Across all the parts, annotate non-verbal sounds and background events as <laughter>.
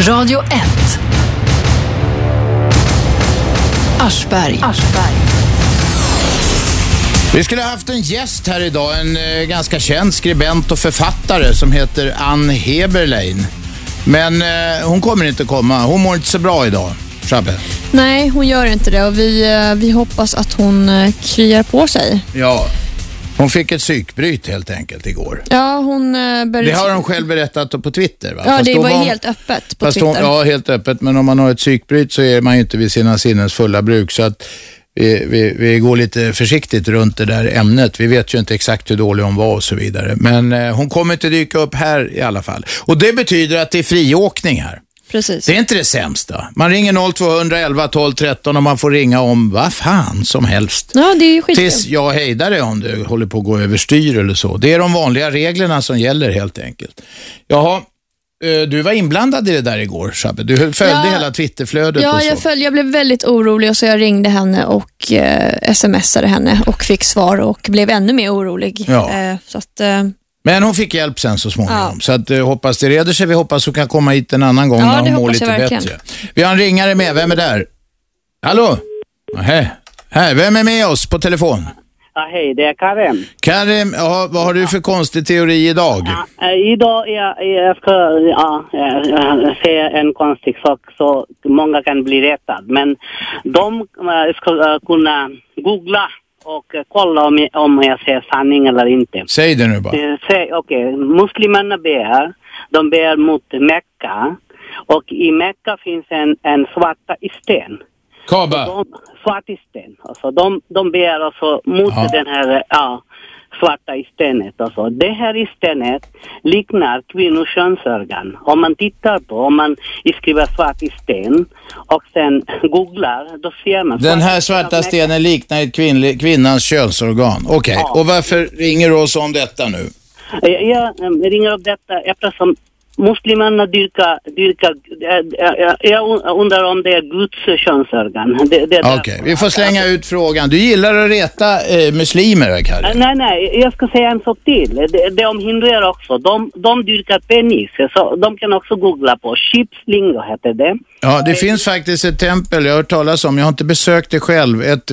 Radio 1. Aschberg. Vi skulle ha haft en gäst här idag, en eh, ganska känd skribent och författare som heter Ann Heberlein. Men eh, hon kommer inte komma, hon mår inte så bra idag, Shabbe. Nej, hon gör inte det och vi, eh, vi hoppas att hon eh, kryar på sig. Ja. Hon fick ett psykbryt helt enkelt igår. Ja, hon eh, började... Det har hon själv berättat på Twitter va? Ja, Fast det då var hon- helt öppet på Fast Twitter. hon, ja, helt öppet. Men om man har ett psykbryt så är man ju inte vid sina sinnens fulla bruk. Så att vi, vi, vi går lite försiktigt runt det där ämnet. Vi vet ju inte exakt hur dålig hon var och så vidare. Men eh, hon kommer inte dyka upp här i alla fall. Och det betyder att det är friåkning här. Precis. Det är inte det sämsta. Man ringer 0211 12 13 och man får ringa om vad fan som helst. Ja, det är ju skitkul. Tills jag hejdar dig om du håller på att gå överstyr eller så. Det är de vanliga reglerna som gäller helt enkelt. Jaha, eh, du var inblandad i det där igår, Shabbe. Du följde Ja. hela Twitterflödet och Ja, så. jag, följde, jag blev väldigt orolig och så jag ringde henne och eh, smsade henne och fick svar och blev ännu mer orolig. Ja. Eh, så att, eh, Men hon fick hjälp sen så småningom. Ja. Så att, eh, hoppas det reder sig. Vi hoppas hon kan komma hit en annan gång Ja, när det hon mår hoppas lite jag verkligen. bättre. Vi har en ringare med. Vem är där? Hallå? Nähä. Här, vem är med oss på telefon? Ja, hej, det är Karim. Karim, ja, vad har du för konstig teori idag? Ja, eh, idag jag, jag ska ja, eh, säga en konstig sak så många kan bli rättad. Men de eh, ska eh, kunna googla och eh, kolla om jag, om jag säger sanning eller inte. Säg det nu bara. Eh, Säg, okej, muslimerna ber, de ber mot Mekka och i Mekka finns en, en svarta sten. Kaba. De, svarta sten. Alltså, de, de begär alltså mot Ja. den här ja, svarta stenet. Alltså. Det här stenet liknar kvinnors könsorgan. Om man tittar på, om man skriver svart sten och sen googlar, då ser man. Den här svarta stenen liknar ett kvinnli- kvinnans könsorgan. Okej, Ja. och varför ringer du oss om detta nu? Jag, Eh, jag äm, ringer upp detta eftersom muslimerna dyrkar, dyrkar äh, äh, äh, jag undrar om det är Guds könsorgan. Det, det är Okej, därför. vi får slänga ut frågan. Du gillar att reta eh, muslimer, Nej, Karin. Nej, nej, jag ska säga en sak till. Det, det är om hindrar också. De, de dyrkar penis, så de kan också googla på. Chipslingo heter det. Ja, det finns faktiskt ett tempel, jag har hört talas om, jag har inte besökt det själv, ett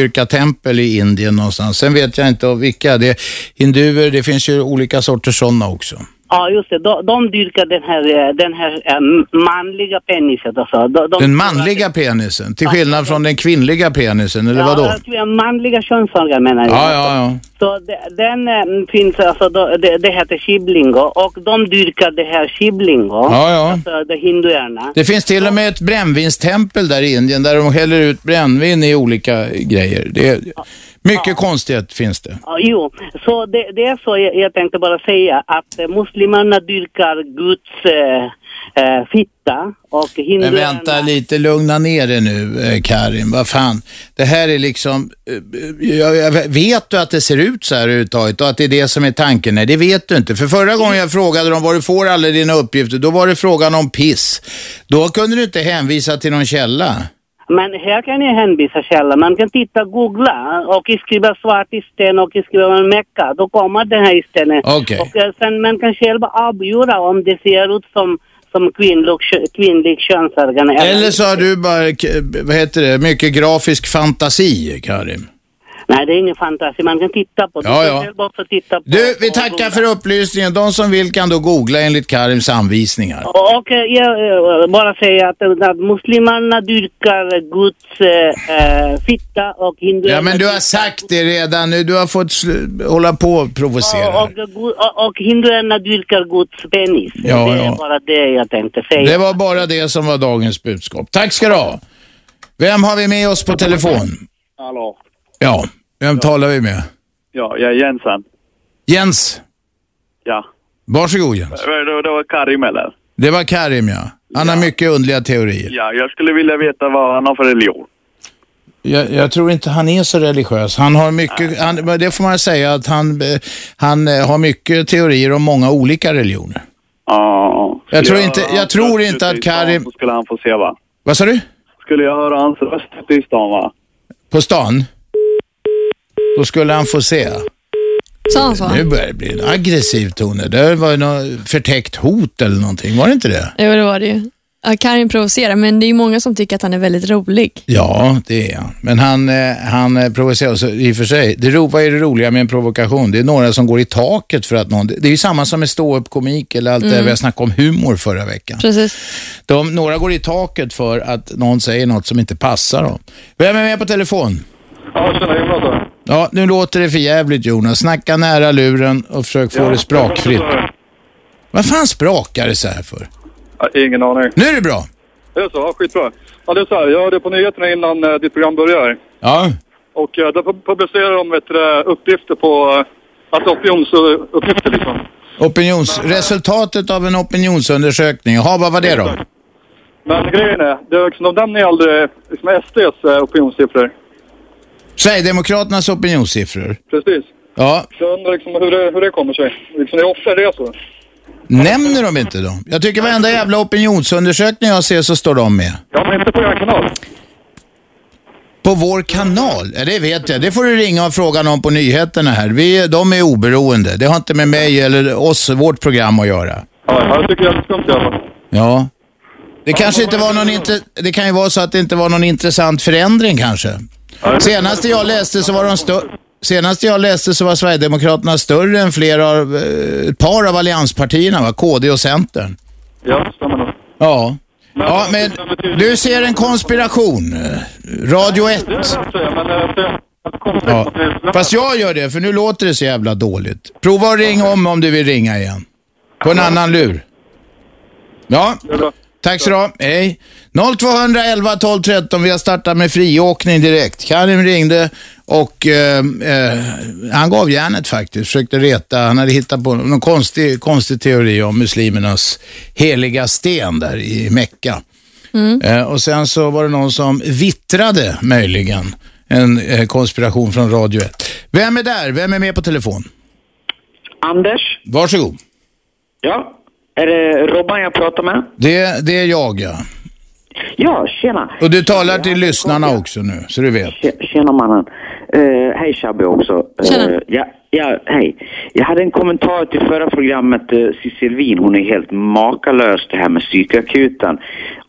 pittdyrkartempel i Indien någonstans. Sen vet jag inte av vilka, det är hinduer, det finns ju olika sorters sådana också. Ja, just det. De, de dyrkar den här, eh, den här eh, manliga penisen. Alltså. De, de, Den manliga penisen, till skillnad från den kvinnliga penisen, eller Ja, vadå? alltså, manliga könsorgan menar jag. Ja, ja, ja. Så de- den eh, finns, alltså, då- det, det heter chiblingo och de dyrkar det här chiblingo, Ja, ja. alltså de hinduerna. Det finns till och med ett brännvinstempel där i Indien där de häller ut brännvin i olika grejer. Det är mycket konstigt finns det. Ja, jo, så det, det är så jag, jag tänkte bara säga att eh, muslimerna dyrkar Guds eh, eh, fitta och Men hinduerna... vänta lite, lugna ner dig nu eh, Karin, vad fan. Det här är liksom, eh, jag, jag, vet du att det ser ut så här överhuvudtaget och att det är det som är tanken? Nej, det vet du inte. För förra gången jag frågade dem var du får alla dina uppgifter, då var det frågan om piss. Då kunde du inte hänvisa till någon källa. Men här kan jag hänvisa källa. Man kan titta, googla och skriva svart i sten och skriva Mecka. Då kommer den här stenen. Okej. Och eh, sen man kan själv avgöra om det ser ut som, som kvinnlig, kvinnlig könsorgan. Eller så har du bara, k- vad heter det, mycket grafisk fantasi Karin. Nej, det är ingen fantasi. Man kan titta på det. Ja, Du ja. kan själv också titta på Du, vi på tackar googla. för upplysningen. De som vill kan då googla enligt Karims anvisningar. Och eh, jag eh, bara säga att, eh, att muslimerna dyrkar Guds eh, eh, fitta och hinduerna... Ja, men du har dyrkar- sagt det redan nu. Du har fått sl- hålla på och och, provocera. och, och, och hinduerna dyrkar Guds penis. Ja, det är ja. bara det jag tänkte säga. Det var bara det som var dagens budskap. Tack ska du ha. Vem har vi med oss på telefon? Hallå. Ja, vem talar vi med? Ja, jag är Jensen. Jens. Ja. Varsågod Jens. Det var, det var Karim eller? Det var Karim ja. Han har mycket underliga teorier. Ja, jag skulle vilja veta vad han har för religion. Jag, jag tror inte han är så religiös. Han har mycket, han, men det får man säga att han, eh, han eh, har mycket teorier om många olika religioner. Ja. Jag Skulle tror inte- höra jag hans tror röst inte ute att i stan Karim- Så skulle han få se va? Vad sa du? Skulle jag höra hans röst ute i stan va? på stan, då skulle han få se. Sa han så? Nu börjar det bli en aggressiv ton. Det där var ju något förtäckt hot eller någonting, var det inte det? Jo, det var det ju. Ja, Karin provocerar, men det är ju många som tycker att han är väldigt rolig. Ja, det är han. Men han, eh, han eh, provocerar oss i och för sig. Det ro, vad är det roliga med en provokation? Det är några som går i taket för att någon... Det är ju samma som med ståuppkomik eller allt det där. Vi har snackat om humor förra veckan. Precis. De, några går i taket för att någon säger något som inte passar dem. Vem är med på telefon? Ja, tjena Jonas här. Ja, nu låter det för jävligt Jonas. Snacka nära luren och försök få det sprakfritt. Vad fan sprakar det så här för? Ja, ingen aning. Nu är det bra. Det är så, ja, skitbra. Ja, det är så här, jag hörde på nyheterna innan eh, ditt program börjar. Ja, Och eh, där pu- publicerar de vet, du det, uppgifter på, eh, alltså opinionsuppgifter liksom. opinions... Resultatet av en opinionsundersökning. Jaha, vad var det då? Men grejen är, det är liksom, de nämner ju aldrig liksom SDs eh, opinionssiffror. Sverigedemokraternas opinionssiffror. Precis. Ja, Så jag undrar liksom hur det, hur det kommer sig. Liksom, det är ofta det är så. nämner de inte dem? Jag tycker varenda jävla opinionsundersökning jag ser så står de med. Ja, men inte på er kanal. På vår kanal? Ja, det vet jag. Det får du ringa och fråga någon på nyheterna här. Vi, de är oberoende. Det har inte med mig eller oss, vårt program att göra. Ja, ja, det tycker jag är lite skumt i alla fall. Ja. Det kanske inte var någon inte, Det kan ju vara så att det inte var någon intressant förändring kanske. Senaste jag läste så var de större. Senaste jag läste så var Sverigedemokraterna större än flera av, eh, ett par av allianspartierna, va? KD och Centern. Ja, det stämmer nog. Ja. Ja, men du ser en konspiration. Eh, Radio 1. Det är det jag säger, men eh, det är konstigt. Ja. Fast jag gör det, för nu låter det så jävla dåligt. Prova att ringa om om du vill ringa igen. På en annan lur. Ja, Det är bra. tack så du ha. Hej. 0211 12 13. Vi har startat med friåkning direkt. Karim ringde och eh, eh, han gav järnet faktiskt. Försökte reta. Han hade hittat på någon konstig, konstig teori om muslimernas heliga sten där i Mecka. Eh, och sen så var det någon som vittrade möjligen. En eh, konspiration från Radio 1. Vem är där? Vem är med på telefon? Anders? Varsågod. Ja? Är det Robban jag pratar med? Det, det är jag ja. Ja, tjena. Och du talar till lyssnarna också nu, så du vet. Tje- Tjena mannen. Eh, hej Shabbe också. Eh, Tjena. ja, ja, hej. Jag hade en kommentar till förra programmet. Uh, Cissi Wien, hon är helt makalös det här med psykakuten.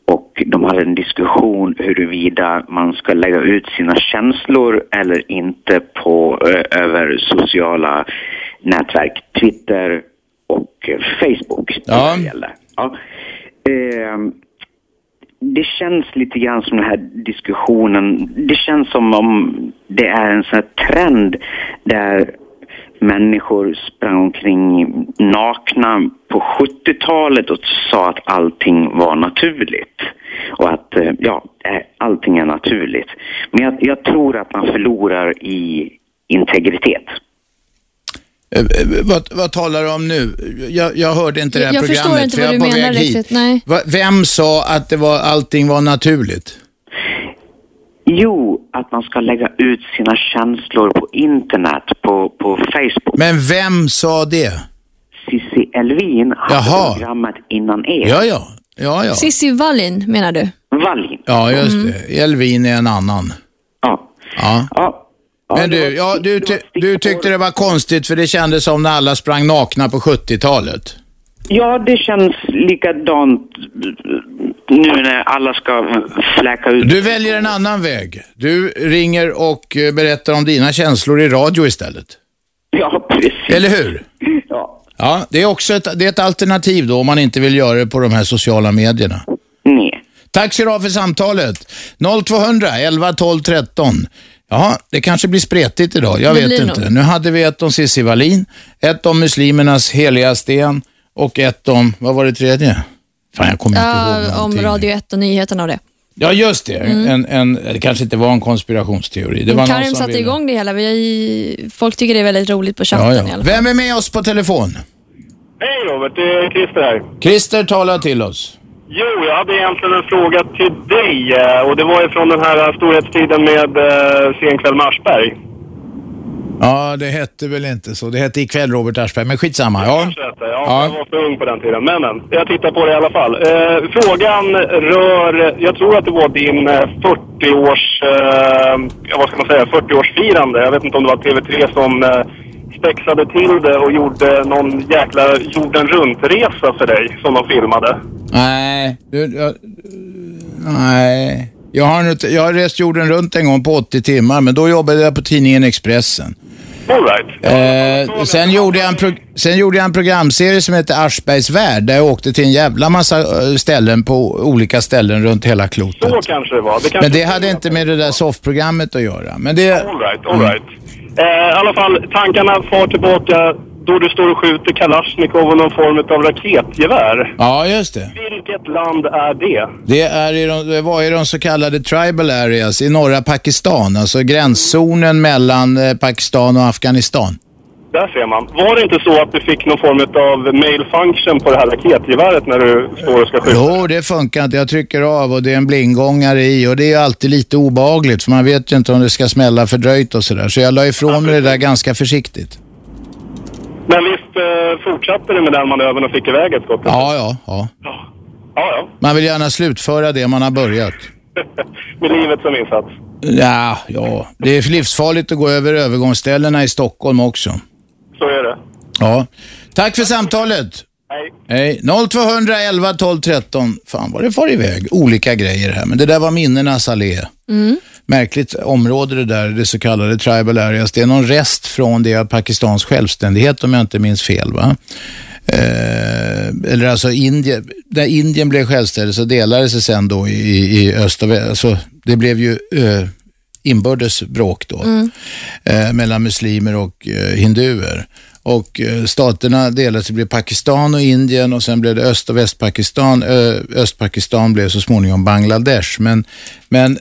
Och de hade en diskussion huruvida man ska lägga ut sina känslor eller inte på, eh, över sociala nätverk. Twitter och eh, Facebook. Ja. Det gäller. ja. Ehm, det känns lite grann som den här diskussionen. Det känns som om det är en sån här trend där människor sprang omkring nakna på 70-talet och sa att allting var naturligt. Och att, eh, ja, eh, allting är naturligt. Men jag, jag tror att man förlorar i integritet. Eh, eh, vad, vad talar du om nu? Jag, jag hörde inte det här Jag- jag programmet. förstår inte för vad jag du är på menar väg hit. riktigt, nej. Va, vem sa att det var, allting var naturligt? Jo, att man ska lägga ut sina känslor på internet, på, på Facebook. Men vem sa det? Cissi Elvin hade Jaha. programmet innan er. Ja, ja. Ja, ja. Cissi Wallin menar du? Wallin. Ja, just det. Elvin är en annan. Ja. Ja. ja. Ja, Men det var du, ja, stick- du, det ty- var stick du på tyckte det. det var konstigt för det kändes som när alla sprang nakna på 70-talet. Ja, det känns likadant nu när alla ska fläka ut. Du väljer en annan väg. Du ringer och eh, berättar om dina känslor i radio istället. Ja, precis. Eller hur? Ja. Ja, det är också ett, det är ett alternativ då om man inte vill göra det på de här sociala medierna. Nej. Tack så du för samtalet. 0200 11 12 13. Ja, det kanske blir spretigt idag. Jag Det vet blir inte. nog. Nu hade vi ett om Cissi Wallin, ett om muslimernas heliga sten och ett om, vad var det tredje? Fan, jag kommer inte ihåg Ja, om någonting. Radio 1 och nyheterna och det. Ja, just det. En, en, det kanske inte var en konspirationsteori. Det var någon Karim som satte ville- igång det hela. Vi, folk tycker det är väldigt roligt på chatten Ja, i alla ja. fall. Vem är med oss på telefon? Hej Robert, det är Christer här. Christer talar till oss. Jo, jag hade egentligen en fråga till dig. eh, Och det var ju från den här eh, storhetstiden med eh, Senkväll med Aschberg. Ja, det hette väl inte så. Det hette ikväll Robert Aschberg, men skitsamma. Ja. Kanske inte. Ja. Ja, jag var för ung på den tiden. Men, men. Jag tittar på det i alla fall. Eh, frågan rör, jag tror att det var din eh, 40-års, eh, ja, vad ska man säga, 40-årsfirande. Jag vet inte om det var TV3 som eh, spexade till det och gjorde någon jäkla jorden runt-resa för dig som de filmade. Nej, du, jag, nej. Jag har, nog inte- jag har rest jorden runt en gång på 80 timmar, men då jobbade jag på tidningen Expressen. All right. Eh, sen, gjorde jag en pro- sen gjorde jag en programserie som hette Aschbergs värld, där jag åkte till en jävla massa eh, ställen på olika ställen runt hela klotet. Så kanske det var. Det kanske Men det hade inte med det där soffprogrammet att göra. Men det... All right, all right. Eh, I alla fall, tankarna far tillbaka då du står och skjuter Kalashnikov och någon form av raketgevär. Ja, just det. Vilket land är det? Det, är i de, det var i de så kallade tribal areas i norra Pakistan, alltså gränszonen mellan eh, Pakistan och Afghanistan. Där ser man. Var det inte så att du fick någon form av mail function på det här raketgeväret när du står och ska skjuta? Jo, det funkar inte. Jag trycker av och det är en blinggångare i och det är ju alltid lite obagligt för man vet ju inte om det ska smälla fördröjt och sådär. Så jag la ifrån mig det där ganska försiktigt. Men visst eh, fortsatte du med den manövern och fick iväg ett skott? Ja, ja, ja. Ja, ja. Man vill gärna slutföra det man har börjat. Med livet som insats. Ja, ja. Det är livsfarligt att gå över övergångsställena i Stockholm också. Så är det. Ja. Tack för samtalet. Hej. Hej. 0211 12 13. Fan vad det far iväg. Olika grejer här. Men det där var minnenas allé. Märkligt område det där, det så kallade tribal areas. Det är någon rest från det av Pakistans självständighet om jag inte minns fel. Va? Eh, eller alltså Indien, när Indien blev självständigt så delades det sen då i, i öst och väst. Alltså, det blev ju eh, inbördes bråk då eh, mellan muslimer och eh, hinduer. Och eh, staterna delades, det blev Pakistan och Indien och sen blev det Öst och Västpakistan. Ö, Östpakistan blev så småningom Bangladesh. Men, men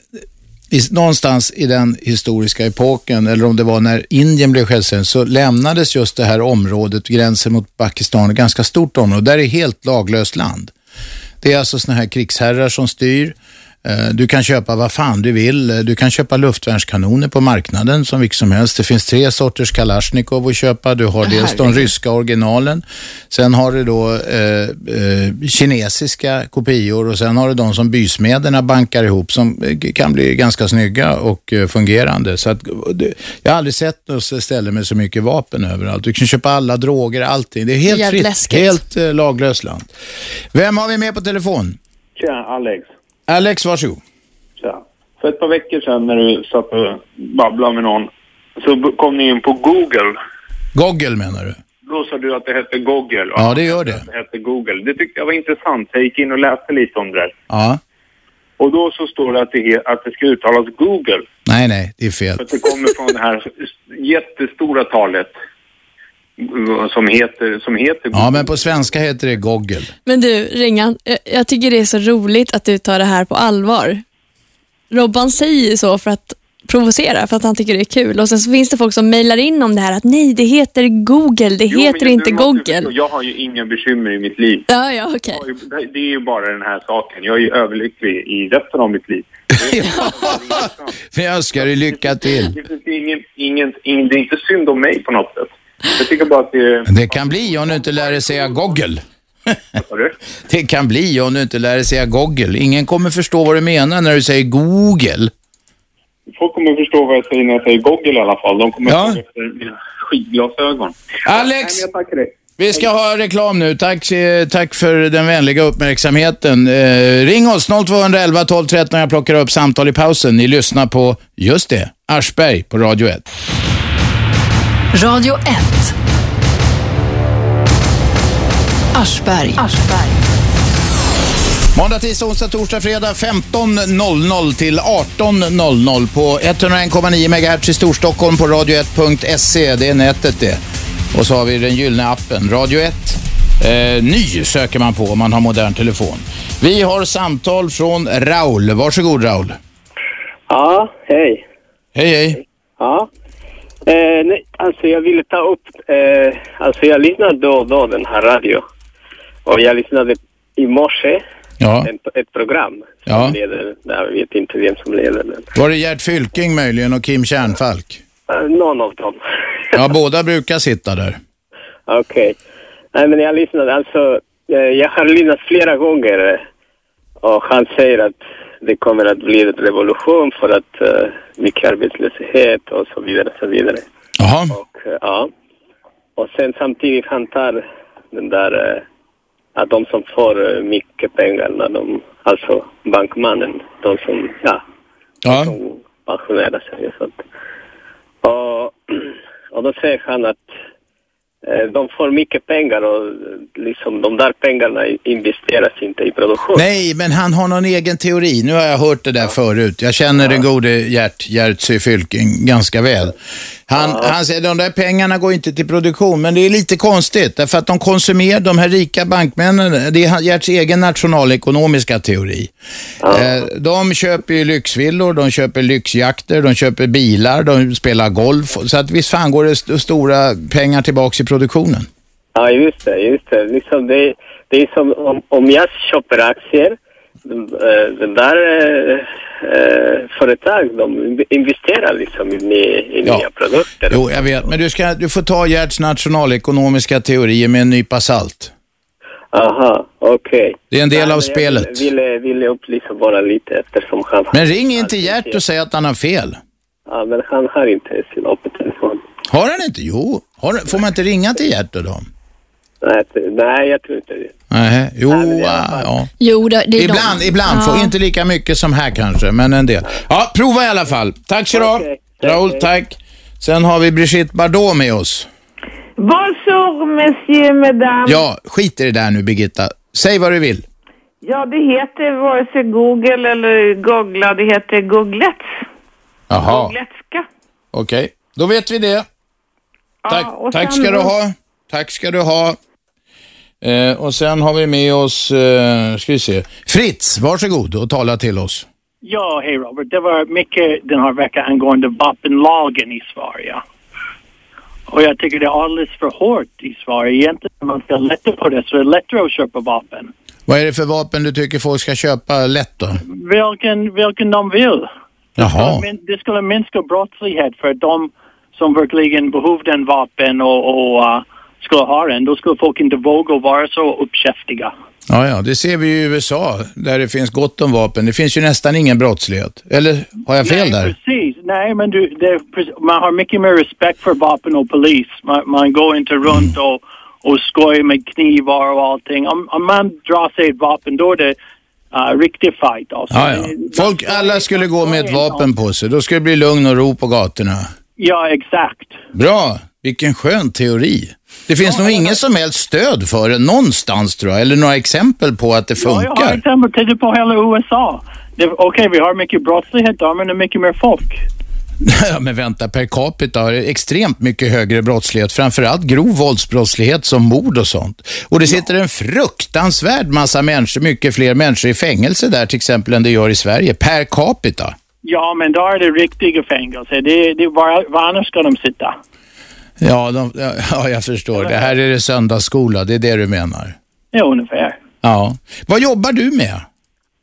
i, någonstans i den historiska epoken, eller om det var när Indien blev självständigt, så lämnades just det här området, gränsen mot Pakistan, ett ganska stort område. Där är helt laglöst land. Det är alltså såna här krigsherrar som styr. Eh, Du kan köpa vad fan du vill. Eh, Du kan köpa luftvärnskanoner på marknaden som vilket som helst. Det finns tre sorters Kalashnikov att köpa. Du har dels de ryska originalen, sen har du då eh, eh, kinesiska kopior och sen har du de som bysmederna bankar ihop som eh, kan bli ganska snygga och eh, fungerande. Så att, eh, det- jag har aldrig sett något ställe med så mycket vapen överallt. Du kan köpa alla droger, allting. Det är helt Jävligt fritt, läskigt. helt eh, laglöst land. Vem har vi med på telefon? Tjena, Alex. Alex, varsågod. Tja. För ett par veckor sedan när du satt och babblade med någon så b- kom ni in på Google. Goggle menar du? Då sa du att det hette Google och Ja, det gör det. att det hette Google. Det tyckte jag var intressant. Jag gick in och läste lite om det där. Ja. Och då så står det att det, he- att det ska uttalas Google. Nej, nej, det är fel. För att det kommer från det här jättestora talet eh, som heter, som heter Google. Ja, men på svenska heter det Goggle. Men du, Ringan, jag, jag tycker det är så roligt att du tar det här på allvar. Robban säger ju så för att provocera, för att han tycker det är kul. Och sen så finns det folk som mejlar in om det här att nej, det heter Google, det Jo, men heter du inte måste ju Google. förstå, Jag har ju inga bekymmer i mitt liv. Ja, ja, okej. Jag har ju- Det är ju bara den här saken. Jag är ju överlycklig i resten av mitt liv. <laughs> Men jag önskar dig lycka till. Det, finns ingen, ingen, ingen, det är inte synd om mig på något sätt. Jag tycker bara att det är... Det kan bli om du inte lär dig säga Goggle. Vad du? Det kan bli om du inte lär dig säga Goggle. Ingen kommer förstå vad du menar när du säger Google. Folk kommer förstå vad jag säger när jag säger Google i alla fall. De kommer Ja. fråga efter mina skidglasögon. Alex! Nej, men jag tackar dig. Vi ska ha reklam nu. Tack, eh, tack för den vänliga uppmärksamheten. Eh, ring oss 0211 12 13 jag plockar upp samtal i pausen. Ni lyssnar på, just det, Aschberg på Radio 1. Radio 1. Aschberg. Måndag, tisdag, onsdag, torsdag, fredag 15.00 till 18.00 på 101,9 MHz i Storstockholm på radio1.se. Det är nätet det. Och så har vi den gyllene appen, Radio 1. Eh, ny söker man på om man har modern telefon. Vi har samtal från Raul. Varsågod Raul. Ja, hej. Hej, hej. Ja. Eh, nej, alltså jag ville ta upp, eh, alltså jag lyssnade då och då den här radio. Och jag lyssnade i morse, Ja. en, ett program. Som Ja. leder, jag vet inte vem som leder den. Var det Gert Fylking möjligen och Kim Kärnfalk? Eh, någon av dem. Ja, båda brukar sitta där. Okej. Nej, men jag lyssnade alltså. eh, Jag har lyssnat flera gånger eh, och han säger att det kommer att bli en revolution för att uh, mycket arbetslöshet och så vidare, så vidare. Jaha. Och eh, ja. Och sen samtidigt han tar den där eh, att de som får eh, mycket pengar, när de, alltså bankmannen, de som, ja, Ja. som pensionerar sig och sånt. Och, och då säger han att eh, de får mycket pengar och eh, liksom de där pengarna investeras inte i produktion. Nej, men han har någon egen teori. Nu har jag hört det där förut. Jag känner den gode Gert Gertsy Fylking ganska väl. Han, han säger de där pengarna går inte till produktion, men det är lite konstigt därför att de konsumerar, de här rika bankmännen, det är han- Gerts egen nationalekonomiska teori. Eh, de köper ju lyxvillor, de köper lyxjakter, de köper bilar, de spelar golf. Så att visst fan går det st- stora pengar tillbaks i produktionen. Ja, just det. Just det. Liksom det, det är som om, om jag köper aktier, de, eh, den där eh, eh, företag, de inv- investerar liksom i, ny- i Ja. nya produkter. Jo, jag vet, men du, ska, du får ta Gerts nationalekonomiska teorier med en nypa salt. Aha, okej. Det är en del Nej, av men jag spelet. Ville, ville, ville upplysa liksom bara lite eftersom han... Men ring inte Gert och säg att han har fel. Ja, men han har inte sin öppna telefon. Har han inte? Jo. Har, får man inte ringa till Gert och dem? Nej, jag tror- nej, jag tror inte det. Nej, jo, ah, ja. Jo, det, det är Ibland, de. ibland. Får inte lika mycket som här kanske, men en del. Ja, prova i alla fall. Tack så du ha. Raoul, tack. Sen har vi Brigitte Bardot med oss. Bonjour monsieur, madame. Ja, skit i det där nu Birgitta. Säg vad du vill. Ja, det heter vare sig Google eller googla, det heter googlet. Jaha, Googletska. okej. Då vet vi det. Tack, och tack sen ska du då- ha. Tack ska du ha. Eh, och sen har vi med oss, eh, ska vi se, Fritz, varsågod och tala till oss. Ja, hej Robert. Det var mycket den här veckan angående vapenlagen i Sverige. Och jag tycker det är alldeles för hårt i Sverige. Egentligen om man ska lätta på det så är det lättare att köpa vapen. Vad är det för vapen du tycker folk ska köpa lätt då? Vilken, vilken de vill. Jaha, Men det skulle minska brottslighet för de som verkligen behövde en vapen och, och uh, skulle ha den. Då skulle folk inte våga vara så uppkäftiga. ja, ja, det ser vi ju i USA där det finns gott om vapen. Det finns ju nästan ingen brottslighet. Eller har jag Nej, fel där? precis. Nej, men du, det, är pre- man har mycket mer respekt för vapen och polis. Man, man går inte runt Mm. och, och skojar med knivar och allting. Om, om man drar sig ett vapen, då är det uh, riktig fight. Alltså. Ja, ja. Folk, alla skulle gå med ett vapen på sig. Då skulle det bli lugn och ro på gatorna. ja, exakt. Bra, vilken skön teori. Det finns nog inget som helst stöd för det någonstans tror jag, eller några exempel på att det Ja, jag har funkar. exempel. Titta på hela USA. Det- Okej, vi har mycket brottslighet där, men det är mycket mer folk. <laughs> Ja, men vänta, per capita har det extremt mycket högre brottslighet, framförallt grov våldsbrottslighet som mord och sånt. Och det sitter en fruktansvärd massa människor, mycket fler människor i fängelse där till exempel än det gör i Sverige, per capita. Ja, men då är det riktiga fängelse. Det, det, var, var annars ska de sitta? Ja, <laughs> de, ja, jag förstår. Det här är det söndagsskola, det är det du menar. Ja, ungefär. Ja. Vad jobbar du med?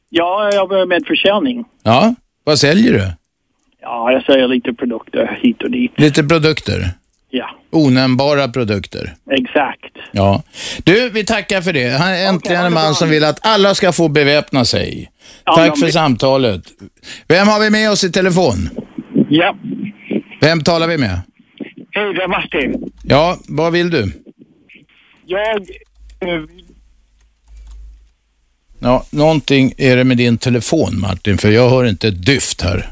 Ja, jag jobbar med försäljning. Ja, vad säljer du? Ja, jag säljer lite produkter hit och dit. Lite produkter? Ja, Onämnbara produkter. exakt. Ja. Du, vi tackar för det. Han är äntligen en man som vill att alla ska få beväpna sig. Tack men- för samtalet. Vem har vi med oss i telefon? Ja, Vem talar vi med? hej det är Martin. Ja, vad vill du? Jag... eh, Ja, någonting är det med din telefon Martin, för jag hör inte ett dyft här.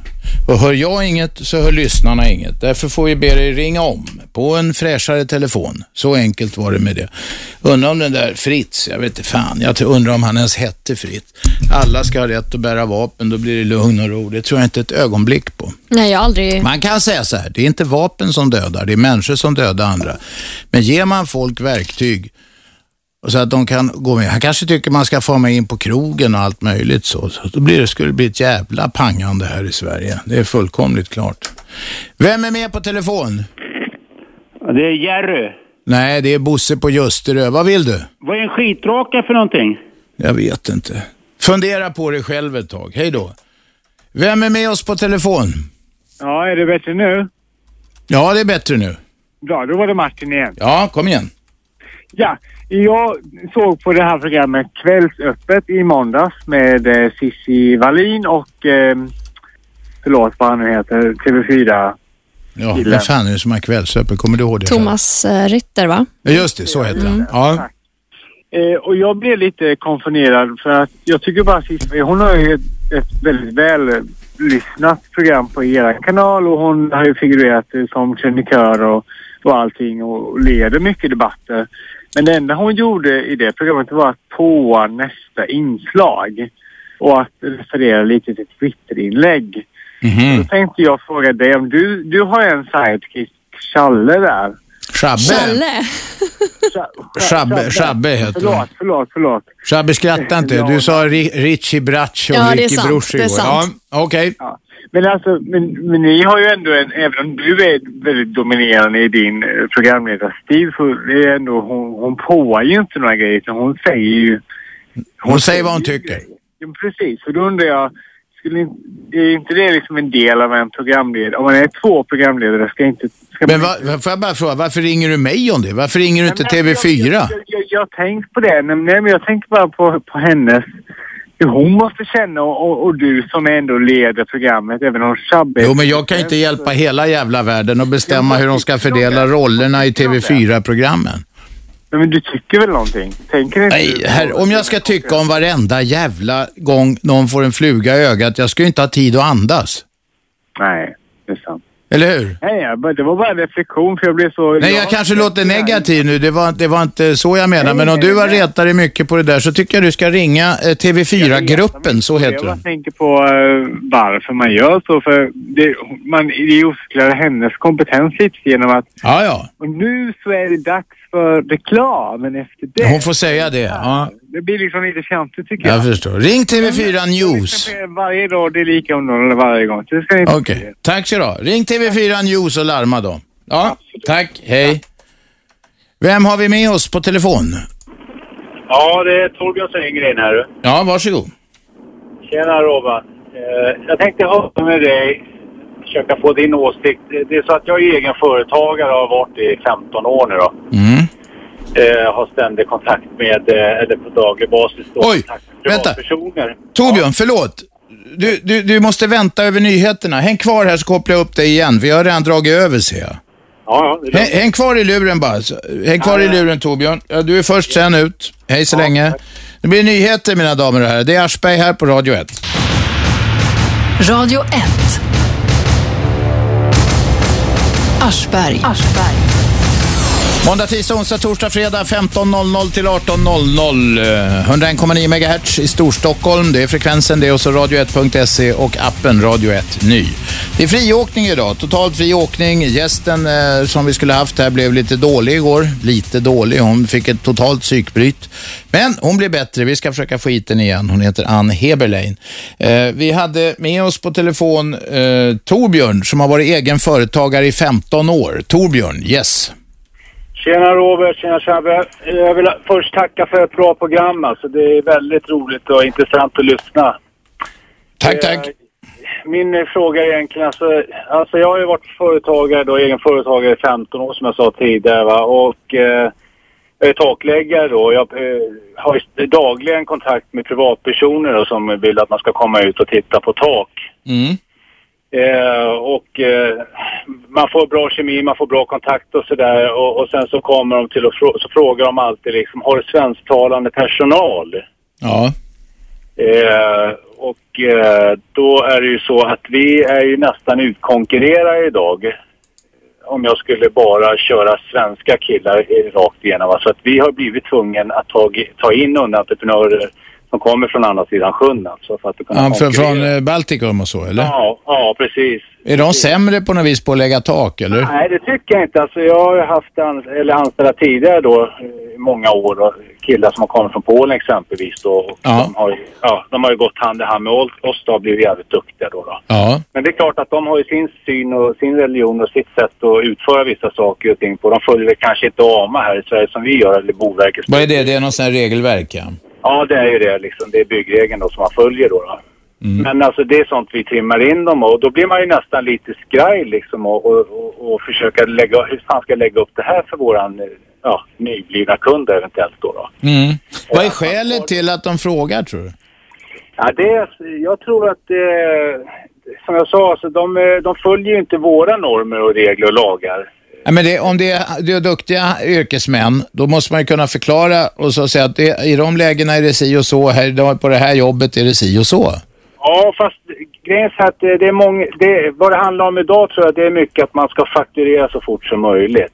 Och hör jag inget så hör lyssnarna inget. Därför får vi be dig ringa om på en fräschare telefon. Så enkelt var det med det. Undrar om den där Fritz, jag vet inte fan, jag undrar om han ens hette Fritz. Alla ska ha rätt att bära vapen, då blir det lugn och ro. Det tror jag inte ett ögonblick på. Nej, jag har aldrig... Man kan säga så här, det är inte vapen som dödar, det är människor som dödar andra. Men ger man folk verktyg så att de kan gå med. Han kanske tycker man ska få med in på krogen och allt möjligt så. så då blir det, skulle det bli ett jävla pangande här i Sverige. Det är fullkomligt klart. Vem är med på telefon? Det är Jerry. Nej, det är Bosse på Ljusterö. Vad vill du? Vad är en skitråka för någonting? Jag vet inte. Fundera på det själv ett tag. Hej då. Vem är med oss på telefon? Ja, är det bättre nu? Ja, det är bättre nu. Bra, då var det Martin igen. Ja, kom igen. Ja, jag såg på det här programmet Kvällsöppet i måndags med eh, Cissi Wallin och... Eh, förlåt, vad han nu heter, TV4. Ja, Killen. vem fan är det som har kvällsöppet? Kommer du ihåg det? Thomas eh, Rytter, va? Mm. Ja, Just det, så heter han. Ja. Eh, och jag blev lite konfunderad för att jag tycker bara Cissi, hon har ju ett, ett väldigt väl lyssnat program på era kanal och hon har ju figurerat eh, som krönikör och, och allting och leder mycket debatter. Men det enda hon gjorde i det programmet var att påa nästa inslag och att referera lite till Twitterinlägg. Då tänkte jag fråga dig om du, du har en sidekick, Challe där. Schabbe. Challe? Schabbe, Schabbe heter Förlåt, han. förlåt, förlåt. Schabbe skratta inte. Du sa Ri- Richie Braccio och Ja, det är Ricky sant, Bruch det är igår. sant. Ja, okej. Men alltså, men, men ni har ju ändå en, även om du är väldigt dominerande i din eh, programledarstil så det är ändå, hon, hon påar ju inte några grejer utan hon säger ju... Hon säger vad hon ju tycker. grejer. Ja, precis, och då undrar jag, skulle inte, är inte det liksom en del av en programledare? Om man är två programledare ska inte... Ska Men man va, va- får jag bara fråga, varför ringer du mig om det? Varför ringer du inte TV4? Jag, jag, jag tänkte på det. Nej, men- nej, men jag tänkte bara på, på hennes... Hur hon måste känna och, och, och du som ändå leder programmet, även om Shabbe... Jo, men jag kan ju inte hjälpa hela jävla världen och bestämma hur de ska fördela rollerna i TV4-programmen. Nej, men du tycker väl någonting? Tänker inte Nej, du- herre, om jag ska tycka om varenda jävla gång någon får en fluga i ögat, jag ska ju inte ha tid att andas. Nej, det är sant. Eller hur? Nej, jag bara- det var bara en reflektion för jag blev så... Nej, jag kanske låter negativ nu. Det var, det var inte så jag menade. Men om du har retat dig mycket på det där så tycker jag du ska ringa eh, TV4-gruppen, så heter den. Jag tänker på eh, varför man gör så, för det, man idiotklar hennes kompetens lite genom att... Ja, ja. Och nu så är det dags för reklamen efter det. Hon får säga det. Ja, Det blir liksom lite fjantigt tycker jag. jag förstår. Ring TV4 News. Varje dag, det är lika underhållande varje gång. Så det ska ni inte Okej, tack så du ha. Ring TV4 News och larma dem. Ja, tack. Hej. Vem har vi med oss på telefon? Ja, det är Torbjörn Södergren här. du. Ja, varsågod. Tjena Robban. Eh, jag tänkte höra med dig, försöka få din åsikt. Det- Det är så att jag är egen företagare och har varit i 15 år nu då. Mm. Eh, har ständig kontakt med, eh, eller på daglig basis då, Oj, kontakt med privatpersoner. Torbjörn, förlåt. Du, du, du måste vänta över nyheterna. Häng kvar här så kopplar jag upp dig igen, för jag har redan dragit över ser jag. Ja, ja. det är Häng, häng kvar i luren bara. så- Häng kvar i luren Torbjörn. Ja, Du är först sen ut. Hej så länge. Det blir nyheter mina damer och herrar. Det är Aschberg här på Radio 1. Radio 1. Aschberg. Måndag, tisdag, onsdag, torsdag, fredag 15.00 till 18.00. eh, 101,9 MHz i Storstockholm. Det är frekvensen det och så radio1.se och appen Radio 1 Ny. Det är friåkning idag. Totalt friåkning. Gästen eh, som vi skulle haft här blev lite dålig igår. Lite dålig. Hon fick ett totalt psykbryt. Men hon blir bättre. Vi ska försöka få hit den igen. Hon heter Ann Heberlein. Eh, vi hade med oss på telefon eh, Torbjörn som har varit egen företagare i 15 år. Torbjörn, yes. Tjena Robert, tjena Shabbe. Jag vill först tacka för ett bra program alltså. Det är väldigt roligt och intressant att lyssna. Eh, Tack, tack. Min eh, fråga är egentligen alltså, alltså jag har ju varit företagare då, egen företagare i 15 år som jag sa tidigare va? och eh, jag är takläggare då. Jag eh, har ju dagligen kontakt med privatpersoner då, som vill att man ska komma ut och titta på tak. Mm. Eh, och eh, man får bra kemi, man får bra kontakt och sådär. Och, och sen så kommer de till och frå- så frågar de alltid liksom, har du svensktalande personal? Ja. Eh, och eh, då är det ju så att vi är ju nästan utkonkurrerade idag. Om jag skulle bara köra svenska killar eh, rakt igenom. va. Så att vi har blivit tvungna att ta, ta in underentreprenörer som kommer från andra sidan sjön alltså. För att kunna Ja, för, konkurrera. från eh, Baltikum och så eller? Ja, ja, precis. Är de sämre på något vis på att lägga tak eller? Nej, det tycker jag inte. Alltså, jag har ju haft an- eller anställda tidigare då eh, i många år. Då, killar som har kommit från Polen exempelvis. Då, och Ja. de, har, ju- ja, de har ju gått hand i hand med oss oss då och blivit jävligt duktiga då, då. Ja. Men det är klart att de har ju sin syn och sin religion och sitt sätt att utföra vissa saker och ting på. De följer kanske inte AMA här i Sverige som vi gör eller Boverket. Vad är det? Det är någon sån här regelverk ja. Ja, det är ju det liksom. Det är byggregeln då som man följer då. då. Men alltså det är sånt vi trimmar in dem och då blir man ju nästan lite skraj liksom och, och, och, och försöka lägga, hur fan ska jag lägga upp det här för våran eh, ja, nyblivna kund eventuellt då. då? Mm. Vad är skälet till att de frågar tror du? Ja, det, är- jag tror att eh, som jag sa, alltså, de, eh, de följer ju inte våra normer och regler och lagar. Nej, men det, om det är, det är duktiga yrkesmän, då måste man ju kunna förklara och så säga att det, i de lägena är det si och så, här, på det här jobbet är det si och så. Ja, fast grejen är så att det är många, det, vad det handlar om idag tror jag det är mycket att man ska fakturera så fort som möjligt.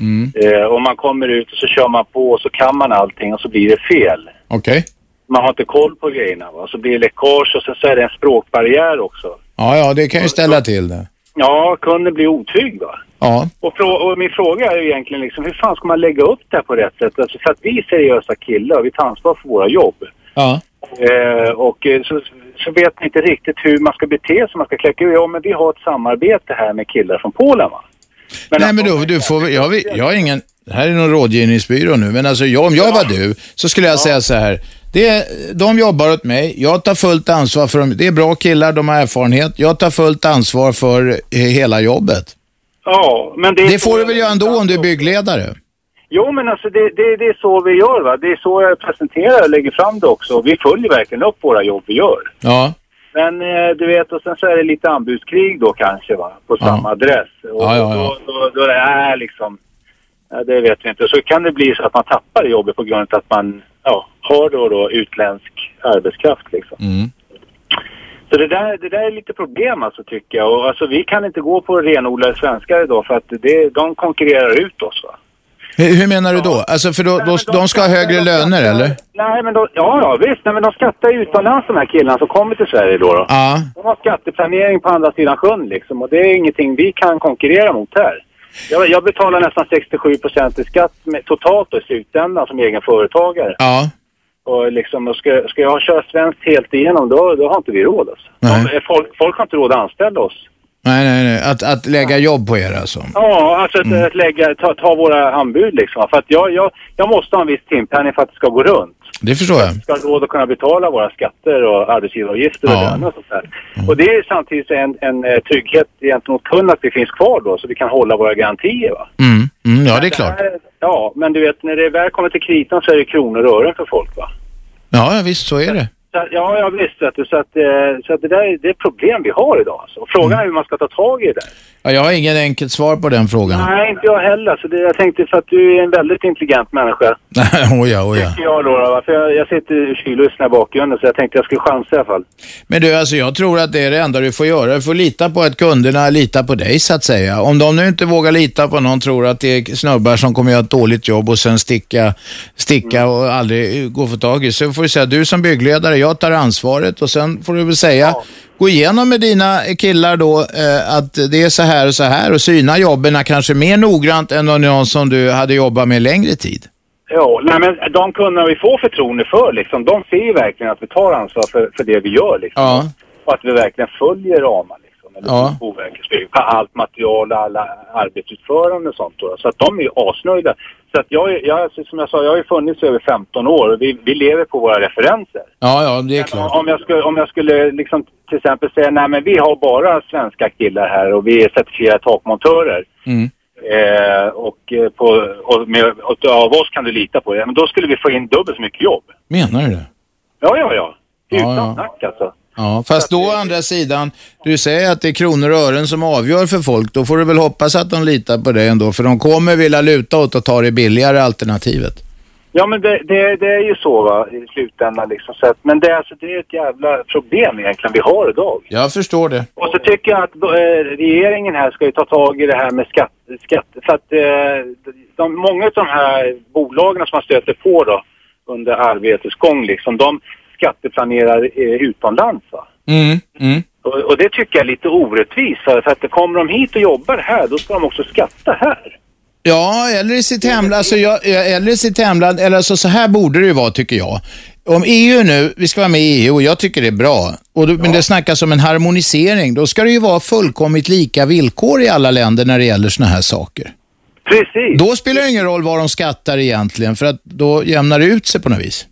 Mm. Eh, och man kommer ut och så kör man på och så kan man allting och så blir det fel. Okej. Man har inte koll på grejerna va? så blir det läckage och sen så är det en språkbarriär också. Ja, ja, det kan ju ställa till det. Ja, kunden blir otrygg va. Ja. Och, frå- och min fråga är ju egentligen liksom, hur fan ska man lägga upp det här på rätt sätt? Alltså, för att vi är seriösa killar, vi tar ansvar för våra jobb. Ja. Eh, och eh, så, så vet man inte riktigt hur man ska bete sig. Man ska kläcka ur. Ja, men vi har ett samarbete här med killar från Polen, va? Nej, men alltså, då, du får, väl- jag, vill- jag har ingen, det här är någon rådgivningsbyrå nu, men alltså jag, om jag var du så skulle jag säga så här. Det, de jobbar åt mig, jag tar fullt ansvar för dem. Det är bra killar, de har erfarenhet. Jag tar fullt ansvar för eh, hela jobbet. Ja, men det... Det får du väl göra ändå om du är byggledare? Jo, men alltså det, det, det är så vi gör, va? Det är så jag presenterar och lägger fram det också. Vi följer verkligen upp våra jobb vi gör. Ja. Men eh, du vet, och sen så är det lite anbudskrig då kanske, va? På samma adress. Och Ja, ja, Då, då, då är det här liksom... Ja, det vet vi inte. Så kan det bli så att man tappar jobbet på grund av att man ja, har då, då utländsk arbetskraft. Liksom. Mm. Så det där, det där är lite problem alltså, tycker jag. Och, alltså, vi kan inte gå på renodlade svenskar idag för att det, de konkurrerar ut oss. Va? Hur, hur menar du då? Alltså för då, då, de ska ha högre löner eller? Nej, men då, ja, ja, visst. Nej, men de skattar ju utomlands de här killarna som kommer till Sverige då. då. Ja. De har skatteplanering på andra sidan sjön liksom och det är ingenting vi kan konkurrera mot här. Jag, jag betalar nästan 67 procent i skatt med, totalt då, i slutändan som egen företagare. Ja. Och liksom, och ska, ska jag köra svenskt helt igenom då, då har inte vi råd alltså. Nej. Eh, Folk, folk har inte råd att anställa oss. Nej, nej, nej. Att, att lägga jobb på er alltså. Ja, alltså att, att lägga, ta, ta våra anbud liksom. För att jag, jag, jag måste ha en viss timpenning för att det ska gå runt. Det förstår jag. ska ha råd att kunna betala våra skatter och arbetsgivaravgifter och Ja. Mm. löner och sånt där. Och det är ju samtidigt en, en eh, trygghet gentemot kunden att vi finns kvar då så vi kan hålla våra garantier. Va? Mm. Mm, ja, det är klart. här- ja, men du vet när det väl kommer till kritan så är det kronor och ören för folk va. Ja, ja, visst så är det. Så, att- ja, jag visst vet du. Så att, eh, så att det där är- det är problem vi har idag alltså. Och Frågan är hur man ska ta tag i det. där. Ja, jag har ingen enkelt svar på den frågan. Nej, inte jag heller. Så det, jag tänkte för att du är en väldigt intelligent människa. Nej, <laughs> oja, oja. Tycker jag då. va? För jag, jag sitter i kyllyssnar i bakgrunden så jag tänkte jag skulle chansa i alla fall. Men du, alltså jag tror att det är det enda du får göra. Du får lita på att kunderna litar på dig så att säga. Om de nu inte vågar lita på någon, tror att det är snubbar som kommer göra ett dåligt jobb och sen sticka, sticka och aldrig eh, gå att få tag i. Så får du säga, du som byggledare, jag tar ansvaret och sen får du väl säga, gå igenom med dina killar då eh, att det är så här och så här och syna jobben kanske mer noggrant än någon som du hade jobbat med längre tid. Ja, nej men de kunderna vi får förtroende för liksom, de ser ju verkligen att vi tar ansvar för, för det vi gör liksom. Ja, Och att vi verkligen följer ramar liksom. Eller Ja. Boverkets bygg- på allt material och alla arbetsutförande och sånt då. Så att de är ju asnöjda. Så att jag, är- jag, alltså, som jag sa, jag har ju funnits i över 15 år och vi, vi lever på våra referenser. ja, ja det är klart. Om jag skulle, om jag skulle liksom till exempel säga, nej men vi har bara svenska killar här och vi är certifierade takmontörer. Mm. Eh, och eh, på, och med, och av oss kan du lita på det. Men då skulle vi få in dubbelt så mycket jobb. Menar du det? Ja, ja, ja. Utan ja. snack alltså. Ja, fast då å andra sidan, du säger att det är kronor och ören som avgör för folk. Då får du väl hoppas att de litar på dig ändå, för de kommer vilja luta åt att ta det billigare alternativet. Ja, men det, det, det är ju så va, i slutändan liksom. Så att, men det, är alltså, det är ett jävla problem egentligen vi har idag. Jag förstår det. Och så tycker jag att eh, regeringen här ska ju ta tag i det här med skatt. skatt för att eh, de, många av de här bolagen som man stöter på då under arbetets gång liksom, de skatteplanerar eh, utomlands va. Mm, mm. Och, och det tycker jag är lite orättvist för för att kommer de hit och jobbar här då ska de också skatta här. Ja, eller i sitt hemland. Alltså jag, eller i sitt hemland. Eller alltså, så här borde det ju vara, tycker jag. Om EU nu, vi ska vara med i EU och jag tycker det är bra. Och då, Men det snackas om en harmonisering. Då ska det ju vara fullkomligt lika villkor i alla länder när det gäller sådana här saker. Precis. Då spelar det ingen roll vad de skattar egentligen, för att då jämnar det ut sig på något vis.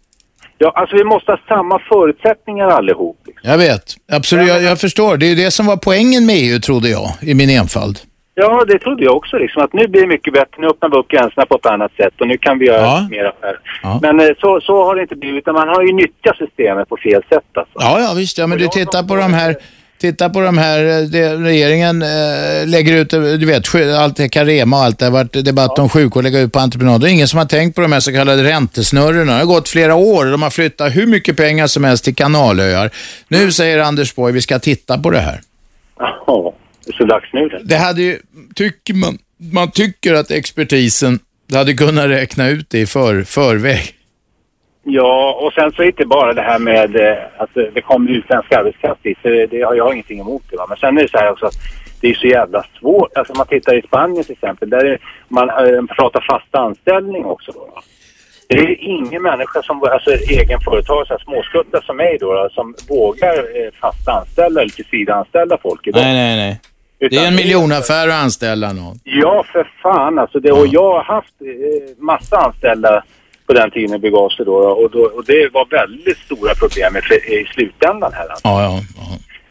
Ja, alltså vi måste ha samma förutsättningar allihop. Jag vet, absolut. Jag, jag förstår. Det är ju det som var poängen med EU, trodde jag, i min enfald. Ja, det trodde jag också liksom, att nu blir det mycket bättre, nu öppnar vi upp gränserna på ett annat sätt och nu kan vi göra mer affärer. Men eh, så, så har det inte blivit, utan man har ju nyttjat systemet på fel sätt alltså. Ja, ja, visst. Ja, men du tittar på de här Titta på de här, eh, det, regeringen eh, lägger ut, eh, du vet, sky- allt det Carema och allt det har varit debatt om sjukvård, lägga ut på entreprenad. Det är ingen som har tänkt på de här så kallade räntesnurrorna. Det har gått flera år och de har flyttat hur mycket pengar som helst till kanalöar. Nu säger Anders Borg, vi ska titta på det här. <laughs> Ja, det är så dags nu det. Det hade ju, tycker man, man tycker att expertisen hade kunnat räkna ut det i för, förväg. Ja, och sen så är det inte bara det här med eh, att det kommer utländsk arbetskraft hit. för Det har jag ingenting emot. Det, va? Men sen är det så här också att det är så jävla svårt. Alltså om man tittar i Spanien till exempel, där är, man eh, pratar fast anställning också. Då, va? Det är ingen människa som, alltså egenföretagare, så här småskuttar som mig då, va, som vågar eh, fast anställa eller tillsvidareanställa folk idag. Nej, nej, nej. Det är en miljonaffär att anställa någon. Ja, för fan alltså. Det, och jag har haft eh, massa anställda på den tiden det begav sig då. Och, då, och det var väldigt stora problem i, i slutändan här. alltså. Ja,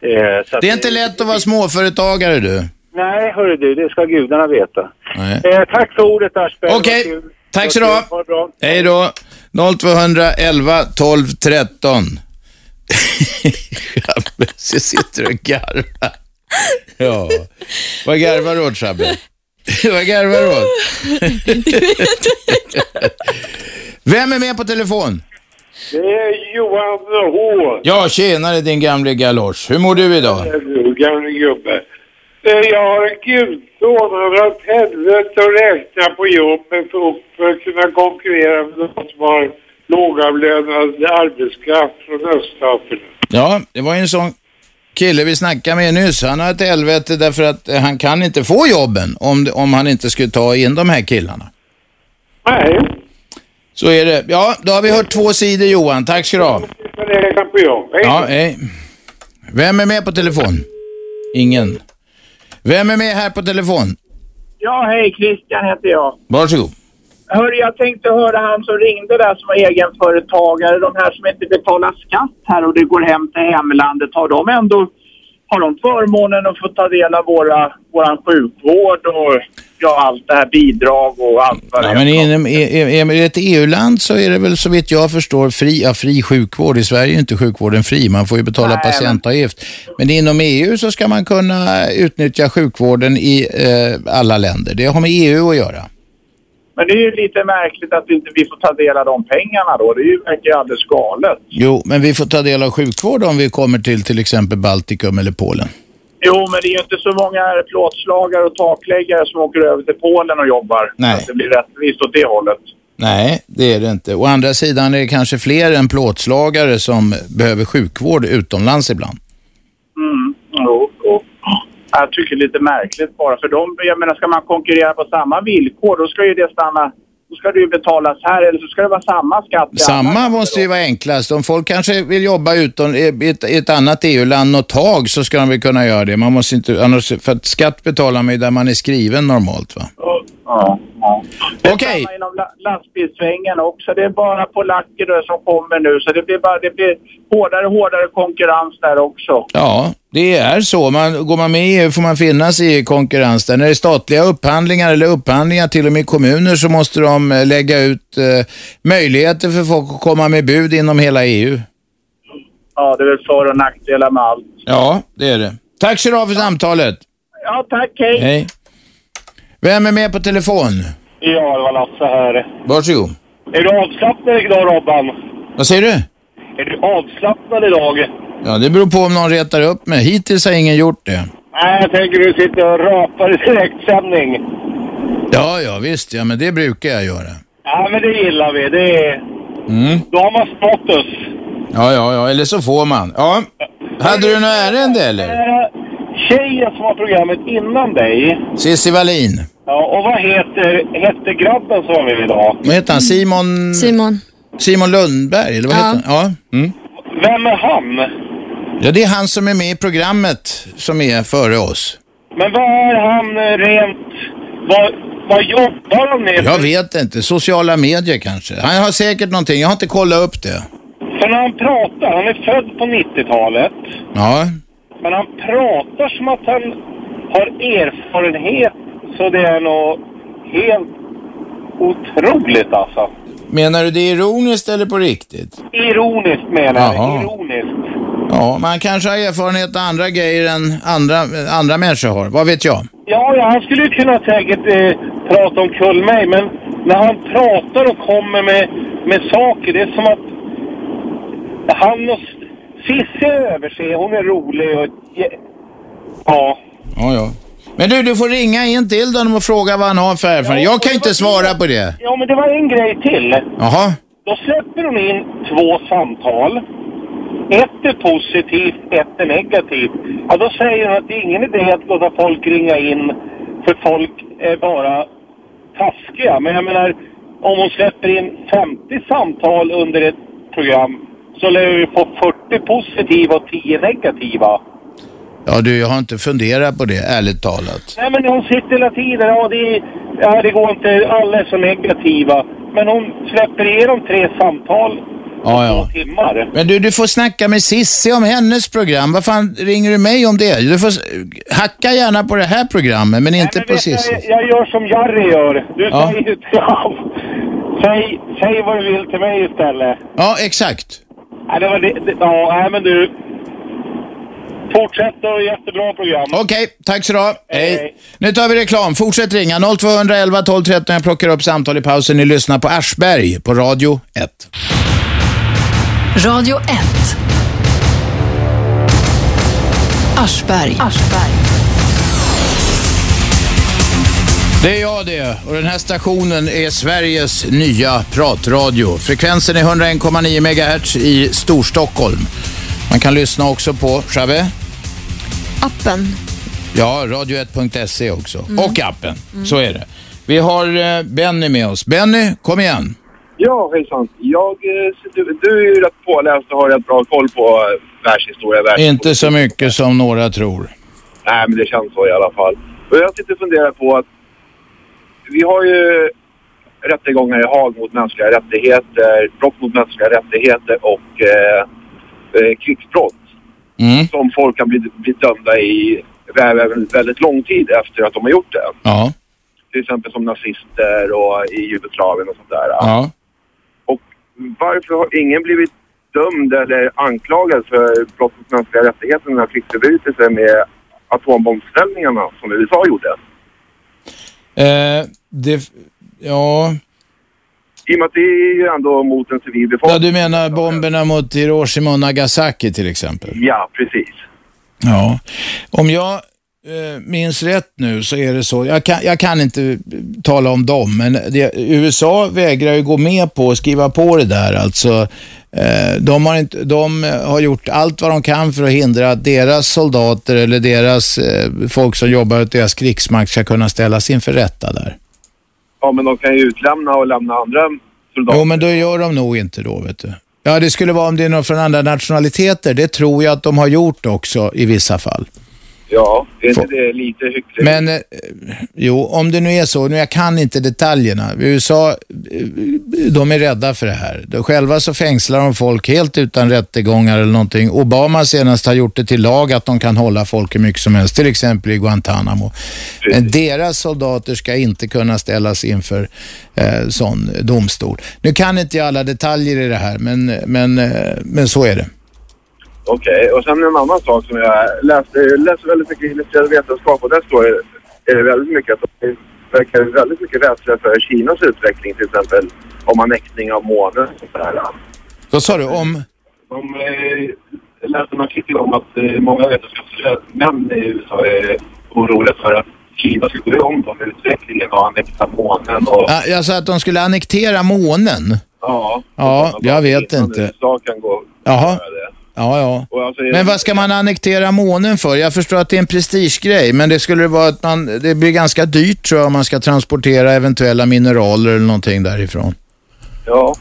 ja. Eh, så att- Det är inte lätt att vara småföretagare du. Nej, hörru du, det ska gudarna veta. Nej. Eh, tack för ordet, Aschberg. Okej, Det var kul. Tack så du Det var ha. kul. Ha det bra. Hej då. 0211 12 <laughs> 13. Schabbe, så sitter du och garvar. Ja. Vad garvar du åt, <laughs> Schabbe? Vad garvar du <laughs> åt? Vem är med på telefon? Det är Johan H. Ja, tjenare din gamle galosch. Hur mår du idag? Du gamle gubbe. Eh, Jag har en gudson. Han har åt helvete att räkna på jobbet för för att kunna konkurrera med de som har lågavlönad arbetskraft från öststaterna. Ja, det var ju en sån kille vi snackade med nyss. Han har ett helvete därför att eh, han kan inte få jobben om, om han inte skulle ta in de här killarna. Nej. Så är det. Ja, då har vi hört två sidor Johan. Tack ska du ha. För att räkna på jobb. Hej. Ja, hej. Vem är med på telefon? Ingen. Vem är med här på telefon? Ja, hej. Christian heter jag. Varsågod. Hörru, jag tänkte höra han som ringde där som var egenföretagare, de här som inte betalar skatt här och det går hem till hemlandet. Har de ändå har de förmånen att få ta del av våra, våran sjukvård och ja, allt det här bidrag och allt vad det Ja, är? men inom, i, i, i ett EU-land så är det väl så vitt jag förstår fri, ja, fri sjukvård. I Sverige är inte sjukvården fri, man får ju betala Nej, men- patientavgift. Men inom EU så ska man kunna utnyttja sjukvården i eh, alla länder. Det har med EU att göra. Men det är ju lite märkligt att inte vi får ta del av de pengarna då. Det är ju- verkar ju alldeles galet. Jo, men vi får ta del av sjukvård om vi kommer till till exempel Baltikum eller Polen. Jo, men det är ju inte så många plåtslagare och takläggare som åker över till Polen och jobbar. Nej. Att det blir rättvist åt det hållet. Nej, det är det inte. Å andra sidan är det kanske fler än plåtslagare som behöver sjukvård utomlands ibland. Mm, jo, jo. Jag tycker det är lite märkligt bara. För de, jag menar, ska man konkurrera på samma villkor, då ska ju det stanna... Då ska det ju betalas här, eller så ska det vara samma skatt. i alla- Samma måste ju vara enklast. Om folk kanske vill jobba utom, i i ett, i ett annat EU-land något tag så ska de väl kunna göra det. Man måste inte, annars, för att skatt betalar man ju där man är skriven normalt va? Ja, ja. Okej. Samma inom la- lastbilssvängen också. Det är bara polacker då som kommer nu, så det blir, bara, det blir hårdare och hårdare konkurrens där också. Ja, det är så. Man, går man med i EU får man finnas i konkurrens där. När det är statliga upphandlingar eller upphandlingar till och med i kommuner så måste de eh, lägga ut eh, möjligheter för folk att komma med bud inom hela EU. Ja, det är väl för och nackdelar med allt. Ja, det är det. Tack så du för samtalet. Ja, tack. Hej. Hej. Vem är med på telefon? Ja, det var Lasse här. Varsågod. Är du avslappnad idag, Robban? Vad säger du? Är du avslappnad idag? Ja, det beror på om någon retar upp mig. Hittills har ingen gjort det. Nej, jag tänker du sitter och rapar i direktsändning. Ja, ja, visst. Ja, men det brukar jag göra. Ja, men det gillar vi. Det är... Mm. Då har man status. Ja, ja, ja, eller så får man. Ja. Hade du något ärende eller? Eh, Tjejen som var programmet innan dig, Cissi Wallin. ja, och vad heter, hette grabben som var med idag? Vad heter han? Simon... Simon. Simon Lundberg, eller vad Ja. heter han? Ja. Mm. Vem är han? ja, det är han som är med i programmet som är före oss. Men vad är han eh, rent... Vad, vad jobbar han med? Jag vet inte. Sociala medier kanske. Han har säkert någonting. Jag har inte kollat upp det. För när han pratar, han är född på 90-talet. Ja, Men han pratar som att han har erfarenhet så det är nog helt otroligt alltså. Menar du det ironiskt eller på riktigt? Ironiskt menar jag. Jaha. Ironiskt. Ja, man kanske har erfarenhet av andra grejer än andra, andra människor har. Vad vet jag? Ja, ja, han skulle ju kunna säkert eh, prata om kull mig, men när han pratar och kommer med, med saker, det är som att han och Cissi över sig, hon är rolig och... Ja. Ja, ja. Men du, du får ringa in till honom och fråga vad han har för erfarenhet. Jag kan inte svara på det. Ja, men det var en grej till. Jaha. Då släpper hon in två samtal. Ett är positivt, ett är negativt. Ja, då säger hon att det är ingen idé att låta folk ringa in för folk är bara taskiga. Men jag menar, om hon släpper in 50 samtal under ett program så lär vi få 40 positiva och 10 negativa. Ja, du, jag har inte funderat på det, ärligt talat. Nej, men hon sitter hela tiden. Ja, det, är- ja, det går inte. Alla är så negativa. Men hon släpper igenom tre samtal Ja, ja. timmar. Men du, du får snacka med Sissi om hennes program. Vad fan ringer du mig om det? Du får s- hacka gärna på det här programmet, men inte på Sissi. Jag, jag gör som Jari gör. Du Ja. säger ju säg, säg vad du vill till mig istället. Ja, exakt. Ja, det var det, det, ja nej, men du. Fortsätt och jättebra program. Okej, tack så du ha. Hej. Nu tar vi reklam. Fortsätt ringa 0211 12 13. Jag plockar upp samtal i pausen. Ni lyssnar på Aschberg på Radio 1. Radio 1. Aschberg. Det är jag det och den här stationen är Sveriges nya pratradio. Frekvensen är 101,9 MHz i Storstockholm. Man kan lyssna också på, Chabé? Appen. Ja, radio1.se också. Och appen, så är det. Vi har eh, Benny med oss. Benny, kom igen. Ja, hejsan. Jag, eh, du, du är ju rätt påläst och har rätt bra koll på eh, världshistoria. Världs... Inte så mycket som några tror. Nej, men det känns så i alla fall. Och jag sitter och funderar på att vi har ju rättegångar i Haag mot mänskliga rättigheter, brott mot mänskliga rättigheter och eh, eh, krigsbrott Mm. som folk kan bli, bli dömda i vä- vä- väldigt lång tid efter att de har gjort det. Ja. Till exempel som nazister och i Jugoslavien och sånt där. Ja. varför har ingen blivit dömd eller anklagad för brott mot mänskliga rättigheter, den här krigsförbrytelsen med atombombställningarna som USA gjorde? Eh, det, ja. I och med att det är ju ändå mot en civil ja, befolkning. du menar bomberna mot Hiroshima och Nagasaki till exempel? Ja, precis. Ja, om jag eh, minns rätt nu så är det så, jag kan, jag kan inte tala om dem, men det, USA vägrar ju gå med på att skriva på det där. Alltså, eh, de, har inte, de har gjort allt vad de kan för att hindra att deras soldater eller deras eh, folk som jobbar åt deras krigsmakt ska kunna ställas inför rätta där. Ja, men de kan ju utlämna och lämna andra soldater. Jo, men då gör de nog inte då, vet du. Ja, det skulle vara om det är någon från andra nationaliteter. Det tror jag att de har gjort också i vissa fall. Ja, är inte det lite hyckleri? Men eh, jo, om det nu är så, nu jag kan inte detaljerna. USA, eh, de är rädda för det här. De själva så fängslar de folk helt utan rättegångar eller någonting. Obama senast har gjort det till lag att de kan hålla folk hur mycket som helst, till exempel i Guantanamo. Men deras soldater ska inte kunna ställas inför eh, sån domstol. Nu kan inte jag alla detaljer i det här, men, men, eh, men så är det. Okej, och sen en annan sak som jag läste. Jag läser väldigt mycket illustrerad vetenskap och där står det, är det väldigt mycket att de verkar väldigt mycket rädsla för Kinas utveckling till exempel om annektning av månen och sådär. Vad sa du om? De eh, läste en artikel om att eh, många vetenskapsmän i USA är oroliga för att Kina ska gå igång på utvecklingen och annektera månen och Ja, jag sa att de skulle annektera månen. ja, Ja, jag vet inte. USA kan gå. Jaha. Ja, ja. Och alltså, Men vad ska man annektera månen för? Jag förstår att det är en prestigegrej, men det skulle vara att man, det blir ganska dyrt tror jag om man ska transportera eventuella mineraler eller någonting därifrån. Ja,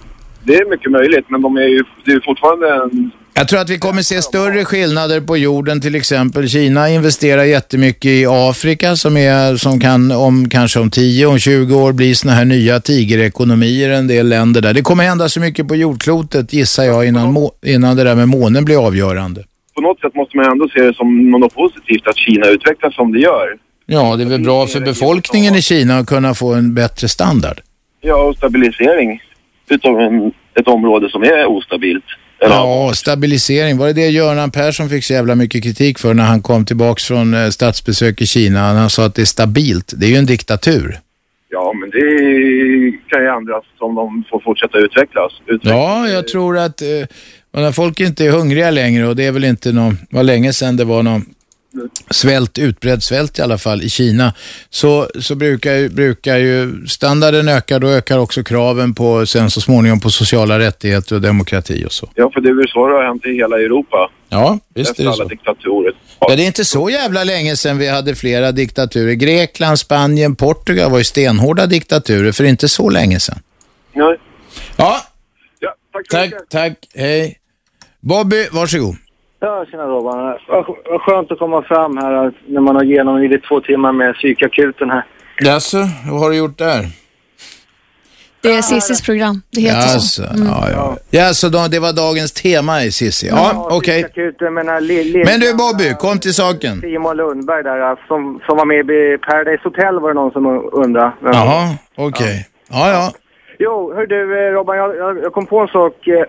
det är mycket möjligt men de är ju, det är ju fortfarande en Jag tror att vi kommer se större skillnader på jorden, till exempel Kina investerar jättemycket i Afrika som, är, som kan om kanske om 10, om 20 år bli såna här nya tigerekonomier i en del länder där. Det kommer hända så mycket på jordklotet gissar jag innan, må, innan det där med månen blir avgörande. på något sätt måste man ändå se det som något positivt att Kina utvecklas som det gör. Ja, det är väl bra för befolkningen i Kina att kunna få en bättre standard. Ja, och stabilisering utav en, ett område som är ostabilt. Ja, stabilisering. Var det det Göran Persson fick så jävla mycket kritik för när han kom tillbaks från eh, statsbesök i Kina? Han sa att det är stabilt. Det är ju en diktatur. Ja, men det kan ju ändras om de får fortsätta utvecklas. Ja, jag tror att eh, när folk inte är hungriga längre och det är väl inte någon, var länge sedan det var någon svält, utbredd svält i alla fall i Kina, så, så brukar, ju- brukar ju standarden öka, då ökar också kraven på, sen så småningom på sociala rättigheter och demokrati och så. Ja, för det är väl så det har hänt i hela Europa. Ja, visst Efter är det alla så. diktatorer. Ja, det är inte så jävla länge sedan vi hade flera diktaturer. Grekland, Spanien, Portugal var ju stenhårda diktaturer för inte så länge sedan. Nej. Ja. tack, tack, tack, hej. Bobby, varsågod. Ja, tjena Robban. Vad sk- vad skönt att komma fram här att- när man har genomlidit två timmar med psykakuten här. Jaså, vad har du gjort där? Det är Cissis program. Det heter Jaså, så. ja, ja. ja, så då, det var dagens tema i Cissi. Ja, okej. Psykakuten med den här li- li- Men du Bobby, kom till saken. Simon Lundberg där alltså, som, som var med i Paradise Hotel var det någon som u- undrade. Vem var det? Jaha, okej. Ja, ja. Jo, hör du eh, Robban, jag, jag, jag kom på en sak. eh,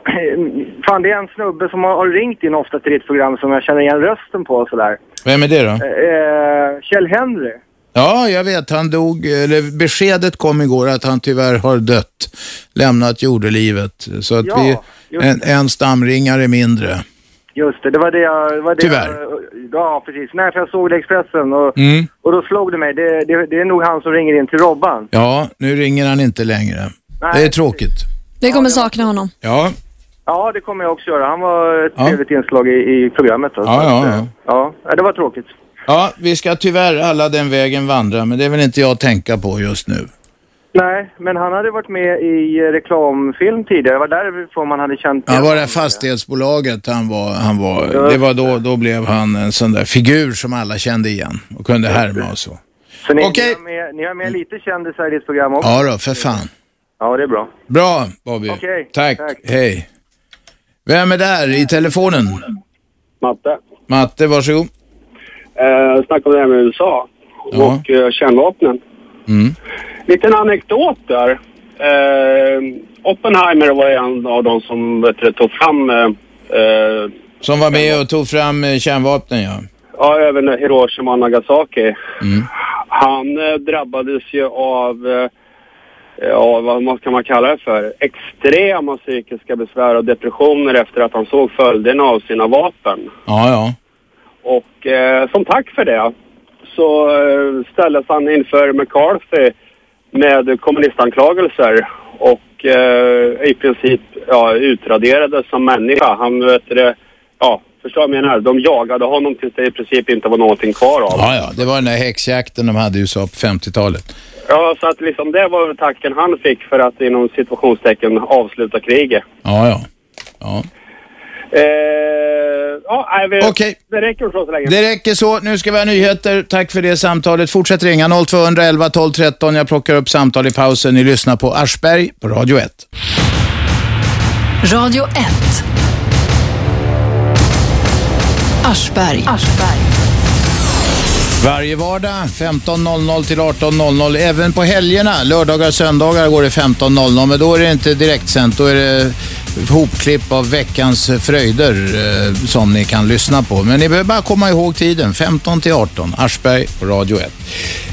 <clears throat> Fan, det är en snubbe som har, har ringt in ofta till ditt program som jag känner igen rösten på och sådär. Vem är det då? Eh, Kjell Henry. Ja, jag vet. Han dog, eller beskedet kom igår att han tyvärr har dött. Lämnat jordelivet. Så att Ja, vi, just en, det. en stamringare mindre. Just det, det var det jag... Det var det Tyvärr. Jag, äh, ja, precis. Nej, för jag såg det i Expressen och, Mm. och då slog det mig. Det, det, det är nog han som ringer in till Robban. Ja, nu ringer han inte längre. det är tråkigt. Vi kommer sakna honom. Ja, Ja, det kommer jag också göra. Han var ett trevligt inslag i, i programmet. Då, Så Ja, att, ja, eh, ja. det var tråkigt. ja, vi ska tyvärr alla den vägen vandra, men det vill inte jag tänka på just nu. Nej, men han hade varit med i eh, reklamfilm tidigare. Det var därifrån man hade känt... Han var det här fastighetsbolaget han var, han var det var då, då blev han en sån där figur som alla kände igen och kunde härma och så. Så ni, ni, har med, ni har med lite kändisar i ditt program också. Ja då, för fan. Ja, det är bra. Bra Bobby. Okej, Tack. tack. hej. Vem är där i telefonen? Matte. Matte, varsågod. Eh, snackade om det här med USA Ja. och eh, kärnvapnen. Mm. Liten anekdot där. Eh, Oppenheimer var en av de som vet du, tog fram eh, eh, Som var med och tog fram eh, kärnvapnen ja. ja, även Hiroshima och Nagasaki. Mm. Han eh, drabbades ju av, eh, ja, vad man- kan man kalla det för, extrema psykiska besvär och depressioner efter att han såg följderna av sina vapen. Ja, ja. Och eh, som tack för det så eh, ställdes han inför McCarthy med kommunistanklagelser och eh, i princip ja, utraderades som människa. Han vet det, ja, förstår vad jag menar? De jagade honom tills det i princip inte var någonting kvar av Ja, ja. Det var den där häxjakten de hade i USA på 50-talet. Ja, så att liksom det var väl tacken han fick för att inom situationstecken avsluta kriget. Ja, ja. Eh, ja, nej, vi, Det räcker så så länge. Det räcker så. Nu ska vi ha nyheter. Tack för det samtalet. Fortsätt ringa 0211 12 13. Jag plockar upp samtal i pausen. Ni lyssnar på Aschberg på Radio 1. Radio 1. Aschberg. Varje vardag 15.00 till 18.00. Även på helgerna, lördagar och söndagar går det 15.00. Men då är det inte direktsänt. Då är det hopklipp av veckans fröjder eh, som ni kan lyssna på. Men ni behöver bara komma ihåg tiden. 15 till 18. Aschberg på Radio 1.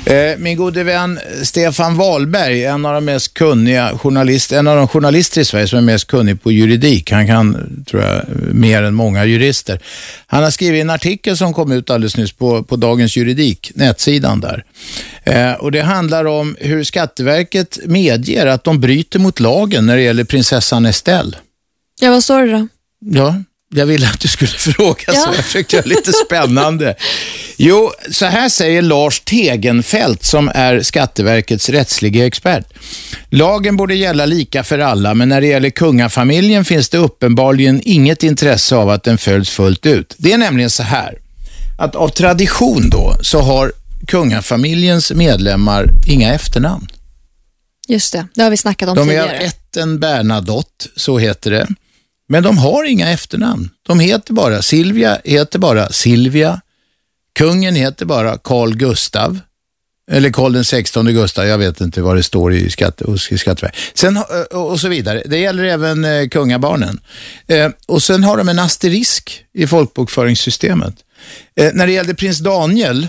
Eh, min gode vän Stefan Wahlberg, en av de mest kunniga journalister, en av de journalister i Sverige som är mest kunnig på juridik. Han kan, tror jag, mer än många jurister. Han har skrivit en artikel som kom ut alldeles nyss på, på Dagens Juridik, nätsidan där. Eh, och det handlar om hur Skatteverket medger att de bryter mot lagen när det gäller prinsessan Estelle. Ja, vad står det då? Ja, jag ville att du skulle <laughs> fråga så jag försökte göra lite spännande. Jo, så här säger Lars Tegenfeldt som är Skatteverkets rättsliga expert. Lagen borde gälla lika för alla, men när det gäller kungafamiljen finns det uppenbarligen inget intresse av att den följs fullt ut. Det är nämligen så här, att av tradition då så har kungafamiljens medlemmar inga efternamn. Just det, det har vi snackat om De är av tidigare. ätten Bernadotte, så heter det. Men de har inga efternamn. De heter bara Silvia, heter bara Silvia. Kungen heter bara Carl Gustav. Eller Karl den 16 Gustav, jag vet inte vad det står i, skatte, hos- i Skatteverket. Sen, har- och och så vidare. Det gäller även eh, kungabarnen. Eh, och sen har de en asterisk i folkbokföringssystemet. Eh, när det gällde prins Daniel,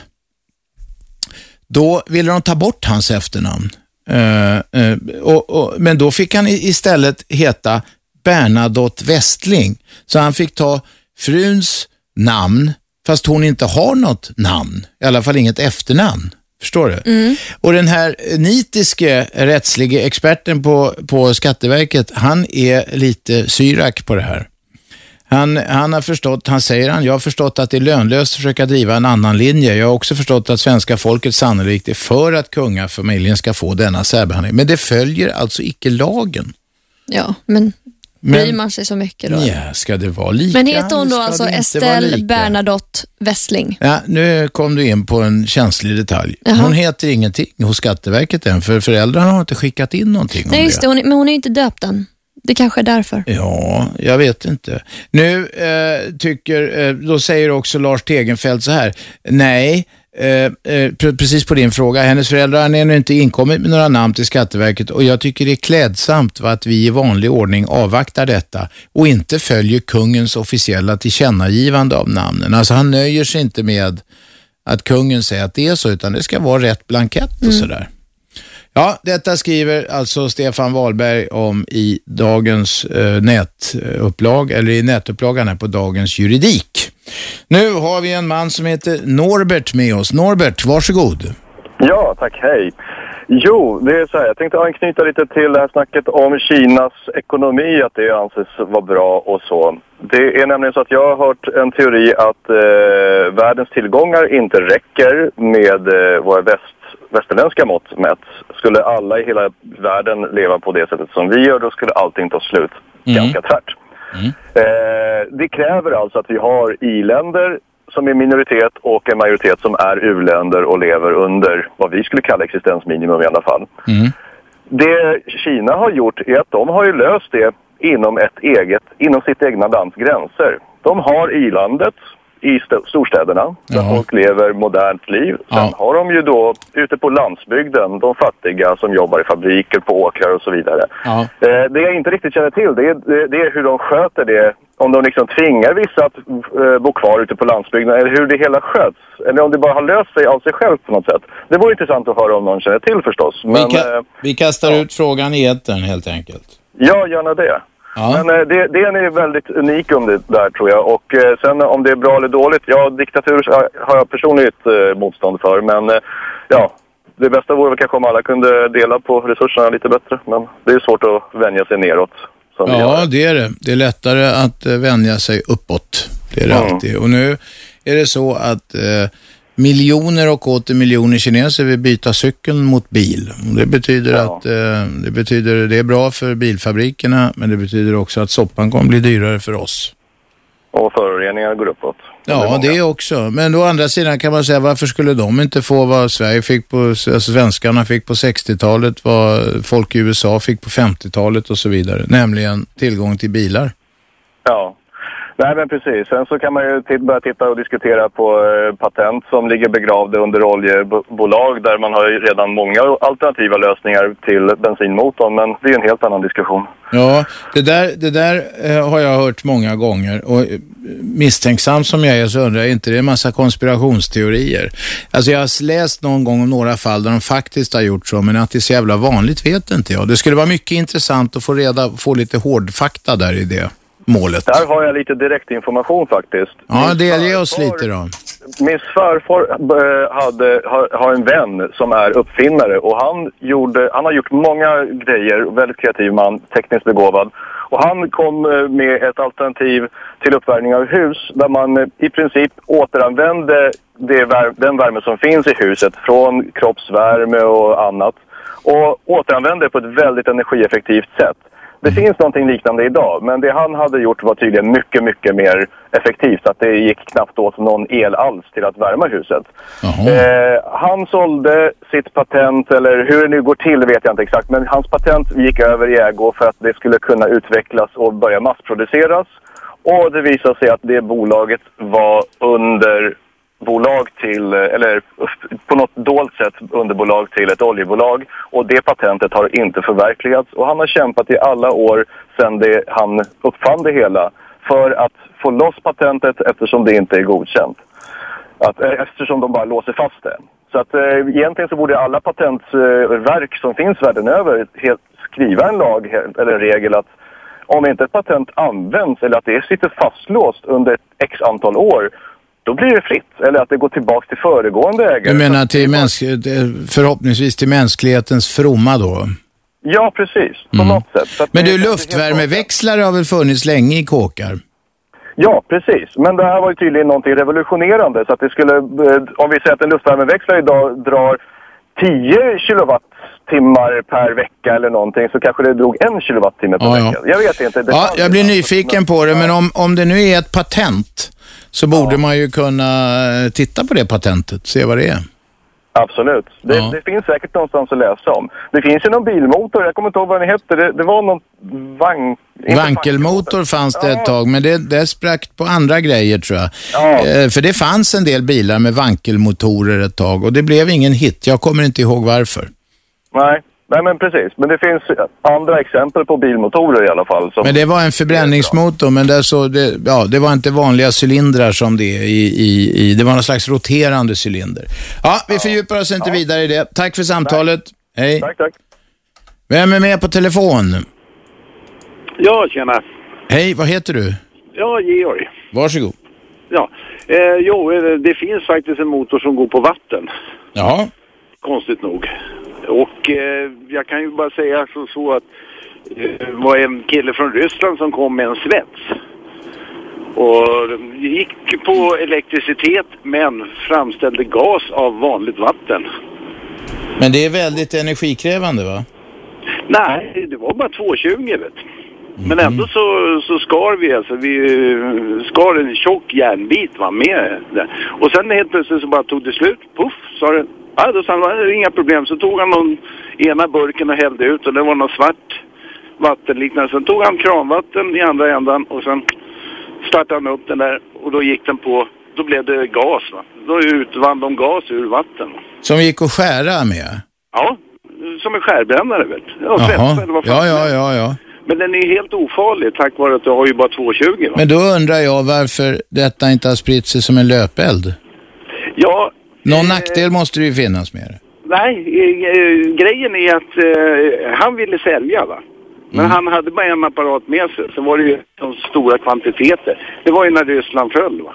då ville de ta bort hans efternamn. Eh, eh, och, och, men då fick han i- istället heta Bernadotte Westling. Så han fick ta fruns namn, fast hon inte har något namn. I alla fall inget efternamn. Förstår du? Och den här nitiske rättslige experten på, på Skatteverket, han är lite syrak på det här. Han, han har förstått, han säger han, jag har förstått att det är lönlöst att försöka driva en annan linje. Jag har också förstått att svenska folket sannolikt är för att kungafamiljen ska få denna särbehandling. Men det följer alltså icke lagen. Ja, men, Men- bryr man sig så mycket då? Ja, ska det vara lika? men heter hon då Ska alltså det inte vara Estelle lika? Bernadotte Westling? Ja, nu kom du in på en känslig detalj. Jaha. Hon heter ingenting hos Skatteverket än, för föräldrarna har inte skickat in någonting Nej, om just det, hon, är- men hon är ju inte döpt än. Det kanske är därför. Ja, jag vet inte. Nu eh, tycker, eh, då säger också Lars Tegenfeldt så här, nej, eh, eh, pre- precis på din fråga, hennes föräldrar har ännu inte inkommit med några namn till Skatteverket och jag tycker det är klädsamt va, att vi i vanlig ordning avvaktar detta och inte följer kungens officiella tillkännagivande av namnen. Alltså han nöjer sig inte med att kungen säger att det är så, utan det ska vara rätt blankett och Mm. sådär. Ja, detta skriver alltså Stefan Wahlberg om i dagens eh, nätupplag, eller i nätupplagan här på Dagens Juridik. Nu har vi en man som heter Norbert med oss. Norbert, varsågod. Ja, tack. Hej. Jo, det är så här. Jag tänkte anknyta lite till det här snacket om Kinas ekonomi, att det anses vara bra och så. Det är nämligen så att jag har hört en teori att eh, världens tillgångar inte räcker med eh, våra väst, västerländska mått mätt. Skulle alla i hela världen leva på det sättet som vi gör, då skulle allting ta slut ganska tvärt. Eh, det kräver alltså att vi har i-länder som är minoritet och en majoritet som är u-länder och lever under vad vi skulle kalla existensminimum i alla fall. Det Kina har gjort är att de har ju löst det inom, ett eget, inom sitt egna lands gränser. De har i-landet i st- storstäderna, där folk lever modernt liv. Sen har de ju då ute på landsbygden, de fattiga som jobbar i fabriker, på åkrar och så vidare. Ja. Eh, det jag inte riktigt känner till det är, det- det är hur de sköter det. Om de liksom tvingar vissa att eh, bo kvar ute på landsbygden eller hur det hela sköts. Eller om det bara har löst sig av sig självt på något sätt. Det vore intressant att höra om någon känner till förstås. Men, vi, ka- eh, vi kastar ut frågan i etern helt enkelt. Ja, gärna det. Men eh, det, det är väldigt unik om det där tror jag. Och eh, sen om det är bra eller dåligt, ja diktatur så- har jag personligt eh, motstånd för. Men eh, ja, det bästa vore väl kanske om alla kunde dela på resurserna lite bättre. Men det är svårt att vänja sig neråt. Som vi Ja, det är det. Det är lättare att eh, vänja sig uppåt. Det är det alltid. Och nu är det så att eh, miljoner och åter miljoner kineser vill byta cykeln mot bil. Och Det betyder att eh, det, betyder, det är bra för bilfabrikerna, men det betyder också att soppan kommer bli dyrare för oss. Och föroreningarna går uppåt. Ja, det också. Men å andra sidan kan man säga, varför skulle de inte få vad Sverige fick på, alltså svenskarna fick på 60-talet, vad folk i USA fick på 50-talet och så vidare. Nämligen tillgång till bilar. Ja. Nej, men precis. Sen så kan man ju titt- börja titta och diskutera på eh, patent som ligger begravda under oljebolag där man har ju redan många alternativa lösningar till bensinmotorn. Men det är ju en helt annan diskussion. Ja, det där, det där eh, har jag hört många gånger och eh, misstänksam som jag är så undrar jag inte, det är en massa konspirationsteorier. Alltså jag har läst någon gång om några fall där de faktiskt har gjort så, men att det är så jävla vanligt vet inte jag. Det skulle vara mycket intressant att få reda, få lite hårdfakta där i det målet. Där har jag lite direktinformation faktiskt. Ja, delge oss lite då. Min svärfar eh, hade, har, har en vän som är uppfinnare och han, gjorde, han har gjort många grejer, väldigt kreativ man, tekniskt begåvad. Och han kom eh, med ett alternativ till uppvärmning av hus där man eh, i princip återanvände det vär- den värme som finns i huset från kroppsvärme och annat och återanvände det på ett väldigt energieffektivt sätt. Det finns någonting liknande idag, men det han hade gjort var tydligen mycket, mycket mer effektivt. Så Att det gick knappt åt någon el alls till att värma huset. Eh, han sålde sitt patent, eller hur det nu går till vet jag inte exakt, men hans patent gick över i ägo för att det skulle kunna utvecklas och börja massproduceras. Och det visade sig att det bolaget var under bolag till, eh, eller på något dolt sätt underbolag till ett oljebolag och det patentet har inte förverkligats och han har kämpat i alla år sedan det, han uppfann det hela för att få loss patentet eftersom det inte är godkänt. Att, eh, eftersom de bara låser fast det. Så att eh, egentligen så borde alla patentverk som finns världen över helt skriva en lag helt, eller en regel att om inte ett patent används eller att det sitter fastlåst under ett x antal år då blir det fritt. Eller att det går tillbaka till föregående ägare. Du menar till mänsk- till- förhoppningsvis till mänsklighetens fromma då? Mm. Ja, precis. På något sätt. Så att Men det- du, det är helt luftvärmeväxlare har väl funnits länge i kåkar? Ja, precis. Men det här var ju tydligen någonting revolutionerande. Så att det skulle, eh, om vi säger att en luftvärmeväxlare idag drar 10 kilowattimmar per vecka eller någonting så kanske det drog en kilowattimme per Ja, ja. vecka. Jag vet inte. Det Ja, kan- jag blir nyfiken på det, men om, om det nu är ett patent så borde man ju kunna eh, titta på det patentet, se vad det är. Absolut. Det, det finns säkert någonstans att läsa om. Det finns ju någon bilmotor, jag kommer inte ihåg vad den hette. Det, det var någon vagn... inte Vankelmotor fanns det ett tag, men det, det sprack på andra grejer tror jag. Eh, För det fanns en del bilar med vankelmotorer ett tag och det blev ingen hit. Jag kommer inte ihåg varför. Nej. Nej, men precis. Men det finns andra exempel på bilmotorer i alla fall. Som... Men det var en förbränningsmotor, men där så det, ja, det var inte vanliga cylindrar som det är i, i, i. Det var någon slags roterande cylinder. Ja, vi fördjupar oss inte vidare i det. Tack för samtalet. Hej. Tack, tack. Vem är med på telefon? Ja, tjena. Hej, vad heter du? Ja, Georg. Varsågod. Ja. Eh, jo, eh, det finns faktiskt en motor som går på vatten, Ja. konstigt nog. Och eh, jag kan ju bara säga så, så att eh, det var en kille från Ryssland som kom med en svets. Och det gick på elektricitet men framställde gas av vanligt vatten. Men det är väldigt energikrävande va? Nej, det var bara 220 vet du. Men Mhm. ändå så, så skar vi alltså, vi eh, skar en tjock järnbit va, med det. Och sen helt plötsligt så bara tog det slut, puff, sa det. Ja, då sa han, "Ja, det är inga problem. Så tog han någon ena burken och hällde ut och det var något svart vattenliknande. Sen tog han kranvatten i andra ändan och sen startade han upp den där och då gick den på, då blev det gas va. Då utvann de gas ur vatten. Som gick att skära med? Ja, som en skärbrännare vet du. Ja, svetsare eller Jaha. vad fan Ja, ja, ja, ja. men den är ju helt ofarlig tack vare att du har ju bara 220 va? Men då undrar jag varför detta inte har spritt sig som en löpeld. Ja, Någon nackdel måste det ju finnas med det. nej, eh, eh, grejen är att eh, han ville sälja va. Mm. Men han hade bara en apparat med sig, så var det ju de stora kvantiteter. Det var ju när Ryssland föll va.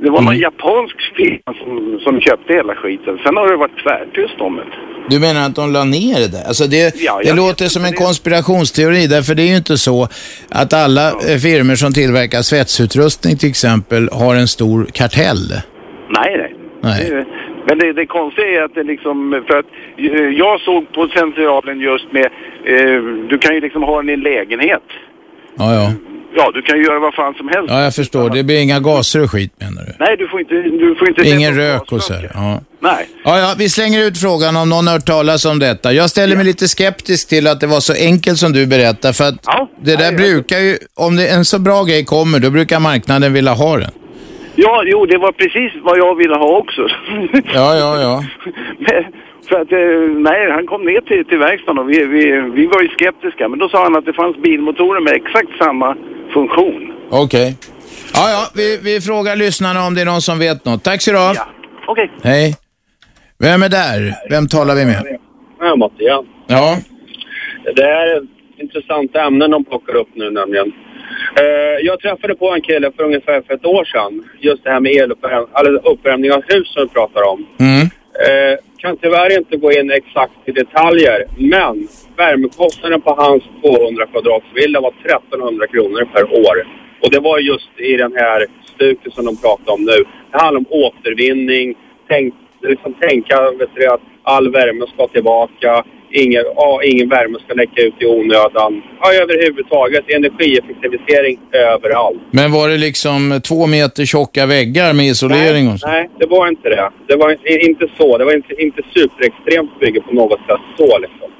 Det var Mm. någon japansk firma som, som köpte hela skiten. Sen har det varit tvärtyst om det. Du menar att de la ner det där? Alltså det, Ja, jag det vet låter som en konspirationsteori, därför det är ju inte så att alla ja. firmor som tillverkar svetsutrustning till exempel har en stor kartell. Nej, nej. Nej. Det- Men det, det konstiga är att det liksom, för att eh, jag såg på centralen just med, eh, du kan ju liksom ha den i en lägenhet. Ja, ja. Ja, du kan ju göra vad fan som helst. ja jag förstår. Det blir inga gaser och skit menar Nej, du får inte... Du får inte du? Ingen rök och så här. Ja. Nej. Ja, ja, vi slänger ut frågan om någon har hört talas om detta. Jag ställer mig lite skeptisk till att det var så enkelt som du berättar, för att det där brukar ju, om det, en så bra grej kommer, då brukar marknaden vilja ha den. Ja, jo, det var precis vad jag ville ha också. <laughs> Ja, ja, ja. Men, för att, eh, nej, han kom ner till, till verkstaden och vi, vi, vi var ju skeptiska. Men då sa han att det fanns bilmotorer med exakt samma funktion. Okej. Ja, ja, vi, vi frågar lyssnarna om det är någon som vet något. Tack så du ha. Okej. Hej. Vem är där? Vem talar vi med? Ja, Matti, ja. Ja. Det är intressanta ämnen de plockar upp nu nämligen. Eh, jag träffade på en kille för ungefär för ett år sedan. Just det här med eluppvärmning, eller uppvärmning av hus som vi pratar om. Mm. Eh, kan tyvärr inte gå in exakt i detaljer, men värmekostnaden på hans 200 kvadratsvilla var 1300 kronor per år. Och det var just i den här stuket som de pratar om nu. Det handlar om återvinning, tänk, liksom tänka vet du, att all värme ska tillbaka, ingen, ja, ingen värme ska läcka ut i onödan. Ja, överhuvudtaget energieffektivisering överallt. Men var det liksom två meter tjocka väggar med isolering och så? Nej, det var inte det. Det var inte, inte så. Det var inte, inte superextremt bygge på något sätt så liksom.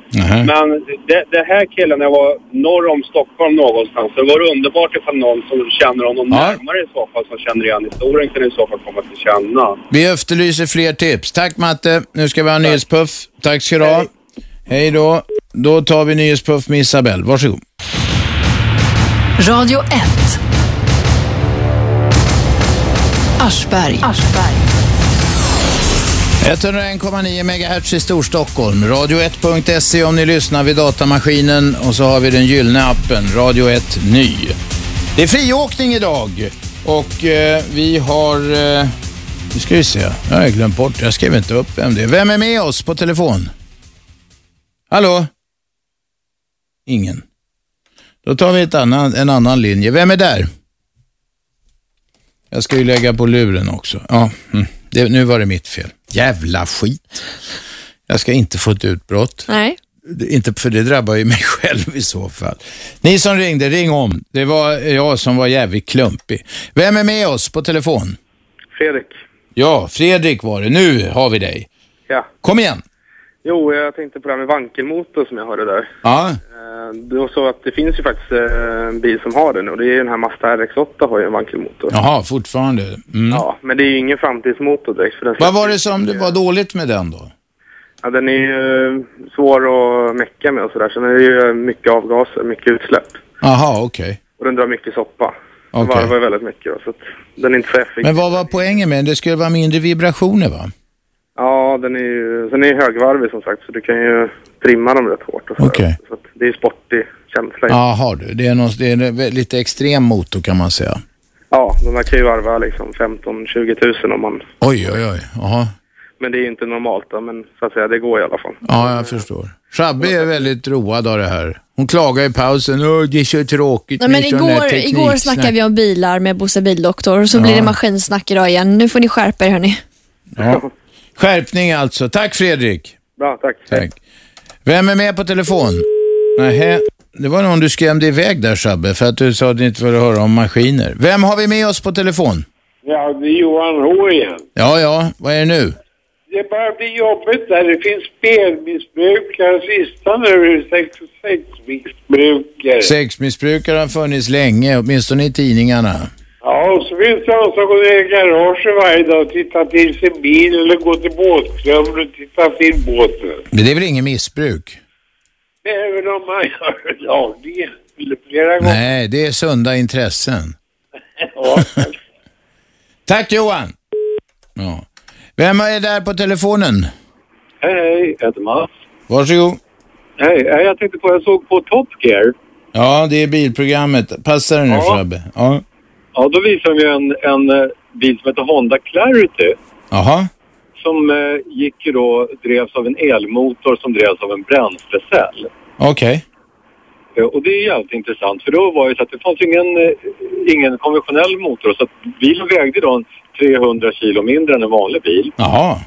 Men det, det här killen jag var norr om Stockholm någonstans. Så det vore underbart ifall någon som känner honom Ja. närmare i så fall, som känner igen historien, kan i så fall komma till känna. Vi efterlyser fler tips. Tack Matte. Nu ska vi ha nyhetspuff. Tack ska du ha. Hej då. Då tar vi nyhetspuff med Isabel. Varsågod. Radio 1. Aschberg. 101,9 MHz i Storstockholm. Radio1.se om ni lyssnar vid datamaskinen och så har vi den gyllene appen Radio 1 Ny. Det är friåkning idag och eh, vi har... Eh, nu ska vi se, jag har glömt bort, jag skrev inte upp vem det är. Vem är med oss på telefon? Hallå? Ingen. Då tar vi ett annan, en annan linje. Vem är där? Jag ska ju lägga på luren också. Ja, mm. det, nu var det mitt fel. Jävla skit. Jag ska inte få ett utbrott. Nej. Det- Inte för det drabbar ju <laughs> mig själv i så fall. Ni som ringde, ring om. Det var jag som var jävligt klumpig. Vem är med oss på telefon? Fredrik. Ja, Fredrik var det. Nu har vi dig. Ja. Kom igen. Jo, jag tänkte på det här med vankelmotor som jag hörde där. Ja, Eh, Det var så att det finns ju faktiskt eh, en bil som har den och det är ju den här Mazda RX8 har ju en vankelmotor. jaha, fortfarande. Mm. Ja, men det är ju ingen framtidsmotor direkt för den, Vad var det som var dåligt med den då? ja, den är ju eh, svår att mecka med och sådär. Sen är det ju eh, mycket avgaser, mycket utsläpp Jaha, okej. och den drar mycket soppa. Den Okej. varvar ju väldigt mycket då, så att den är inte så effektiv. Men vad var poängen med den? Det skulle vara mindre vibrationer va? Ja, den är ju, sen är ju högvarvig som sagt så du kan ju trimma dem rätt hårt. Och så, Okej. så att det är ju sportig känsla. Jaha du, det är, någon, det är en vä- lite extrem motor kan man säga. Ja, de här kan ju varva liksom 15-20 000 om man... Oj, oj, oj. Jaha. Men det är ju inte normalt då, men så att säga, det går i alla fall. Ja, jag förstår. Shabby är väldigt road av det här. Hon klagar i pausen. Åh, det är så tråkigt Nej, men med sån här igår, teknik- igår snackade vi om bilar med Bosse Bildoktor och så Ja. blir det maskinsnack idag igen. Nu får ni skärpa er hörni. Ja. Skärpning alltså. Tack Fredrik. Bra, tack. Tack. Vem är med på telefon? Nähä, det var någon du skrämde iväg där Shabbe, för att du sa att du inte ville höra om maskiner. Vem har vi med oss på telefon? Ja, det är Johan H igen. Ja, ja, vad är det nu? Det börjar bli jobbigt där. Det finns spelmissbrukare. Listan nu är sex och sex missbrukare. Sexmissbrukare har funnits länge, åtminstone i tidningarna. Ja, och så finns det de som går ner i garaget varje dag och tittar till sin bil eller går till båtklubben och tittar till båten. Men det är väl ingen missbruk? Även om man gör <laughs> det dagligen eller flera gånger. Nej, det är sunda intressen. Ja. Tack Johan! Ja. Vem är där på telefonen? Hej, hej. Jag heter Mats. Varsågod. Hej, hej, jag tänkte på, jag såg på Top Gear. Ja, det är bilprogrammet. Passar det nu Ja. Shabbe? Ja. Ja, då visade de ju en, en eh, bil som heter Honda Clarity. Jaha. Som eh, gick ju då, drevs av en elmotor som drevs av en bränslecell. Okej. Eh, Och det är jävligt intressant för då var det så att det fanns ju ingen, eh, ingen konventionell motor. Så att bilen vägde då en 300 kilo mindre än en vanlig bil. Jaha.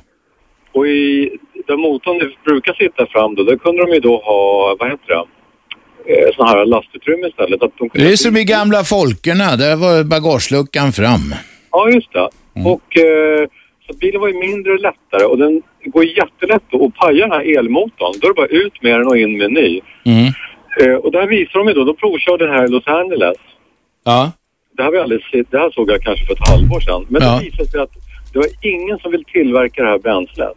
Och i, där motorn brukar sitta fram då, där kunde de ju då ha, vad heter det? Eh, Sådana här lastutrymme istället. Att de kunde Det är som i gamla Folkerna. Där var bagageluckan fram. Ja, just det. Och, eh, så bilen var ju mindre och lättare och den går jättelätt att paja den här elmotorn. Då är det bara ut med den och in med en ny. Mm. Eh, och där visar de ju då, de provkörde den här i Los Angeles. Ja. Det här, var alldeles, det här såg jag kanske för ett halvår sedan. Men Ja. det visade sig att det var ingen som vill tillverka det här bränslet.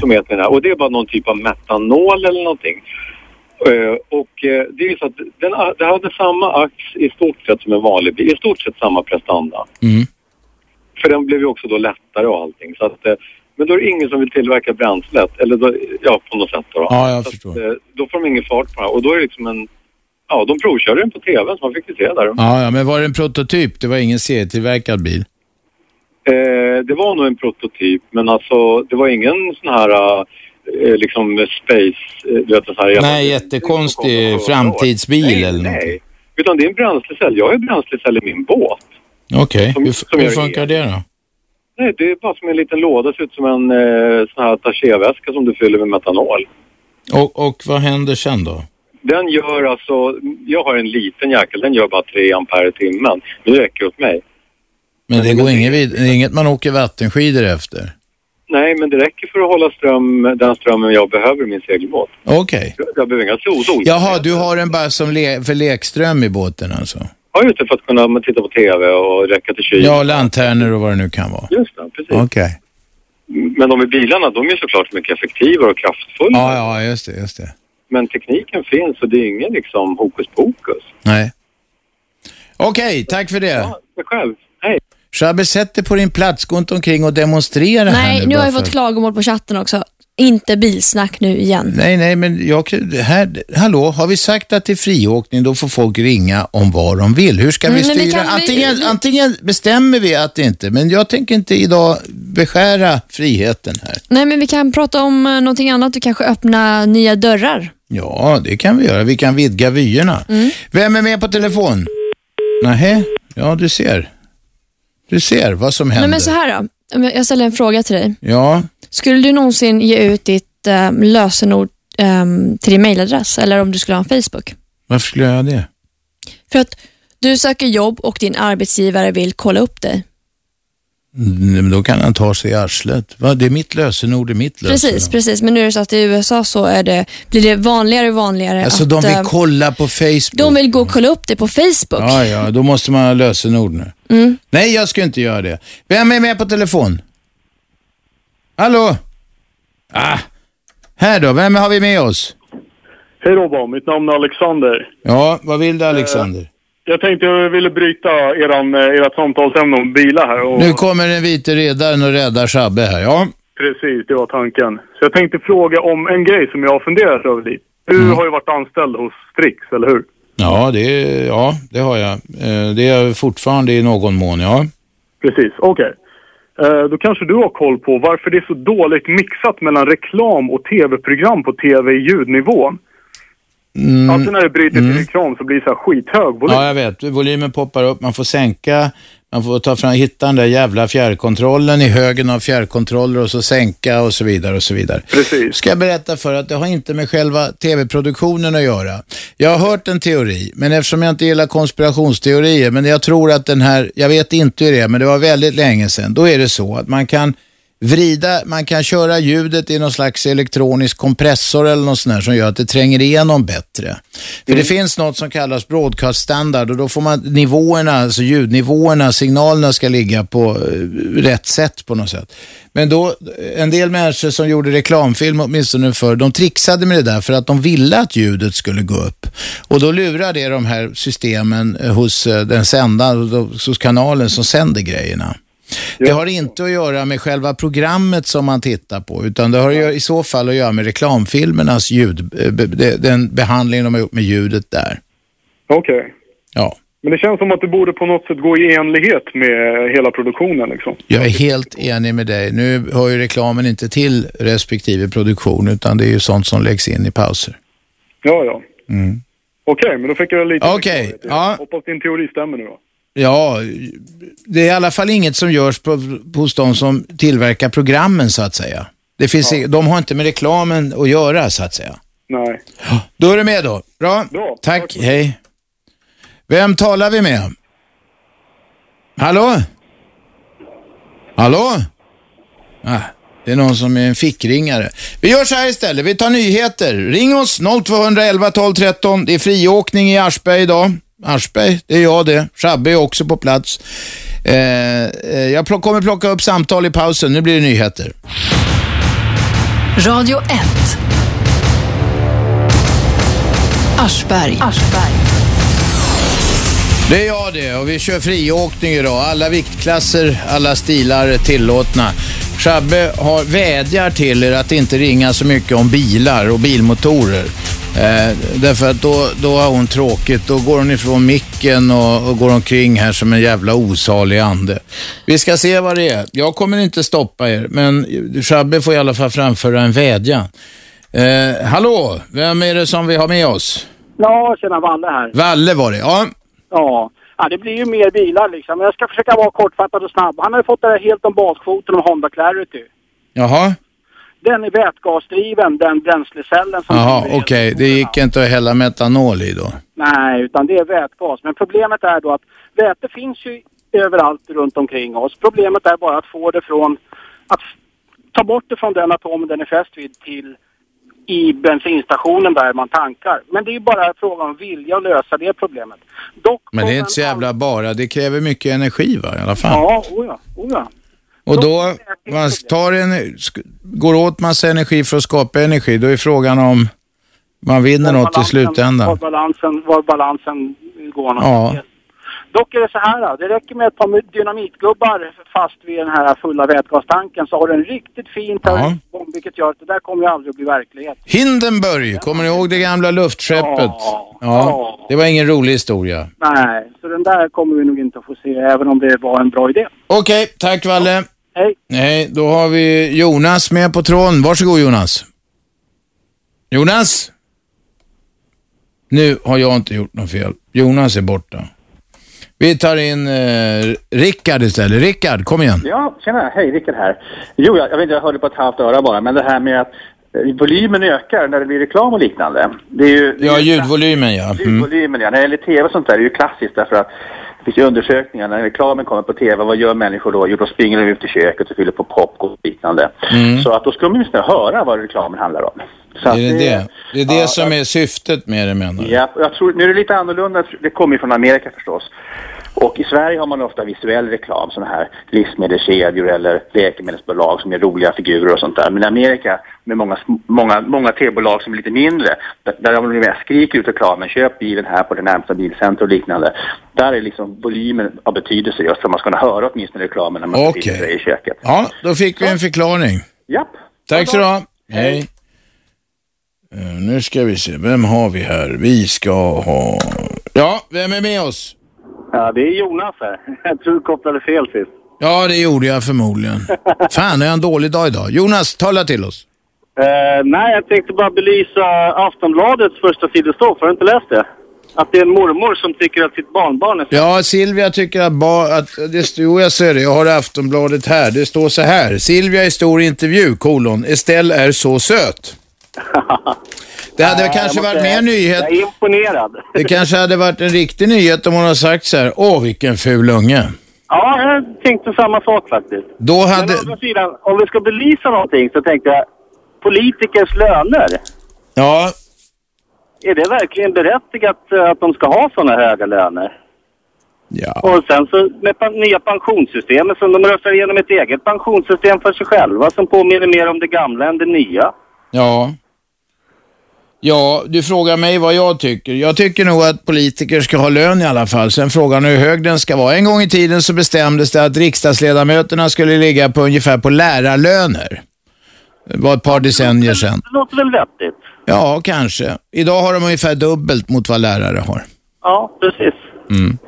Som heter den här. Och det är bara någon typ av metanol eller någonting. Eh, och eh, det är ju så att den, det hade samma ax i stort sett som en vanlig bil. I stort sett samma prestanda. Mm. För den blev ju också då lättare och allting. Så att, eh, men då är det ingen som vill tillverka bränslet. Eller då, ja, på något sätt då. Ja, jag så förstår. Att, eh, då får de ingen fart på det här. Och då är det liksom en... Ja, de provkörde den på tv så man fick ju se där. Ja, ja, men var det en prototyp? Det var ingen serietillverkad bil. Eh, det var nog en prototyp, men alltså det var ingen sån här eh, liksom space... Eh, du vet, en sån här jävla- Nej, jättekonstig framtidsbil eller något. Nej, utan det är en bränslecell. Jag har ju bränslecell i min båt. Okej, Som- hur, som hur gör funkar det då? Nej, det är bara som en liten låda. ser ut som en eh, sån här attachéväska som du fyller med metanol. Och, och vad händer sen då? Den gör alltså... Jag har en liten jäkel. Den gör bara 3 ampere i timmen. Men det räcker åt mig. Men det går inget, vid, det är inget man åker vattenskidor efter? Nej, men det räcker för att hålla ström, den strömmen jag behöver i min segelbåt. Okej. Jag behöver inga solon. Jaha, du har den bara som le- för lekström i båten alltså? Ja, just det, för att kunna titta på TV och räcka till kylen. Ja, lanternor och vad det nu kan vara. Just det, precis. Okej. Men de i bilarna, de är såklart mycket effektivare och kraftfullare. Ja, ja, just det, just det. Men tekniken finns och det är ingen liksom hokus pokus. Nej. Okej, tack för det. Ja, själv. Hej. Shabbe, sätt dig på din plats. Gå inte omkring och demonstrera här Nej, nu har bara jag för- fått klagomål på chatten också. Inte bilsnack nu igen. Nej, nej, men jag, här, hallå, har vi sagt att det är friåkning, då får folk ringa om vad de vill. Hur ska vi Mm, men styra? kan vi- antingen, antingen bestämmer vi att det inte, men jag tänker inte idag beskära friheten här. Nej, men vi kan prata om eh, någonting annat och kanske öppna nya dörrar. Ja, det kan vi göra. Vi kan vidga vyerna. Vem är med på telefon? Nähä, ja du ser. Du ser vad som händer. Nej, men så här då. Om jag- Jag ställer en fråga till dig. Ja, Skulle du någonsin ge ut ditt eh, lösenord eh, till din mailadress eller om du skulle ha en Facebook? varför skulle jag göra det? För att du söker jobb och din arbetsgivare vill kolla upp dig. Mm, men Då kan han ta sig i arslet. Va? Det är mitt lösenord, det är mitt lösenord. Precis, precis. Men nu är det så att i USA så är det, blir det vanligare och vanligare Alltså att de eh, vill kolla på Facebook. de vill gå och kolla upp dig på Facebook. Ja, ja, då måste man ha lösenord nu. Mm. Nej, jag ska inte göra det. Vem är med på telefon? Hallå? Ah, här då, vem har vi med oss? Hej Robban, mitt namn är Alexander. Ja, vad vill du Alexander? Jag tänkte jag ville bryta eran, eh, ert samtalsämne om bilar här. Och Nu kommer den vite redaren och räddar Shabbe här, ja. Precis, det var tanken. Så jag tänkte fråga om en grej som jag har funderat över lite. Du Mm. har ju varit anställd hos Strix, eller hur? Ja, det, ja, det har jag. Eh, Det är jag fortfarande i någon mån, ja. Precis, okej. Eh, Då kanske du har koll på varför det är så dåligt mixat mellan reklam och tv-program på tv i ljudnivå. Mm. Alltid när det bryter till reklam så blir det så här skithög volym. Ja, jag vet. Volymen poppar upp, man får sänka, man får ta fram, hitta den där jävla fjärrkontrollen i högen av fjärrkontroller och så sänka och så vidare och så vidare. Precis. Ska jag berätta för att det har inte med själva tv-produktionen att göra. Jag har hört en teori, men eftersom jag inte gillar konspirationsteorier, men jag tror att den här, jag vet inte hur det är, men det var väldigt länge sedan, då är det så att man kan vrida, man kan köra ljudet i någon slags elektronisk kompressor eller något sånt där som gör att det tränger igenom bättre. För det finns något som kallas broadcast standard och då får man nivåerna, alltså ljudnivåerna, signalerna ska ligga på eh, rätt sätt på något sätt. Men då, en del människor som gjorde reklamfilm åtminstone förr, de trixade med det där för att de ville att ljudet skulle gå upp. Och då lurar det de här systemen eh, hos eh, den sändande, hos kanalen som sänder grejerna. Det har inte att göra med själva programmet som man tittar på, utan det har ju i så fall att göra med reklamfilmernas ljud, eh, be- de- den behandling de har gjort med ljudet där. Okej. Ja. Men det känns som att det borde på något sätt gå i enlighet med hela produktionen liksom. Jag är helt enig med dig. Nu hör ju reklamen inte till respektive produktion, utan det är ju sånt som läggs in i pauser. Ja, ja. Mm. Okej, men då fick jag lite... Okej, ja. Hoppas din teori stämmer nu då. Ja, det är i alla fall inget som görs på, hos de som tillverkar programmen så att säga. Det finns, i- De har inte med reklamen att göra så att säga. Nej. Då är du med då. Bra. Tack, hej. Vem talar vi med? Hallå? Hallå? Ah, det är någon som är en fickringare. Vi gör så här istället, vi tar nyheter. Ring oss 0211 12 13. Det är friåkning i Aschberg idag. Aschberg, det är jag det. Shabbe är också på plats. Eh, eh, jag plock, kommer plocka upp samtal i pausen, nu blir det nyheter. Radio 1. Aschberg. Det är jag det och vi kör friåkning idag. Alla viktklasser, alla stilar är tillåtna. Shabbe har, vädjar till er att inte ringa så mycket om bilar och bilmotorer. Eh, därför att då, då har hon tråkigt. Då går hon ifrån micken och, och går omkring här som en jävla osalig ande. Vi ska se vad det är. Jag kommer inte stoppa er, men Shabbe får i alla fall framföra en vädjan. Eh, hallå, vem är det som vi har med oss? Ja, tjena Valle här. Valle var det, ja. Ja. ja, det blir ju mer bilar liksom. Men jag ska försöka vara kortfattad och snabb. Han har ju fått det här helt om baskvoten om Honda Clarity. Jaha. Den är vätgasdriven, den bränslecellen som... Jaha, okej. Det gick inte att hälla metanol i då? Nej, utan det är vätgas. Men problemet är då att väte finns ju överallt runt omkring oss. Problemet är bara att få det från... Att ta bort det från den atomen den är fäst vid till i bensinstationen där man tankar. Men det är ju bara fråga om vilja att lösa det problemet. Dock, Men det är inte så jävla bara. Det kräver mycket energi va, i alla fall. ja, oja, oja. Och då man tar en, sk- går åt massa energi för att skapa energi. Då är frågan om man vinner något i Var slutändan. balansen, var balansen går någonstans. Ja. Dock är det så här, då. det räcker med ett par dynamitgubbar fast vid den här fulla vätgastanken så har du en riktigt fin terroristbomb vilket gör att det där kommer ju aldrig att bli verklighet. Hindenburg, kommer ni ihåg det gamla luftskeppet? Ja. Ja, det var ingen rolig historia. Nej, så den där kommer vi nog inte att få se även om det var en bra idé. Okej, tack Valle. Hej. Nej, då har vi Jonas med på tråden. Varsågod Jonas. Jonas? Nu har jag inte gjort något fel. Jonas är borta. Vi tar in eh, Rickard istället. Rickard, kom igen. Ja, tjena. Hej, Rickard här. Jo, jag, jag vet inte, jag hörde på ett halvt öra bara, men det här med att eh, volymen ökar när det blir reklam och liknande. Det är ju, det är Ja, ju ljudvolymen ja. Mm. Ljudvolymen, ja. När det gäller tv och sånt där är ju klassiskt därför att det finns ju undersökningar när reklamen kommer på tv, vad gör människor då? Jo, då springer de ut i köket och fyller på popcorn och liknande. Mm. Så att då ska de ju åtminstone höra vad reklamen handlar om. Så Är att det det? Det är det ja, som är syftet med det menar du? Ja, och jag tror, nu är det lite annorlunda, det kommer ju från Amerika förstås. Och i Sverige har man ofta visuell reklam, sådana här livsmedelskedjor eller läkemedelsbolag som gör roliga figurer och sånt där. Men i Amerika, med många, sm- många, många tebolag som är lite mindre, där, där de mer skriker ut reklamen, köp bilen här på det närmsta bilcenter och liknande. Där är liksom volymen av betydelse just för att man ska kunna höra åtminstone reklamen när man Okej. sitter i köket. Ja, då fick vi en förklaring. Japp. Tack så du ha. Hej. Eh, Nu ska vi se, vem har vi här? Vi ska ha... Ja, vem är med oss? Ja, det är Jonas här. <laughs> Jag tror du kopplade fel sist. Ja, det gjorde jag förmodligen. <laughs> Fan, är jag en dålig dag idag? Jonas, tala till oss. Eh, nej, jag tänkte bara belysa Aftonbladets första sidostoff. Har du inte läst det? Att det är en mormor som tycker att sitt barnbarn är... Ja, Silvia tycker att, ba, att det stod, jag ser det, jag har Aftonbladet här. Det står så här. Silvia i stor intervju, kolon. Estelle är <laughs> så söt. Det hade Nej, kanske jag måste- varit mer nyhet. Jag är imponerad. Det kanske hade varit en riktig nyhet om hon hade sagt så här. Åh, vilken ful unge. Ja, jag tänkte samma sak faktiskt. Då Men hade... å andra sidan, om vi ska belysa någonting så tänkte jag politikers löner. Ja, Är det verkligen berättigat eh, att de ska ha sådana höga löner? Ja. Och sen så med pan- nya pensionssystemet som de röstar igenom ett eget pensionssystem för sig själva som påminner mer om det gamla än det nya. Ja. Ja, du frågar mig vad jag tycker. Jag tycker nog att politiker ska ha lön i alla fall. Sen frågan hur hög den ska vara. En gång i tiden så bestämdes det att riksdagsledamöterna skulle ligga på ungefär på lärarlöner. Det var ett par decennier sedan. Det låter väl vettigt? Ja, kanske. Idag har de ungefär dubbelt mot vad lärare har. Ja, precis. Mm.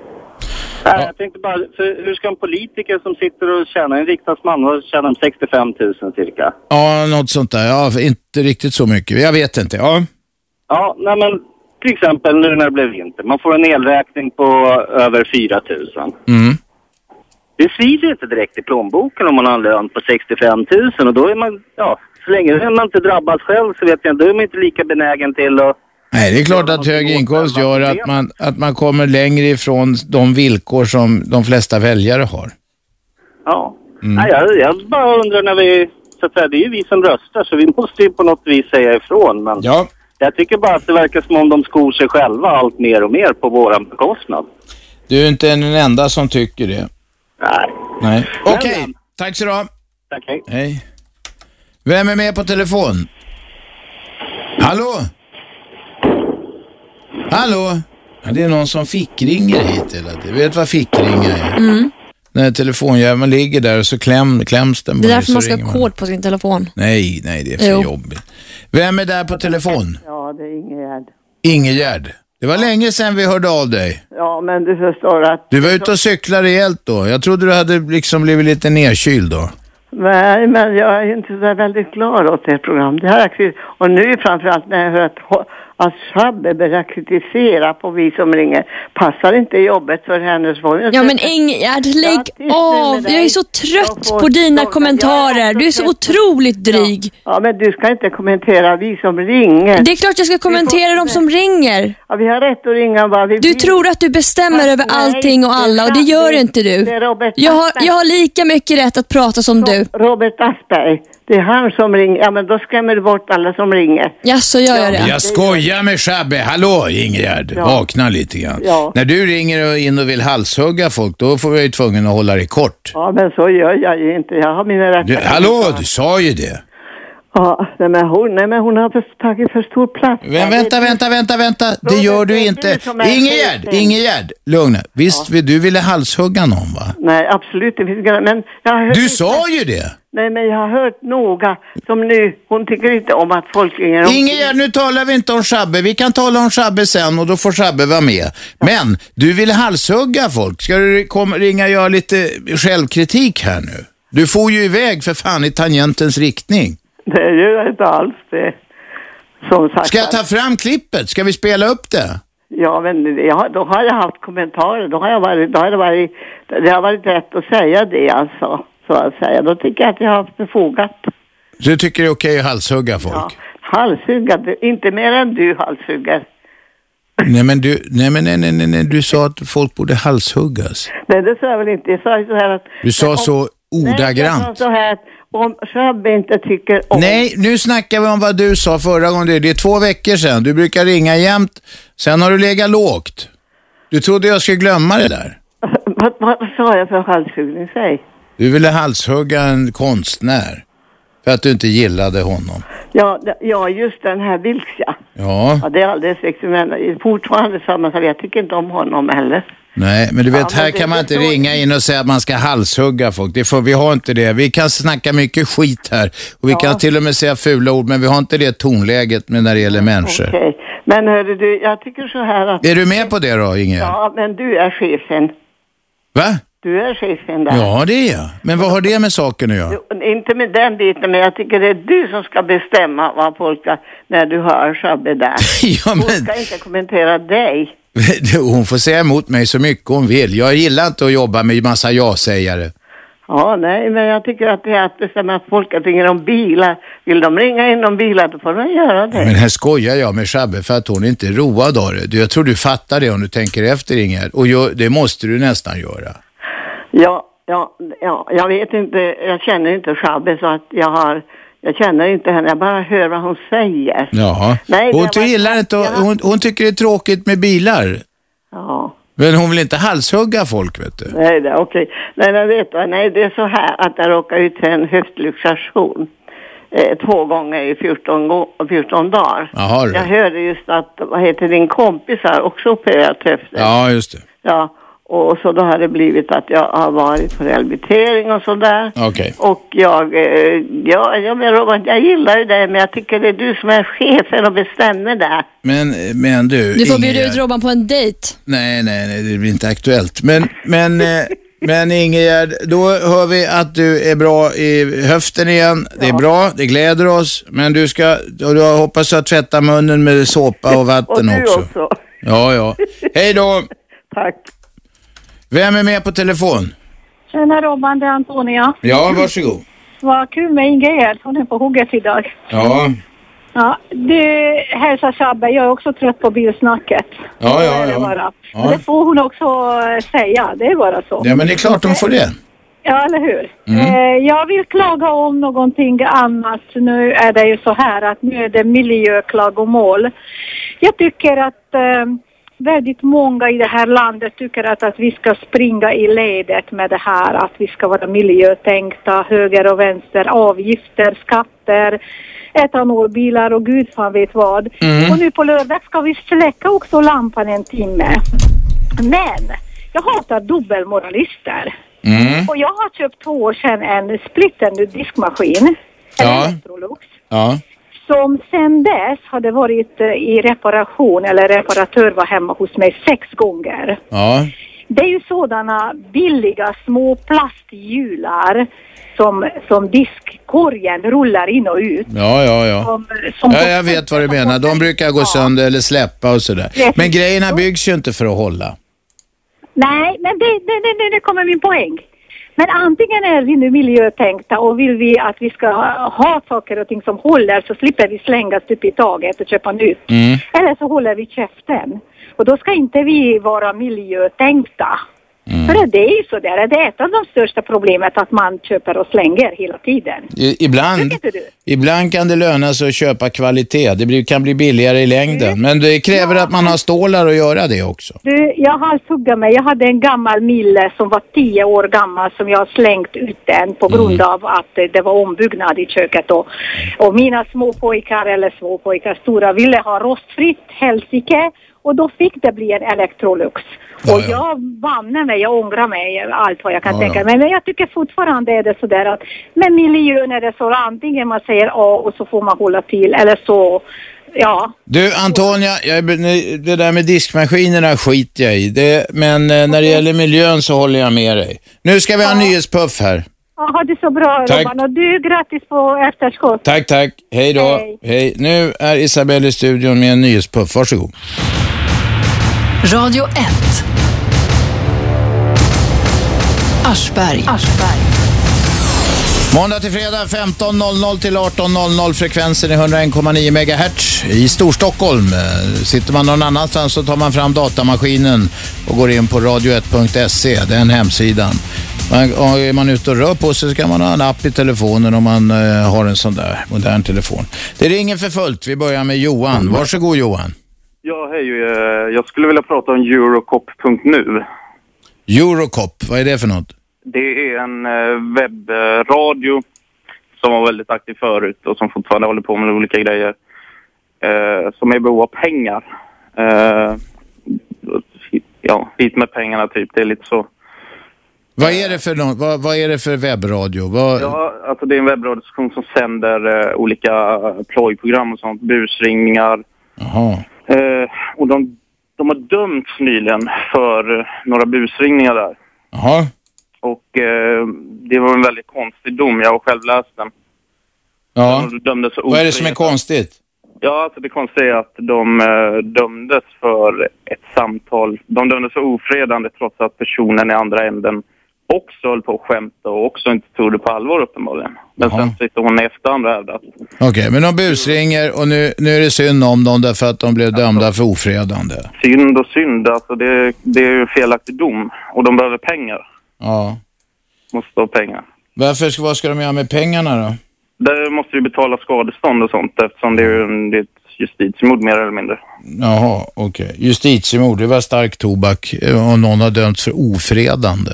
Nej, jag tänkte bara, för hur ska en politiker som sitter och tjänar, en riksdagsman, vad tjänar de? 65 000 cirka? Ja, något sånt där. Ja, inte riktigt så mycket. Jag vet inte. Ja. Ja, nej men till exempel nu när det blev vinter. Man får en elräkning på över 4 000. Mm. Det svider inte direkt i plånboken om man har en lön på 65 000 och då är man, ja, så länge man inte drabbas själv så vet jag inte, då är man inte lika benägen till att Nej, det är klart att hög inkomst gör att man, att man kommer längre ifrån de villkor som de flesta väljare har. Ja. Nej, jag, jag bara undrar när vi... Så att säga, det är ju vi som röstar, så vi måste ju på något vis säga ifrån. Men ja. jag tycker bara att det verkar som om de skor sig själva allt mer och mer på våran bekostnad. Du är inte den enda som tycker det. Nej. Nej. Okej, tack så du ha. Tack, hej. Hej. Vem är med på telefon? Hallå? Hallå? Ja, det är någon som fickringer hit hela tiden. Vet vad fickringa är? Mm. När telefonjäveln ligger där och så kläm, kläms den Det är bara, därför så man ska ringer ha kod på sin telefon. Nej, nej, det är för Jo. jobbigt. Vem är där på telefon? Ja, det är Ingegärd. Ingegärd. Det var länge sedan vi hörde av dig. Ja, men du förstår att... Du var ute och cyklade rejält då. Jag trodde du hade liksom blivit lite nedkyld då. Nej, men jag är inte så där väldigt glad åt det programmet. Det här är kri- och nu framförallt när jag hör att, ho- att Shabbe börjar kritisera på vi som ringer. Passar inte jobbet för hennes folk. Ja men Ingegärd, lägg av. Jag är så trött på dina kommentarer. Du är så otroligt dryg. alltså Ja, men du ska inte kommentera vi som ringer. Det är klart jag ska kommentera de som ringer. Ja, vi har rätt att ringa vad vi Du tror att du bestämmer över allting och alla och det gör inte du. Det är Robert Jag har, Aschberg. jag har lika mycket rätt att prata som du. Robert Aschberg, det är han som ringer. Ja, men då skrämmer du bort alla som ringer. Ja, så gör jag det. Jag skojar med Shabbe. Hallå Ingegärd, Ja. vakna lite grann. Ja. När du ringer och in och vill halshugga folk, då får jag ju tvungen att hålla dig kort. Ja, men så gör jag ju inte. Jag har mina rätta. Du, hallå, du sa ju det. Ja, nej, men hon, nej, men hon har för- tagit för stor plats. Men vänta, vänta, vänta, vänta. Det gör du inte. som är Ingegärd, chefen. Ingegärd, lugna. Visst, vill- du ville halshugga någon va? Nej, absolut inte. finns inga- Men jag har hört, Du sa ju det. Nej, men jag har hört noga som nu. Hon tycker inte om att folk ringer. Hon- Ingegärd, nu talar vi inte om Shabbe. Vi kan tala om Shabbe sen och då får Shabbe vara med. Men du vill halshugga folk. Ska du kom, ringa och göra lite självkritik här nu? Du får ju iväg för fan i tangentens riktning. Det gör jag inte alls det. Som sagt. Ska jag ta fram klippet? Ska vi spela upp det? Ja, men jag, har- då har jag haft kommentarer. Då har, jag varit, då har det, varit, det har varit rätt att säga det alltså. Så att säga. Då tycker jag att jag har haft befogat. Du tycker det är okej att halshugga folk? Halshuggad, inte mer än du halshuggar. Nej, men du, nej, men nej, nej, nej, nej, du sa att folk borde halshuggas. Nej, det sa jag väl inte. Jag sa ju så här att... Du sa så Nej, ordagrant. jag sa så här att om Shabbe inte tycker om... Nej, nu snackar vi om vad du sa förra gången. Det- Det är två veckor sedan. Du brukar ringa jämt. Sen har du legat lågt. Du trodde jag skulle glömma det där. Vad, vad sa jag för halshuggning? Säg. Du ville halshugga en konstnär. För att du inte gillade honom. Ja, d- ja, just den här Vilks, ja. Ja, ja. Det är alldeles riktigt, men fortfarande samma sak. Jag tycker inte om honom heller. nej, men du vet, Ja, men här det- kan man det inte står- ringa in och säga att man ska halshugga folk. Det får, vi har inte det. Vi kan snacka mycket skit här. Och vi kan till och med säga fula ord, men vi har inte det tonläget med när det gäller människor. Okej. Men hörru du, jag tycker så här att... Är du med på det då, Ingegerd? Ja, men du är chefen. Va? Du är chefen där. Ja, det är jag. Men vad har det med saken att göra? Inte med den biten, men jag tycker det är du som ska bestämma vad folk ska... När du hör Shabbe där. <laughs> ja, men... Hon ska inte kommentera dig. <laughs> Hon får säga emot mig så mycket hon vill. Jag gillar inte att jobba med massa ja-sägare. Ja, nej, men jag tycker att det är att bestämma att folk ringer om bilar. Vill de ringa in om bilar, då får de göra det. Men här skojar jag med Shabbe för att hon inte är road av det. Du, Jag tror du fattar det om du tänker efter Ingegerd. Och jag, det måste du nästan göra. Ja, ja, ja, jag vet inte, jag känner inte Shabbe så att jag har, jag känner inte henne, jag bara hör vad hon säger. Jaha. Nej, det hon, var- gillar inte, att- hon, hon tycker det är tråkigt med bilar. Ja. Men hon vill inte halshugga folk vet du. Nej, det är okej. Nej, men vet du, nej, det är så här att jag råkade ut för en höftluxation. Eh, två gånger i 14, gå- 14 dagar. Jaha, du. Jag hörde just att, vad heter din kompis här, också opererat höft. Ja, just det. Ja, och så då har det blivit att jag har varit på rehabilitering och sådär. Okej. Och jag, eh, ja, ja, men Robert, jag gillar ju dig, men jag tycker det är du som är chefen och bestämmer där. Men, men du, Du får Ingegerd- bjuda ut Robban på en dejt. Nej, nej, nej, det blir inte aktuellt. Men, men, eh, men Ingegerd, då hör vi att du är bra i höften igen. Det är bra, det gläder oss. Men du ska, och jag hoppas du har tvättat munnen med såpa och vatten och du också. också. Ja, ja. <laughs> Hej då! Tack. Vem är med på telefon? Tjena Robban, det är Antonia. Ja, varsågod. Vad kul med Ingegerd, hon är på hugget idag. Ja, Ja, du, hälsa Shabbe, jag är också trött på bilsnacket. ja, Så är ja. Det, ja. bara. Ja. Men det får hon också eh, säga, det är bara så. ja men det är klart de får det. Ja, eller hur? Mm. Eh, jag vill klaga om någonting annat. Nu är det ju så här att nu är det miljöklagomål. Jag tycker att eh, väldigt många i det här landet tycker att, att vi ska springa i ledet med det här att vi ska vara miljötänkta, höger och vänster, avgifter, skatter, etanolbilar och gud fan vet vad. Mm. Och nu på lördag ska vi släcka också lampan en timme. Men jag hatar dubbelmoralister. Mm. Och jag har köpt två år sedan en splitten diskmaskin Ja, Electrolux. ja. som sedan dess har det varit eh, i reparation eller reparatör var hemma hos mig sex gånger. Ja, Det är ju sådana billiga små plasthjular som, som diskkorgen rullar in och ut. ja, ja. ja. Äh, Som, som Ja, jag vet vad du menar. De brukar gå sönder eller släppa och sådär. Men grejerna byggs ju inte för att hålla. Nej, men det, det, det, det, det kommer min poäng. Men antingen är vi nu miljötänkta och vill vi att vi ska ha, ha saker och ting som håller så slipper vi slänga stup i taget och köpa nytt. Mm, Eller så håller vi käften. Och då ska inte vi vara miljötänkta. För det är ju så där, det är ett av de största problemet att man köper och slänger hela tiden. I, ibland, Tycker inte du? ibland kan det löna sig att köpa kvalitet. Det blir, kan bli billigare i Mm. längden. Men det kräver att man har stålar att göra det också. Du, jag halshuggar mig. Jag hade en gammal mille som var tio år gammal som jag har slängt ut den Mm. på grund av att eh, det var ombyggnad i köket. Och, och mina små pojkar, eller små pojkar, stora, ville ha rostfritt helsike. Och då fick det bli en Electrolux. och jag banne mig, jag ångrar mig, allt vad jag kan Ja, tänka ja. mig. Men jag tycker fortfarande är det sådär att med miljön är det så antingen man säger A och så får man hålla till eller så, ja. Du, Antonia, jag, är be- nej, det där med diskmaskinerna skiter jag i. Det, men eh, när det gäller miljön så håller jag med dig. Nu ska vi ha en nyhetspuff här. Ja, ha det så bra Tack. Robban och du grattis på efterskott. Tack, tack. Hej då. Hej. Hej. Nu är Isabelle i studion med en nyhetspuff. Varsågod. Radio 1. Aschberg. Måndag till fredag 15.00 till 18.00. Frekvensen är 101,9 MHz i Storstockholm. Eh, Sitter man någon annanstans så tar man fram datamaskinen och går in på radio1.se, den hemsidan. Man, och är man ute och rör på sig så kan man ha en app i telefonen om man eh, har en sån där modern telefon. Det ringer för fullt. Vi börjar med Johan. Varsågod Johan. Ja, hej. eh, Jag skulle vilja prata om Eurocop.nu. Eurocop, vad är det för något? Det är en eh, webbradio som var väldigt aktiv förut och som fortfarande håller på med olika grejer. eh, Som är i behov av pengar. Eh, Ja, hit med pengarna typ. Det är lite så. Vad är det för, något? vad, vad är det för webbradio? Vad, Ja, alltså det är en webbradiosektion som sänder eh, olika plojprogram och sånt. Busringningar. Jaha. Eh, och de, de har dömts nyligen för eh, några busringningar där. Jaha. Och eh, det var en väldigt konstig dom. Jag har själv läst den. Ja. De dömdes för Vad är det som är ofredande. konstigt? Ja, alltså det konstiga är att de eh, dömdes för ett samtal. De dömdes för ofredande trots att personen i andra änden också höll på att skämta och också inte tog det på allvar uppenbarligen. Men sen sitter hon i efterhand och hävdar att Okej, men de busringer och nu, nu är det synd om dem därför att de blev dömda för ofredande. synd och synd, alltså det, det är ju en felaktig dom och de behöver pengar. Ja. Måste ha pengar. Varför, ska- vad ska de göra med pengarna då? Där måste vi betala skadestånd och sånt eftersom det är, ju en- det är ett justitiemord mer eller mindre. Jaha, okej. Justitiemord, det var stark tobak eh, om någon har dömts för ofredande.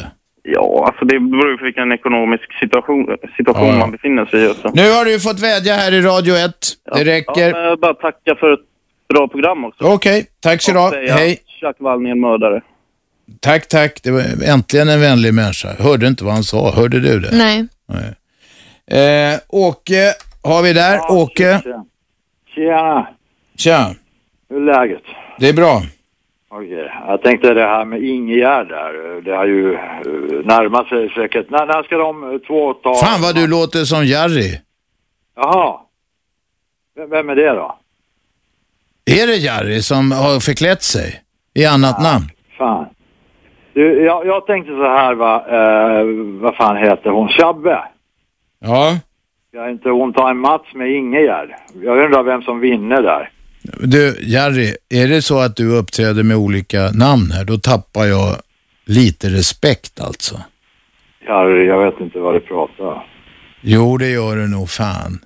Ja, alltså det beror ju på vilken ekonomisk situation, situation Ja, ja. man befinner sig i. Också. Nu har du fått vädja här i Radio 1. Det räcker. Ja, men jag vill bara tacka för ett bra program också. Okej, tack så du ha. Hej. Jack Wallning är en mördare. Tack, tack. Det var äntligen en vänlig människa. Hörde inte vad han sa. Hörde du det? Nej. Eh, Åke har vi där. Åke. Tjena, Tja. hur är läget? Det är bra. Okej, Jag tänkte det här med Ingegärd där, det har ju eh, närmat sig säkert. När, när ska de eh, två ta... Fan vad du låter som Jerry. Jaha. Vem, vem är det då? Är det Jerry som har förklätt sig i annat namn? Fan. Du, jag, jag tänkte så här va, eh, vad fan heter hon? Shabbe. Ja. Ska inte hon ta en match med Ingegärd? Jag undrar vem som vinner där. Du, Jerry, är det så att du uppträder med olika namn här, då tappar jag lite respekt alltså. Harry, jag vet inte vad du pratar om. Jo, det gör du nog fan.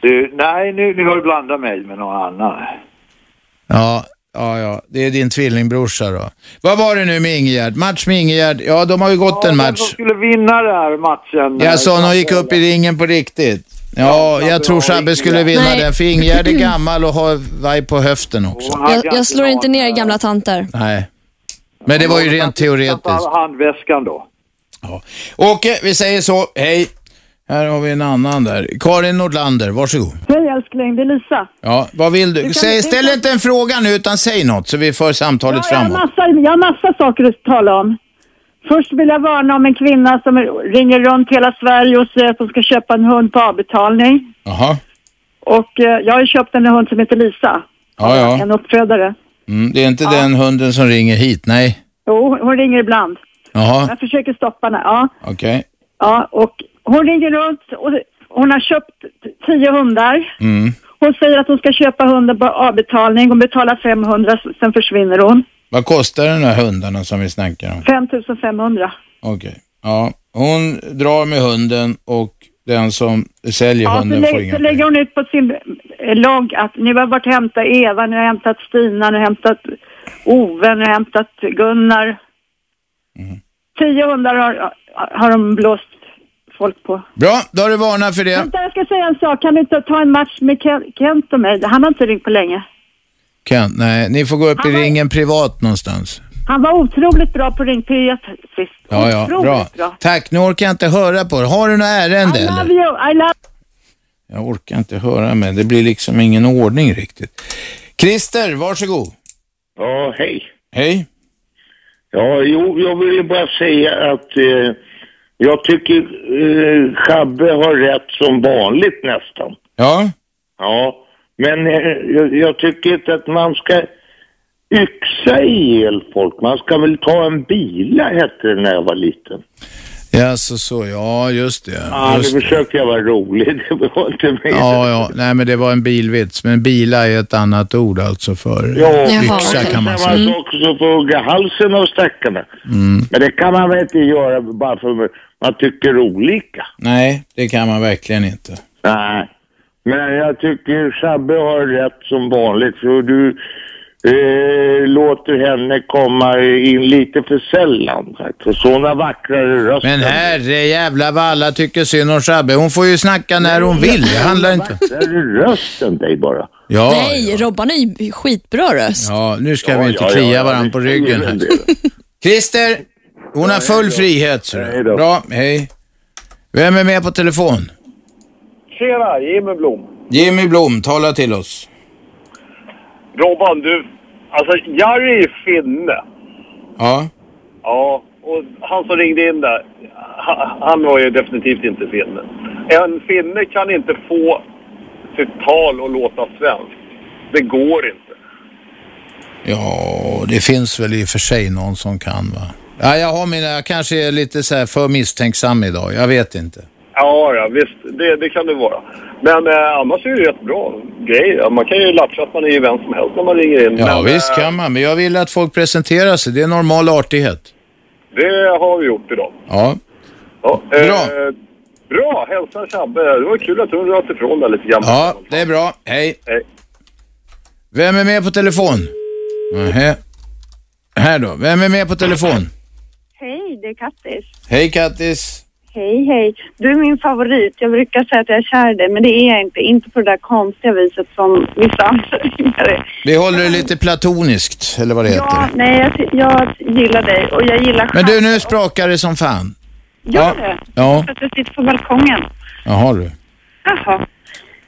Du, nej nu, nu har du blandat mig med någon annan. Ja, ja, ja. Det är din tvillingbrorsa då. Vad var det nu med Ingegärd? Match med Ingegärd? Ja, de har ju gått en Vem som match. skulle vinna den här matchen? Jag sa hon gick upp i ringen på riktigt. Ja, jag tror Shabbe skulle vinna Nej. den, <clears throat> för Ingegärd är gammal och har vaj på höften också. Jag, jag slår inte ner gamla tanter. Nej. Men det var ju rent teoretiskt. handväskan då. Åke, vi säger så. Hej. Här har vi en annan där. Karin Nordlander, varsågod. Hej älskling, det är Lisa. Ja, vad vill Du du? kan- Säg, ställ inte en fråga nu, utan säg något så vi för samtalet Jag har, framåt. massa, jag har massa saker att tala om. Först vill jag varna om en kvinna som ringer runt hela Sverige och säger att hon ska köpa en hund på avbetalning. Jaha. Och eh, jag har ju köpt en hund som heter Lisa, Ja, en ja. uppfödare. Mm, det är inte den hunden som ringer hit, nej. Jo, hon ringer ibland. Jaha, Jag försöker stoppa henne. Ja, okej. ja, och hon ringer runt och hon har köpt t- tio hundar. Mm. Hon säger att hon ska köpa hunden på avbetalning. Hon betalar 500, sen försvinner hon. Vad kostar de här hundarna som vi snackar om? 5500. Okej. Ja, hon drar med hunden och den som säljer Ja, så, hunden får lä- inga så lägger hon ut på sin eh, logg att nu har jag varit och hämtat Eva, nu har jag hämtat Stina, nu har jag hämtat Ove, nu har jag hämtat Gunnar. Mm. Tio hundar har, har de blåst folk på. Bra, då har du varnat för det. Vänta, jag ska säga en sak. Kan du inte ta en match med Ken- Kent och mig? Han har inte ringt på länge. Kent, nej, ni får gå upp i ringen privat någonstans. Han var otroligt bra på Ring P1 sist. Ja, ja, Otroligt bra. Tack, nu orkar jag inte höra på det. Har du något ärende I eller? love you, I love Jag orkar inte höra med. Det blir liksom ingen ordning riktigt. Christer, varsågod. Ja, hej. Hej. Ja, jo, jag vill ju bara säga att eh, jag tycker eh, Schabbe har rätt som vanligt nästan. Ja. Ja, men eh, jag, jag tycker inte att man ska yxa ihjäl folk. Man ska väl ta en bila, hette det när jag var liten. Ja, så, så. Ja, just det. Ja, just nu det. försökte jag vara rolig. <laughs> Det var inte mig. Ja, ja. Nej, men det var en bilvits. Men bila är ett annat ord alltså för Ja, yxa kan man Samma säga. sak som får hugga halsen av stackarna. Mm. Men det kan man väl inte göra bara för man tycker olika. Nej, det kan man verkligen inte. Nej. Men jag tycker Sabbe har rätt som vanligt. För du eh, låter henne komma in lite för sällan. faktiskt. Sådana vackrare röster. Men herre jävla vad alla tycker synd om Shabbe. Hon får ju snacka när hon vill. Det handlar inte... Vackrare rösten dig bara. Ja, Nej, Robban är ju skitbra röst. ja nu ska vi inte ja, klia ja, ja, varandra på ryggen här. Christer, hon har full frihet. Så. Bra, hej. Vem är med på telefon? Tjena, Jimmy Blom. Jimmy Blom, tala till oss. Robban, du. Alltså, Jari är finne. Ja, Ja, och han som ringde in där, ha- han var ju definitivt inte finne. En finne kan inte få sitt tal att låta svenskt. Det går inte. ja det finns väl i och för sig någon som kan va? Ja, jag har mina, jag kanske är lite så här för misstänksam idag. Jag vet inte. Ja, ja visst. Det, det kan det vara. Men eh, annars är det ju rätt bra grej. Man kan ju latcha att man är ju vem som helst när man ringer in. Ja, Men, eh, visst kan man, men jag vill att folk presenterar sig. Det är normal artighet. Det har vi gjort idag. Ja, Ja, bra. Eh, bra, hälsa Chabbe. Det var kul att du rört ifrån dig lite grann. ja det är bra. Hej. Vem är med på telefon? Nähä. Här då. Vem är med på telefon? Hej, det är Kattis. Hej Kattis. Hej, hej. Du är min favorit. Jag brukar säga att jag är kär i dig, men det är jag inte. Inte på det där konstiga viset som vissa andra ringare Vi håller det lite platoniskt, eller vad det heter. Ja, nej, jag, ty- jag gillar dig och jag gillar Men du, nu sprakar det som fan. Gör det? Ja, För att jag sitter på balkongen. jaha du. Jaha.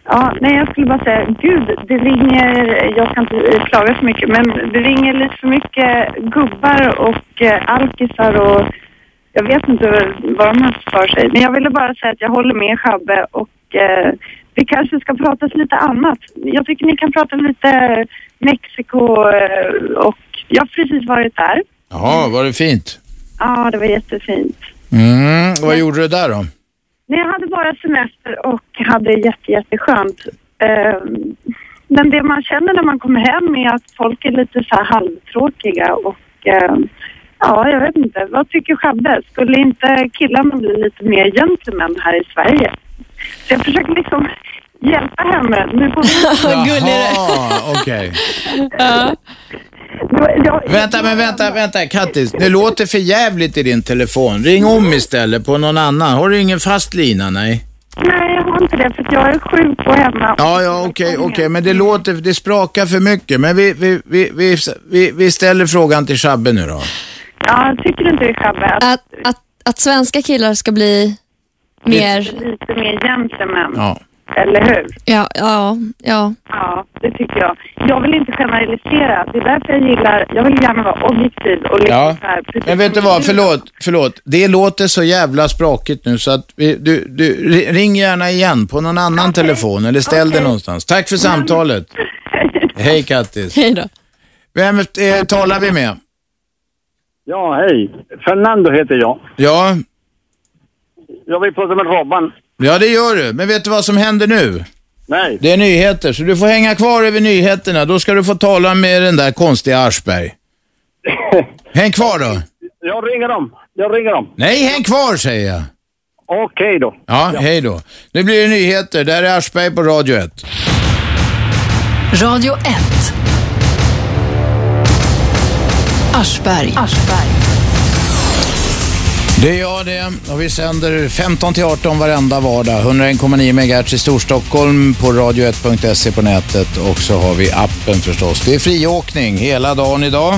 Ja, nej, jag skulle bara säga, gud, det ringer, jag kan inte eh, klaga så mycket, men det ringer lite för mycket gubbar och eh, alkisar och jag vet inte vad de har för sig. Men jag ville bara säga att jag håller med Schabbe och eh, vi kanske ska prata lite annat. Jag tycker ni kan prata lite Mexiko eh, och jag har precis varit där. Jaha, var det fint? Ja, det var jättefint. Mm, vad gjorde du <laughs> där då? Nej, jag hade bara semester och hade jätte, jätteskönt. Eh, Men det man känner när man kommer hem är att folk är lite så här halvtråkiga och eh, ja, jag vet inte. Vad tycker Schabbe? Skulle inte killarna bli lite mer gentlemen här i Sverige? Så jag försöker liksom hjälpa henne. Nu får <laughs> vi... Jaha, okej. Vänta, men vänta, vänta, Kattis. Det låter för jävligt i din telefon. Ring om istället på någon annan. Har du ingen fast lina? Nej. Nej, jag har inte det för att jag är sjuk och hemma. Ja, ja, okej, okej, men det låter, det sprakar för mycket. Men vi, vi, vi, vi, vi, vi ställer frågan till Shabbe nu då. Ja, tycker du inte det Schabbe? Att, att, att svenska killar ska bli mer... Lite mer gentlemen. Ja. Eller hur? Ja, ja, ja. Ja, det tycker jag. Jag vill inte generalisera. Det är därför jag gillar... Jag vill gärna vara objektiv och liksom Ja. så här, precis Men vet du som vad, förlåt, förlåt. Det låter så jävla sprakigt nu så att vi, du, du, ri- ring gärna igen på någon annan telefon eller ställ dig någonstans. Tack <laughs> för samtalet. Hej Kattis. Hej då. Vem eh, talar vi med? Ja, hej. Fernando heter jag. Ja, Jag vill prata med Robban. ja det gör du. Men vet du vad som händer nu? Nej. Det är nyheter, så du får hänga kvar över nyheterna. Då ska du få tala med den där konstiga Aschberg. Häng kvar då. Jag ringer dem. Jag ringer dem. Nej, häng kvar säger jag. Okej då. Ja, hej då. Nu blir det nyheter. Där är Aschberg på Radio 1. Radio 1. Aschberg. Det är jag det och vi sänder 15 till 18 varenda vardag. 101,9 MHz i Storstockholm på radio1.se på nätet och så har vi appen förstås. Det är friåkning hela dagen idag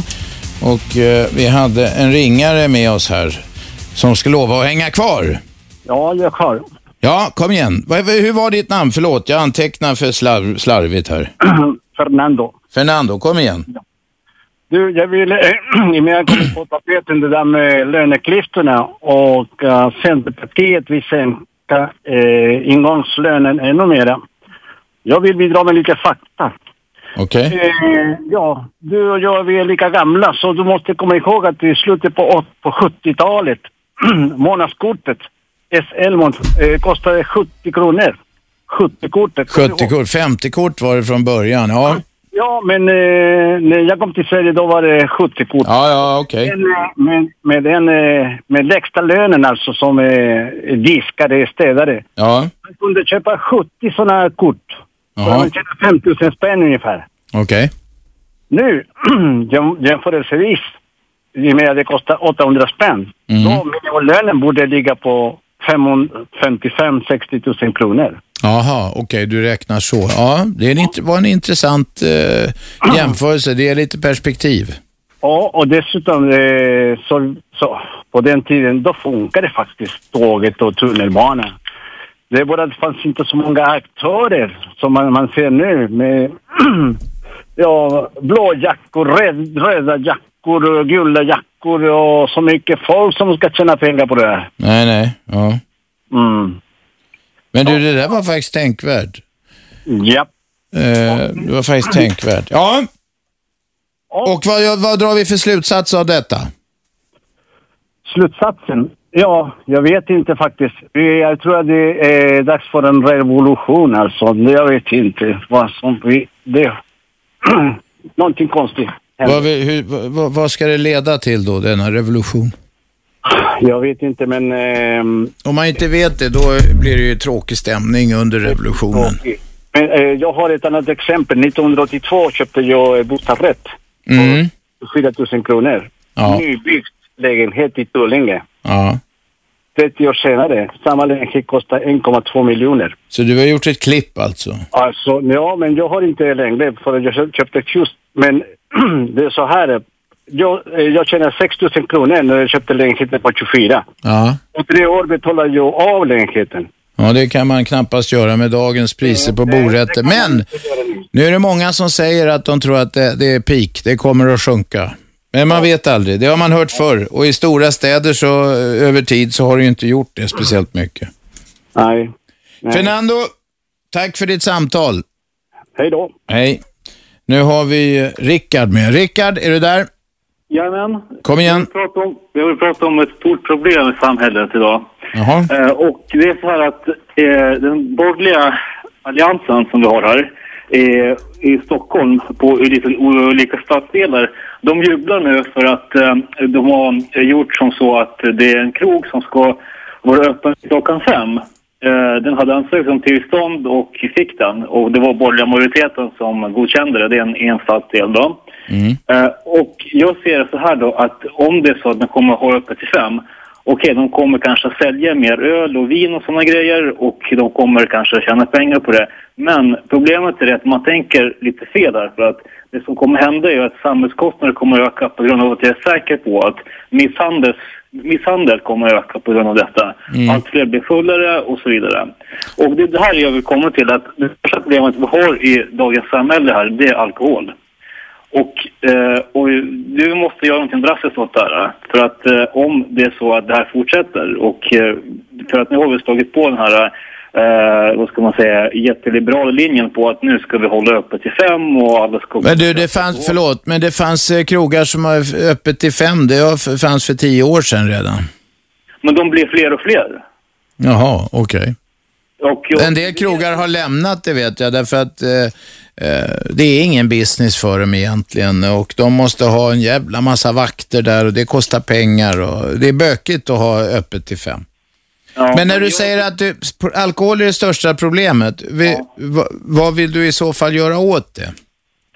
och eh, vi hade en ringare med oss här som ska lova att hänga kvar. Ja, jag har. Ja, kom igen. Vad- Hur var ditt namn? Förlåt, jag antecknar för slarv, slarvigt här. <clears throat> Fernando. Fernando, kom igen. Du, jag <clears throat> vill, i och med att jag kom på tapeten det där med löneklyftorna och uh, Centerpartiet vill sänka eh, ingångslönen ännu mera. Jag vill bidra med lite fakta. Okej. Eh, ja, du och jag vi är lika gamla så du måste komma ihåg att i slutet på, åt- på 70-talet, <clears throat> månadskortet, SL mån- eh, kostade 70 kronor. 70-kortet. 70 kort, 50 kort var det från början. Ja, Ja, men eh, när jag kom till Sverige då var det 70 kort. ja, ja okej. Men, eh, Med, med den eh, med lägsta lönen alltså som eh, diskare, städare. Ja, Man kunde köpa 70 sådana kort. För Jaha. man tjänade 5 000 spänn ungefär. okej. Nu, <clears throat> jäm- jämförelsevis, i och med att det kostar 800 spänn, Mm. då minimilönen borde ligga på 55-60 000 kronor. Jaha, okej, du räknar så. Ja, det är en, int- var en intressant eh, jämförelse. Det är lite perspektiv. Ja, och dessutom eh, så, så, på den tiden då funkade faktiskt tåget och tunnelbanan. Det är bara att det fanns inte så många aktörer som man, man ser nu med <clears throat> ja, blå jackor, red, röda jackor och gula jackor och så mycket folk som ska tjäna pengar på det här. Nej, nej. Ja. Mm. Men du, det där var faktiskt tänkvärt. Ja. Eh, det var faktiskt tänkvärt. Ja. Och vad, vad drar vi för slutsats av detta? Slutsatsen? Ja, jag vet inte faktiskt. Eh, Jag tror att det är dags för en revolution alltså. Jag vet inte vad som vi... Det... <clears throat> Någonting konstigt. Vad, vi, hur, vad, vad ska det leda till då, denna revolution? Jag vet inte men... ehm, Om man inte vet det, då blir det ju tråkig stämning under revolutionen. men eh, jag har ett annat exempel. 1982 köpte jag eh, bostadsrätt. Mm. för 4 000 kronor. Ja. Nybyggd lägenhet i Tullinge. Ja. 30 år senare, samma lägenhet kostar 1,2 miljoner. Så du har gjort ett klipp alltså? Alltså, ja, men jag har inte längre för jag köp- köpte just. Men <clears throat> det är så här. Jag, eh, jag tjänade 6 000 kronor när jag köpte lägenheten på 24. Ja. Och tre år betalar jag av lägenheten. Ja, det kan man knappast göra med dagens priser på borätter. Men nu är det många som säger att de tror att det, det är peak, det kommer att sjunka. Men man vet aldrig, det har man hört förr. Och i stora städer så eh, över tid så har det ju inte gjort det speciellt mycket. Nej. Fernando, tack för ditt samtal. Hej då. Hej. Nu har vi eh, Rickard med. Rickard, är du där? Jajamän. Kom igen. Jag vill prata om, jag vill prata om ett stort problem i samhället idag. Jaha. Eh, och det är så här att eh, den borgerliga alliansen som vi har här eh, i Stockholm på i lite olika stadsdelar. De jublar nu för att eh, de har gjort som så att det är en krog som ska vara öppen klockan fem. Eh, den hade ansökt om tillstånd och fick den. Och det var borgerliga majoriteten som godkände det. Det är en, en stadsdel då. Eh, och jag ser det så här då att om det är så att den kommer att ha öppet till fem, okej de kommer kanske att sälja mer öl och vin och sådana grejer och de kommer kanske att tjäna pengar på det. Men problemet är det att man tänker lite fel där för att det som kommer hända är ju att samhällskostnader kommer att öka på grund av att jag är säker på att misshandel, misshandel kommer att öka på grund av detta. Mm. Allt fler blir fullare och så vidare. Och det är det här jag vill komma till att det största problemet vi har i dagens samhälle här, det är alkohol. Och, eh, och du måste göra någonting drastiskt åt det här. För att eh, om det är så att det här fortsätter och eh, för att nu har vi slagit på den här eh, vad ska man säga, jätteliberala linjen på att nu ska vi hålla öppet till fem och alla ska... Men du, det fanns, förlåt, men det fanns eh, krogar som var öppet till fem. Det har f- fanns för tio år sedan redan. Men de blir fler och fler. Jaha, okej. Och jag, En del krogar har lämnat det vet jag, därför att eh, eh, det är ingen business för dem egentligen och de måste ha en jävla massa vakter där och det kostar pengar och det är bökigt att ha öppet till fem. Men när du säger att du, pro- alkohol är det största problemet, vi, va, vad vill du i så fall göra åt det?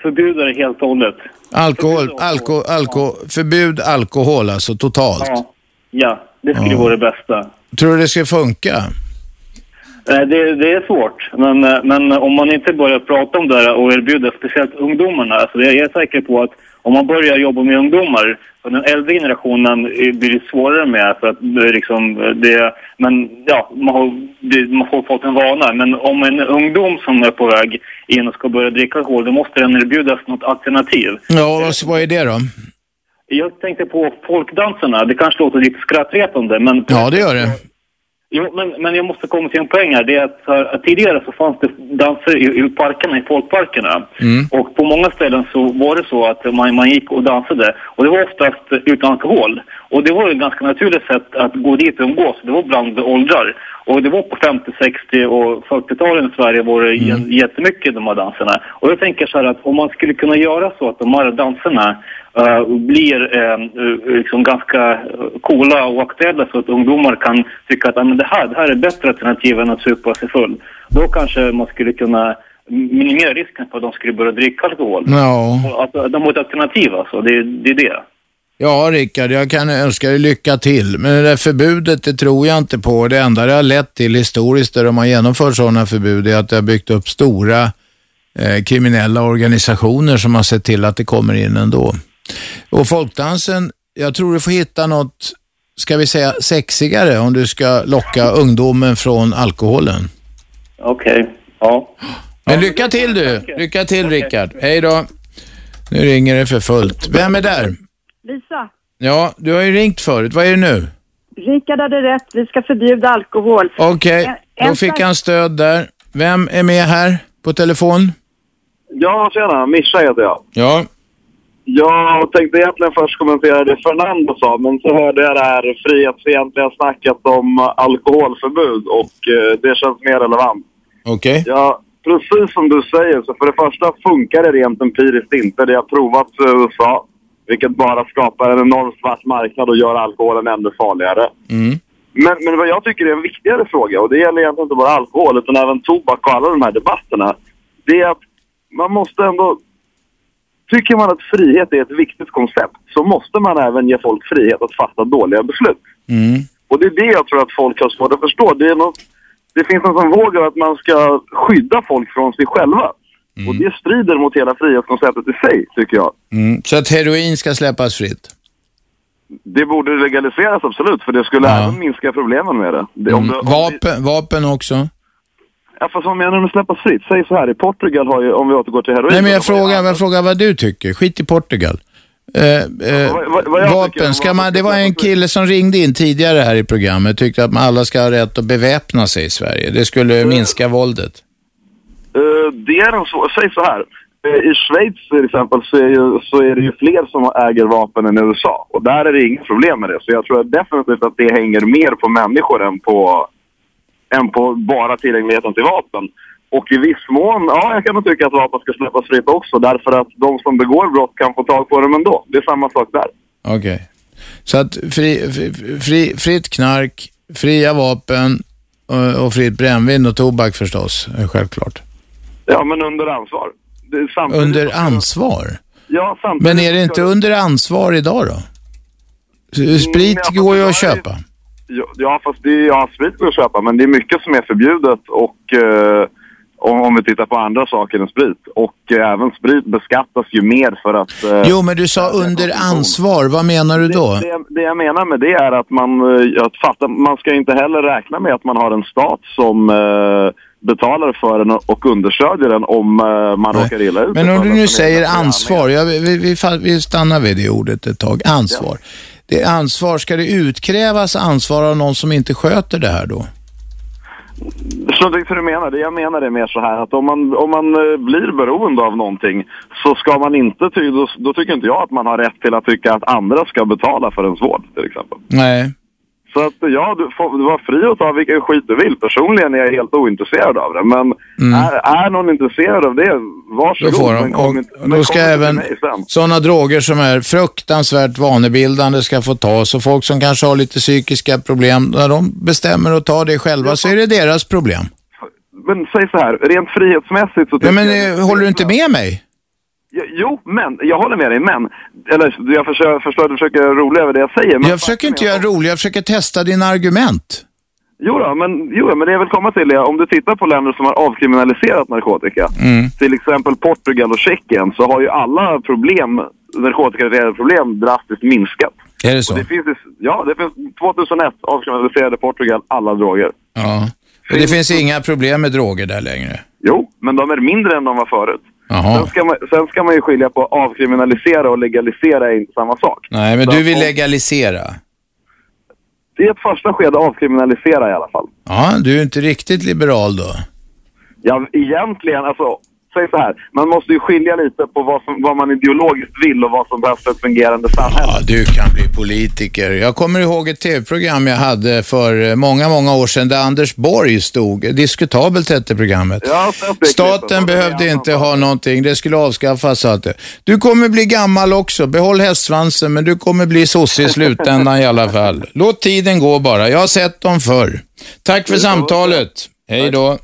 förbjuda det helt och hållet. Alkohol, alko, alko, förbjud alkohol alltså totalt. Ja, ja det skulle Ja. vara det bästa. Tror du det ska funka? Eh, Det, det är svårt, men, eh, men om man inte börjar prata om det här och erbjuda speciellt ungdomarna, alltså jag är säker på att om man börjar jobba med ungdomar, för den äldre generationen eh, blir det svårare med för att eh, liksom eh, det, men ja, man har, det, man har fått en vana. Men om en ungdom som är på väg in och ska börja dricka alkohol, då måste den erbjudas något alternativ. Ja, vad- vad är det då? Jag tänkte på folkdanserna, det kanske låter lite skrattretande, men Ja, det gör det. Jo, men, men jag måste komma till en poäng här. Det är att, så här, att tidigare så fanns det danser i, i parkerna, i folkparkerna. Mm. Och på många ställen så var det så att man, man gick och dansade. Och det var oftast utan alkohol. Och det var ju ett ganska naturligt sätt att gå dit och umgås. Det var bland åldrar. Och det var på 50, 60 och 40-talen i Sverige var det mm. jättemycket de här danserna. Och jag tänker så här att om man skulle kunna göra så att de här danserna eh, blir eh, eh, liksom ganska eh, coola och aktuella så att ungdomar kan tycka att "Ah, men det, här, det här är bättre alternativ än att supa sig full. Då kanske man skulle kunna minimera risken för att de skulle börja dricka alkohol. Ja. Och Alltså, de har ett alternativ alltså, det, det är det. Ja, Rickard, jag kan önska dig lycka till. Men det där förbudet, det tror jag inte på. Det enda det har lett till historiskt där de har genomfört sådana förbud är att det har byggt upp stora eh, kriminella organisationer som har sett till att det kommer in ändå. Och folkdansen, jag tror du får hitta något, ska vi säga sexigare om du ska locka ungdomen från alkoholen. Okej, ja. Men lycka till du! Lycka till Rickard. Hej då! Nu ringer det för fullt. Vem är där? Lisa, Ja, du har ju ringt förut. Vad är det nu? Rickard hade rätt. Vi ska förbjuda alkohol. Okej, En- då en fick sak- han stöd där. Vem är med här på telefon? Ja, tjena. Mischa heter jag. Ja. Jag tänkte egentligen först kommentera det Fernando sa, men så hörde jag det här frihetsfientliga snacket om alkoholförbud och eh, det känns mer relevant. Okej. Ja, precis som du säger, så för det första funkar det rent empiriskt inte. Det har provats i USA, vilket bara skapar en enorm svart marknad och gör alkoholen ännu farligare. Mm. Men, men vad jag tycker är en viktigare fråga, och det gäller egentligen inte bara alkohol utan även tobak och alla de här debatterna, det är att man måste ändå... Tycker man att frihet är ett viktigt koncept så måste man även ge folk frihet att fatta dåliga beslut. Mm. Och det är det jag tror att folk har svårt att förstå. Det, är något, det finns någon som vågar att man ska skydda folk från sig själva. Och det strider mot hela frihetskonceptet i sig, tycker jag. Mm. Så att heroin ska släppas fritt? Det borde legaliseras absolut, för det skulle även minska problemen med det. det om Mm. det Vapen, vapen också? ja, fast vad menar du med släppas fritt? Säg så här, i Portugal har ju, om vi återgår till heroin... Nej, men jag frågar, jag frågar vad du tycker. Skit i Portugal. Eh, eh, vad jag tycker om vapen, ska man, det var en kille som ringde in tidigare här i programmet tyckte att man alla ska ha rätt att beväpna sig i Sverige. Det skulle Mm. minska våldet. Eh, det är en svår... Säg så här. Eh, I Schweiz till exempel så är, ju, så är det ju fler som äger vapen än i USA. Och där är det inget problem med det. Så jag tror definitivt att det hänger mer på människor än på, än på bara tillgängligheten till vapen. Och i viss mån, ja, jag kan nog tycka att vapen ska släppas fritt också. Därför att de som begår brott kan få tag på dem ändå. Det är samma sak där. Okej. Så att fri, fri, fri, fritt knark, fria vapen eh, och, och fritt brännvin och tobak förstås, eh, självklart. Ja, men under ansvar. Det är samtidigt- Under ansvar? Ja, samtidigt Men är det inte under ansvar idag då? S- Sprit går ju att köpa. Eh, Ja, Ja, fast det är ja, sprit går att köpa, men det är mycket som är förbjudet och eh, om, om vi tittar på andra saker än sprit. Och eh, även sprit beskattas ju mer för att... eh, Jo, men du sa under ansvar. Vad menar du då? det, det jag menar med det är att man, eh, att fatta, man ska inte heller räkna med att man har en stat som eh, betalar för den och understödjer den om eh, man råkar illa ut. Men om du nu säger ansvar, ja, vi, vi, vi, fa- vi stannar vid det ordet ett tag. Ansvar. Det är ansvar, ska det utkrävas ansvar av någon som inte sköter det här då? Så det är hur du menar. Det jag menar är mer så här att om man, om man eh, blir beroende av någonting så ska man inte ty, då, då tycker inte jag att man har rätt till att tycka att andra ska betala för ens vård till exempel. Nej. Så att ja, du, får, du var fri att ta vilken skit du vill. Personligen är jag helt ointresserad av det. Men är, är någon intresserad av det, Mm. Då varsågod. får Men de. kom Och inte- men då ska kom inte även till mig sen. sådana droger som är fruktansvärt vanebildande ska få tas och folk som kanske har lite psykiska problem, när de bestämmer att ta det själva så är det deras problem. Men säg så här, rent frihetsmässigt så tycker Nej, men jag... eh, håller du inte med mig? Jo, Jo, men jag håller med dig, men... Eller jag försöker, förstår att du försöker göra rolig över det jag säger. Men Jag försöker inte göra rolig, jag försöker testa dina argument. Jo, då, men, jo, men det jag vill komma till är om du tittar på länder som har avkriminaliserat narkotika, Mm. till exempel Portugal och Tjeckien, så har ju alla problem, narkotikarelaterade problem drastiskt minskat. Är det så? Och det finns, ja, det finns 2001 avkriminaliserade Portugal alla droger. Ja. Och det finns inga problem med droger där längre. Jo, men de är mindre än de var förut. Jaha. Sen ska, man, sen ska man ju skilja på avkriminalisera och legalisera är inte samma sak. Nej, men du vill legalisera. I ett första skede avkriminalisera i alla fall. Ja, du är inte riktigt liberal då. Ja, egentligen, alltså, säg så här. Man måste ju skilja lite på vad, som, vad man ideologiskt vill och vad som behövs för ett fungerande samhälle. Ja, du kan bli politiker. Jag kommer ihåg ett tv-program jag hade för eh, många, många år sedan där Anders Borg stod. Diskutabelt hette programmet. Staten behövde inte ha någonting. Det skulle avskaffas, sa att det. Du kommer bli gammal också. Behåll hästsvansen, men du kommer bli sosse i slutändan i alla fall. Låt tiden gå bara. Jag har sett dem förr. Tack för samtalet. Hej då.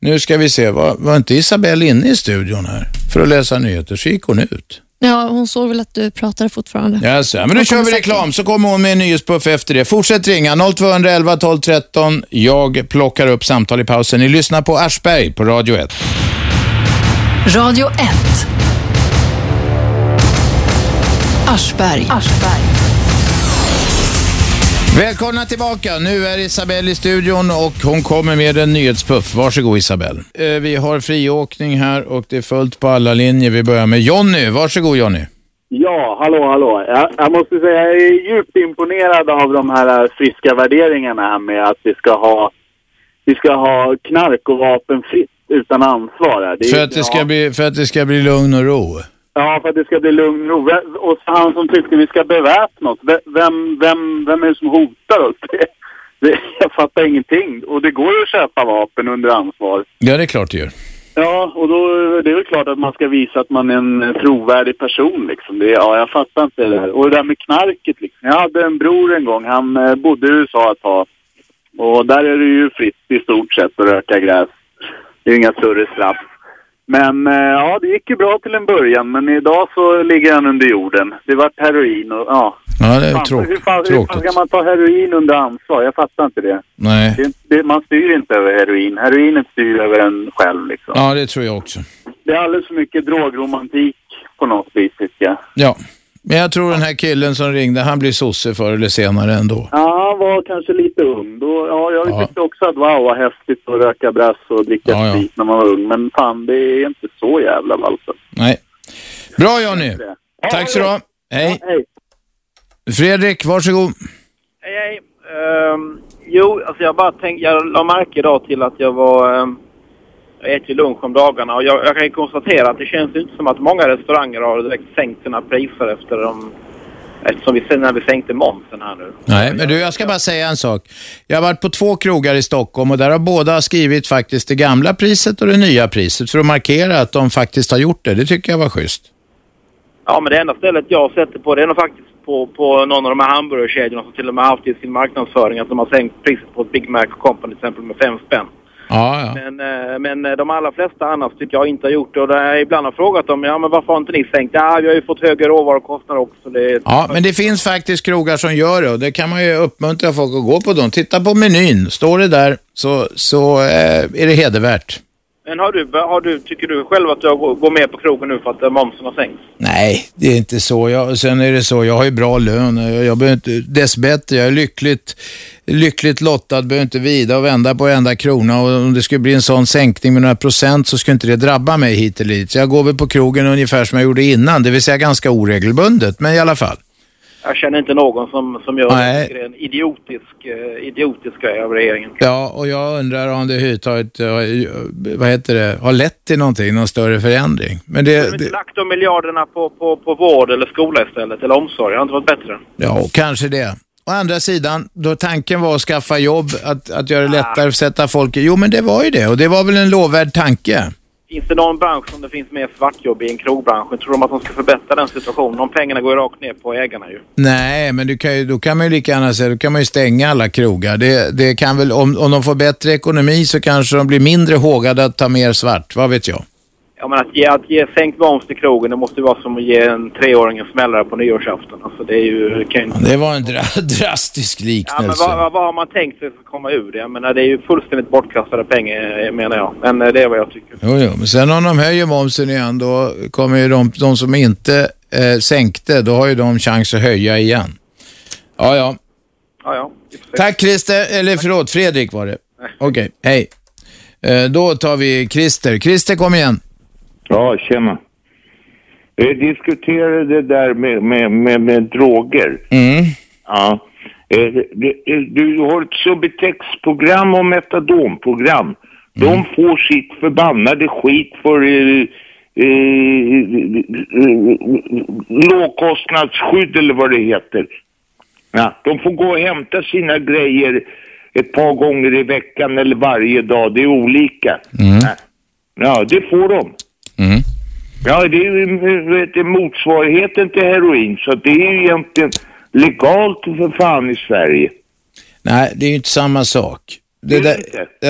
Nu ska vi se. Var, var inte Isabelle inne i studion här för att läsa nyheter? Så gick hon ut. Ja, hon såg väl att du pratade fortfarande. Jaså, men då Jag kör kommer vi säkert- reklam så kommer hon med en nyhetspuff efter det. Fortsätt ringa 0211 12 13. Jag plockar upp samtal i pausen. Ni lyssnar på Aschberg på Radio 1. Radio 1. Aschberg. Välkomna tillbaka. Nu är Isabelle i studion och hon kommer med en nyhetspuff. Varsågod Isabelle. Eh, Vi har friåkning här och det är fullt på alla linjer. Vi börjar med Jonny. Varsågod Jonny. Ja, hallå, hallå. Jag, jag måste säga jag är djupt imponerad av de här friska värderingarna här med att vi ska ha, vi ska ha knark och vapenfritt utan ansvar. här. Det är- För att, det ska bli, för att det ska bli lugn och ro. Ja, för att det ska bli lugn och ro. Och så han som tyckte vi ska beväpna oss, ve- vem, vem, vem är det som hotar oss? <laughs> Det, det, jag fattar ingenting. Och det går ju att köpa vapen under ansvar. Ja, det är klart det gör. Ja, och då det är väl klart att man ska visa att man är en trovärdig person liksom. Det, ja, jag fattar inte det här. Och det där med knarket liksom. Jag hade en bror en gång, han eh, bodde i USA ett tag. Och där är det ju fritt i stort sett att röka gräs. Det är ju inga större straff. Men eh, ja, det gick ju bra till en början. Men idag så ligger han under jorden. Det var heroin och ja. Ja, det är Fan, tråk- hur, fan, hur fan tråkigt. ska man ta heroin under ansvar? Jag fattar inte det. Nej. det, det man styr inte över heroin. Heroinet styr över en själv liksom. Ja, det tror jag också. Det är alldeles för mycket drogromantik på något vis tycker jag. Ja. Men jag tror den här killen som ringde, han blir sosse förr eller senare ändå. Ja, han var kanske lite ung. Då, ja, jag tyckte också att wow vad häftigt att röka brass och dricka Ja, ja. sprit när man var ung. Men fan, det är inte så jävla valsen. Nej. Bra Jonny. Tack så du ha. Hej. Fredrik, varsågod. Hej, hej. Ehm, jo, alltså jag bara tänkte, jag la märke idag till att jag var, ehm, jag äter ju lunch om dagarna och jag, jag kan ju konstatera att det känns ju inte som att många restauranger har direkt sänkt sina priser efter de, eftersom vi, när vi sänkte momsen här nu. Nej, men du, jag ska bara säga en sak. Jag har varit på två krogar i Stockholm och där har båda skrivit faktiskt det gamla priset och det nya priset för att markera att de faktiskt har gjort det. Det tycker jag var schysst. Ja, men det enda stället jag har sett det på det är nog faktiskt på, på någon av de här hamburgerkedjorna som till och med haft i sin marknadsföring att de har sänkt priset på ett Big Mac Company till exempel med fem spänn. Ja, ja. Men, eh, men eh, de allra flesta annars tycker jag inte har gjort det. Och det har jag ibland har frågat dem, ja men varför har inte ni sänkt? Ja, vi har ju fått högre råvarukostnader också. Det, Ja, men det finns faktiskt krogar som gör det och det kan man ju uppmuntra folk att gå på dem. Titta på menyn. Står det där så, så eh, är det hedervärt. Men har du, har du, tycker du själv att jag går går med på krogen nu för att eh, momsen har sänkts? Nej, det är inte så. Jag, sen är det så, jag har ju bra lön. Jag, jag behöver inte, dessbättre, jag är lyckligt, lyckligt lottad. Behöver inte vida och vända på enda krona. Och om det skulle bli en sån sänkning med några procent så skulle inte det drabba mig hit eller dit. Så jag går väl på krogen ungefär som jag gjorde innan. Det vill säga ganska oregelbundet, men i alla fall. Jag känner inte någon som, som gör Nej. det. Det är en idiotisk, eh, idiotisk grej av regeringen. Ja, och jag undrar om det överhuvudtaget, eh, vad heter det, har lett till någonting, någon större förändring. Men Har det, de det inte lagt de miljarderna på, på, på vård eller skola istället, eller omsorg? Det har inte varit bättre. ja, kanske det. Å andra sidan, då tanken var att skaffa jobb, att, att göra det Ah. lättare att sätta folk i... Jo, men det var ju det och det var väl en lovvärd tanke. Finns det någon bransch som det finns mer svartjobb i än krogbranschen? Tror de att de ska förbättra den situationen? De pengarna går ju rakt ner på ägarna ju. Nej, men du kan ju, då kan man ju lika gärna säga, då kan man ju stänga alla krogar. Det, det kan väl, om, om de får bättre ekonomi så kanske de blir mindre hågade att ta mer svart, vad vet jag. Ja, men att ge, att ge sänkt moms till krogen, det måste ju vara som att ge en treåring en smällare på nyårsafton. Alltså det är ju... det Kan ju inte... Det var en dra- <laughs> drastisk Ja, men liknelse. vad, vad, vad har man tänkt sig för att komma ur det? Jag menar, det är ju fullständigt bortkastade pengar eh, menar jag. Men eh, det är vad jag tycker. Jo, jo, men sen om de höjer momsen igen, då kommer ju de, de som inte eh, sänkte, då har ju de chans att höja igen. Ja, ja. Ja, ja. Tack Christer, eller förlåt, Fredrik var det. Okej, hej. Eh, då tar vi Christer. Christer, kom igen. Ja, tjena. Vi diskuterade det där med, med, med, med droger. Mm. Ja. Eh, det- det- Du har ett Subutex-program och metadonprogram. De får sitt förbannade skit för eh, eh, eh, lågkostnadsskydd eller vad det heter. Ja. De får gå och hämta sina grejer ett par gånger i veckan eller varje dag. Det är olika. Mm. Ja. Ja, det får de. Ja, det är ju vet, du, motsvarigheten till heroin, så det är ju egentligen legalt för fan i Sverige. Nej, det är ju inte samma sak. Det, där,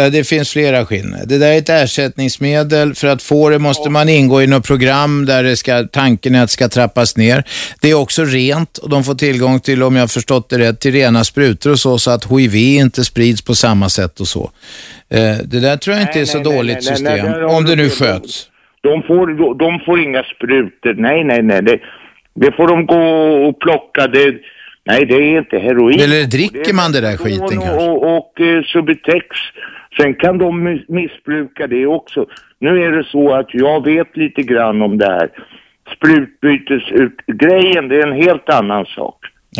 eh, det finns flera skillnader. Det där är ett ersättningsmedel. För att få det måste man ingå i något program där det ska, tanken är att det ska trappas ner. Det är också rent och de får tillgång till, om jag har förstått det rätt, till rena sprutor och så, så att hiv inte sprids på samma sätt och så. Eh, Det där tror jag inte är så dåligt nej, nej, system, där har om det du nu fel. sköts. De får, de får inga sprutor. Nej, nej, nej. Det, det får de gå och plocka. Det, nej, det är inte heroin. Eller dricker man det där skiten kanske? och, och eh, Subutex. Sen kan de mis- missbruka det också. Nu är det så att jag vet lite grann om det här. Sprutbytesgrejen, det är en helt annan sak.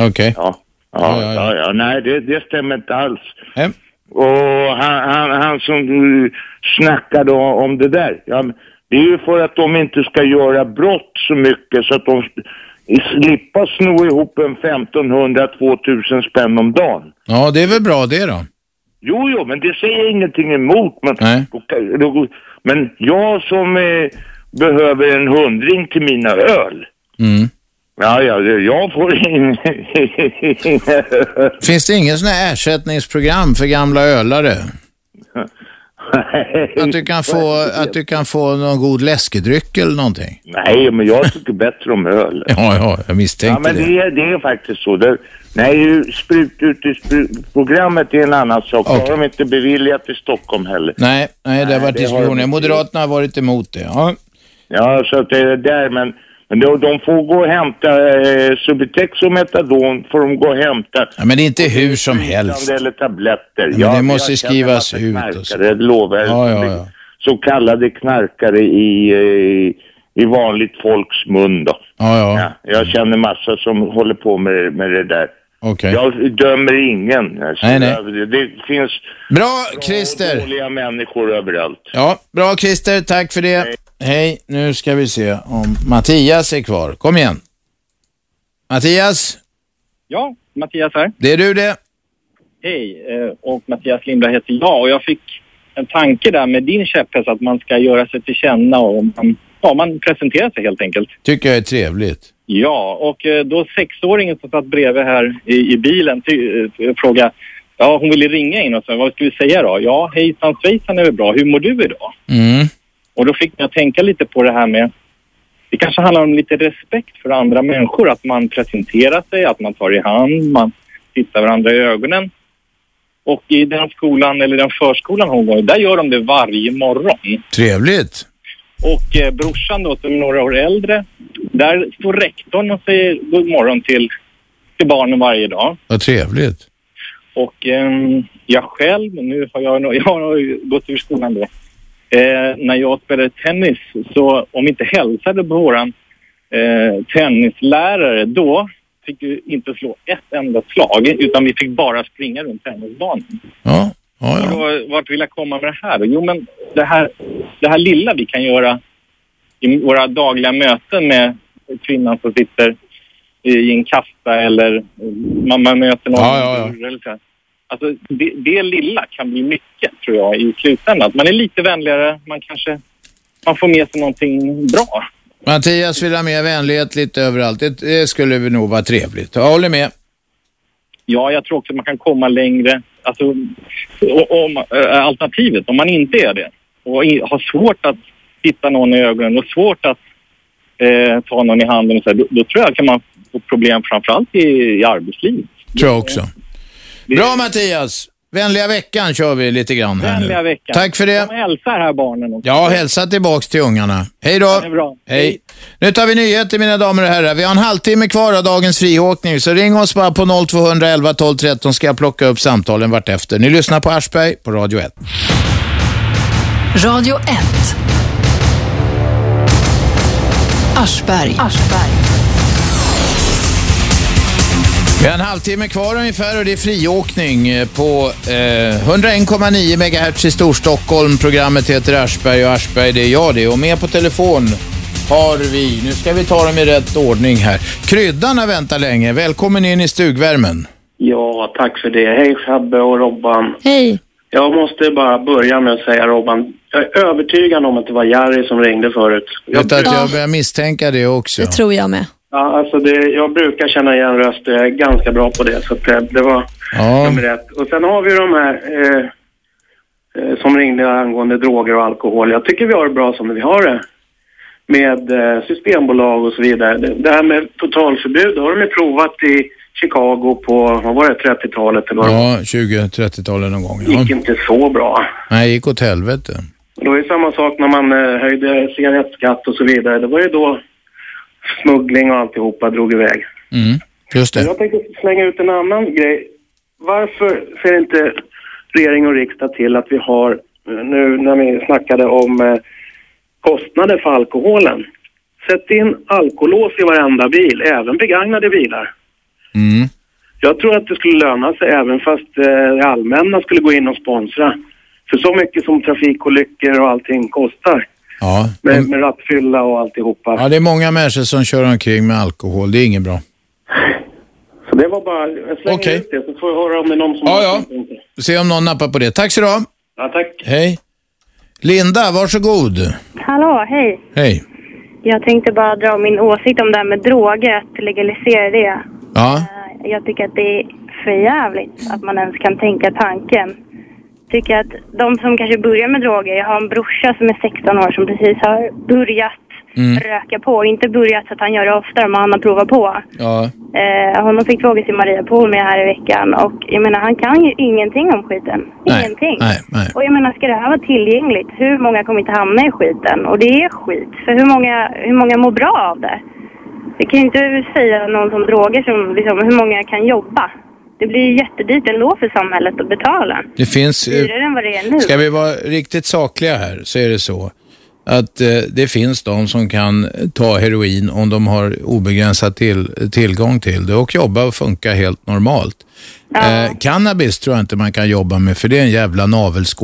Okej. Ja. Ja, ja, ja. Nej, det, det stämmer inte alls. Nej. Och han, han, han som du snackade o- om det där. Ja, men det är ju för att de inte ska göra brott så mycket så att de s- slipper sno ihop en 1500-2000 spänn om dagen. Ja, det är väl bra det då. Jo, jo, men det säger jag ingenting emot. Men, då kan- då, men jag som eh, behöver en hundring till mina öl. Mm. Ja, ja, jag får <laughs> in... Finns det ingen sån här ersättningsprogram för gamla <laughs> ölare? Att du kan få, att du kan få någon god läskedryck eller någonting? Nej, men jag tycker bättre om öl. Ja, ja, jag misstänkte Ja, men det är, det är faktiskt så. Det, nej, ju sprututbytesprogrammet är en annan sak. Det har de inte beviljat i Stockholm heller. Nej, nej, det har varit det har de diskussioner. inte. Moderaterna har varit emot det. Ja. Ja, så att det är där, men, men de, de får gå och hämta eh, Subutex och Metadon får de gå och hämta. Ja, men det är inte hur som helst. Eller tabletter. men det måste jag känner skrivas en massa ut och så. Knarkare, lovar jag. Ja, ja, ja. Så kallade knarkare i, eh, i vanligt folks mun då. Ja, ja. Jag känner massa som håller på med, med det där. Okej. Jag dömer ingen. Alltså, Nej, nej. Jag- Det, det finns bra, Christer. dåliga människor överallt. Ja, bra Christer, tack för det. Hej. nu ska vi se om Mattias är kvar. Kom igen. Mattias, Ja, Mattias här. det är du det. Hej, eh, och Mattias Lindberg heter jag och jag fick en tanke där med din käpphäst att man ska göra sig till känna och man, ja, man presenterar sig helt enkelt. Tycker jag är trevligt. Ja, och eh, då sexåringen som satt bredvid här i, i bilen ty, eh, frågade Ja, hon ville ringa in och så, vad ska vi säga då? Ja, hejsan svejsan är väl bra. Hur mår du idag? Mm. Och då fick jag tänka lite på det här med... Det kanske handlar om lite respekt för andra människor. Att man presenterar sig, att man tar i hand, man tittar varandra i ögonen. Och i den skolan, eller den förskolan hon går i, där gör de det varje morgon. Trevligt. Och eh, brorsan då, som är några år äldre, där står rektorn och säger god morgon till, till barnen varje dag. Vad trevligt. Och ehm, jag själv, nu har jag, nog- <laughs> jag har ju gått ur skolan då. Eh, när jag spelade tennis, så om vi inte hälsade på våran eh, tennislärare då fick vi inte slå ett enda slag, utan vi fick bara springa runt tennisbanan. Och då, vart vill jag komma med det här? då? Jo, men det här, det här lilla vi kan göra i våra dagliga möten med kvinnan som sitter i en kassa eller man, man möter någon. Eller så här. Alltså, det, det lilla kan bli mycket tror jag i slutändan. Att man är lite vänligare, man kanske man får med sig någonting bra. Mattias vill ha med vänlighet lite överallt. Det, det skulle väl nog vara trevligt. Jag håller med. Ja, jag tror också att man kan komma längre. Alltså, o- om, eh, alternativet, om man inte är det och i, har svårt att titta någon i ögonen och svårt att eh, ta någon i handen, och så här, då, då tror jag kan man få problem framförallt i, i arbetslivet. Tror jag också. Bra Mattias! Vänliga veckan kör vi lite grann här Vänliga nu. veckan. Tack för det. De hälsar här barnen också. Ja, hälsa tillbaks till ungarna. Hej då! Det är bra. Hej. Nu tar vi nyheter mina damer och herrar. Vi har en halvtimme kvar av dagens friåkning, så ring oss bara på 0211 12 13 ska jag plocka upp samtalen vartefter. Ni lyssnar på Aschberg på Radio 1. Radio 1. Aschberg. Vi har en halvtimme kvar ungefär och det är friåkning eh, på eh, 101,9 MHz i Storstockholm. Programmet heter Aschberg och Aschberg det är jag det. Och med på telefon har vi, nu ska vi ta dem i rätt ordning här. Kryddan har väntat länge. Välkommen in i stugvärmen. Ja, tack för det. Hej Schabbe och Robban. Hej. Jag måste bara börja med att säga Robban, jag är övertygad om att det var Jari som ringde förut. Vet att jag börjar misstänka det också. Det tror jag med. Ja, alltså det, jag brukar känna igen röster, jag är ganska bra på det. Så att eh, det, det var Ja. nummer ett. Och sen har vi ju de här eh, eh, som ringde angående droger och alkohol. Jag tycker vi har det bra som vi har det. Med eh, systembolag och så vidare. Det, det här med totalförbud, det har de ju provat i Chicago på, vad var det, 30-talet eller vad det var? Ja, 20-30-talet någon gång. gick inte så bra. Nej, gick åt helvete. Och Det var ju samma sak när man eh, höjde cigarettskatt och så vidare. Det var ju då smuggling och alltihopa drog iväg. Mm, just Men Jag det. tänkte slänga ut en annan grej. Varför ser inte regering och riksdag till att vi har, eh, nu när vi snackade om eh, kostnader för alkoholen, sätt in alkolås i varenda bil, även begagnade bilar. Mm. Jag tror att det skulle löna sig även fast eh, det allmänna skulle gå in och sponsra. För så mycket som trafikolyckor och allting kostar Ja. med, med rattfylla och alltihopa. Mm. ja, det är många människor som kör omkring med alkohol. Det är inget bra. Så det var bara, jag slänger ut det så får jag höra om det är någon som Ja, har ja. synpunkter. Se om någon nappar på det. Tack så du ha. ja, tack. Hej. Linda, varsågod. Hallå, hej. Hej. Jag tänkte bara dra min åsikt om det här med droger, att legalisera det. Ja, Jag tycker att det är för jävligt att man ens kan tänka tanken. Tycker att de som kanske börjar med droger, jag har en brorsa som är 16 år som precis har börjat Mm. röka på. Inte börjat så att han gör det oftare, men han har provat på. Ja. Eh, honom fick fråga till Maria Pool med här i veckan och jag menar han kan ju ingenting om skiten. ingenting. Nej, nej. Och jag menar ska det här vara tillgängligt? Hur många kommer inte hamna i skiten? Och det är skit. För hur många, hur många mår bra av det? Vi kan ju inte säga någon som droger som liksom, hur många kan jobba. Det blir ju jättedyrt ändå för samhället att betala. Det finns... eh, Dyrare än vad det är nu. Ska vi vara riktigt sakliga här så är det så att eh, det finns de som kan eh, ta heroin om de har obegränsad till, tillgång till det och jobba och funka helt normalt. Eh, cannabis tror jag inte man kan jobba med för det är en jävla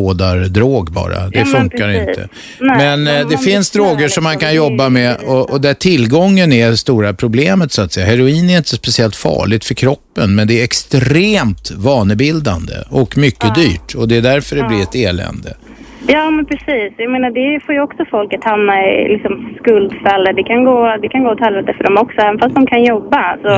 navelskådardrog bara. Det Ja, men funkar precis. inte. Nej, men eh, det finns droger som man kan jobba med och, och där tillgången är det stora problemet så att säga. Heroin är inte speciellt farligt för kroppen men det är extremt vanebildande och mycket dyrt och det är därför det blir ett elände. Ja, men precis. Jag menar, det får ju också folk att hamna i liksom, skuldfällor. Det kan, gå, det kan gå åt helvete för dem också, även fast de kan jobba. Så,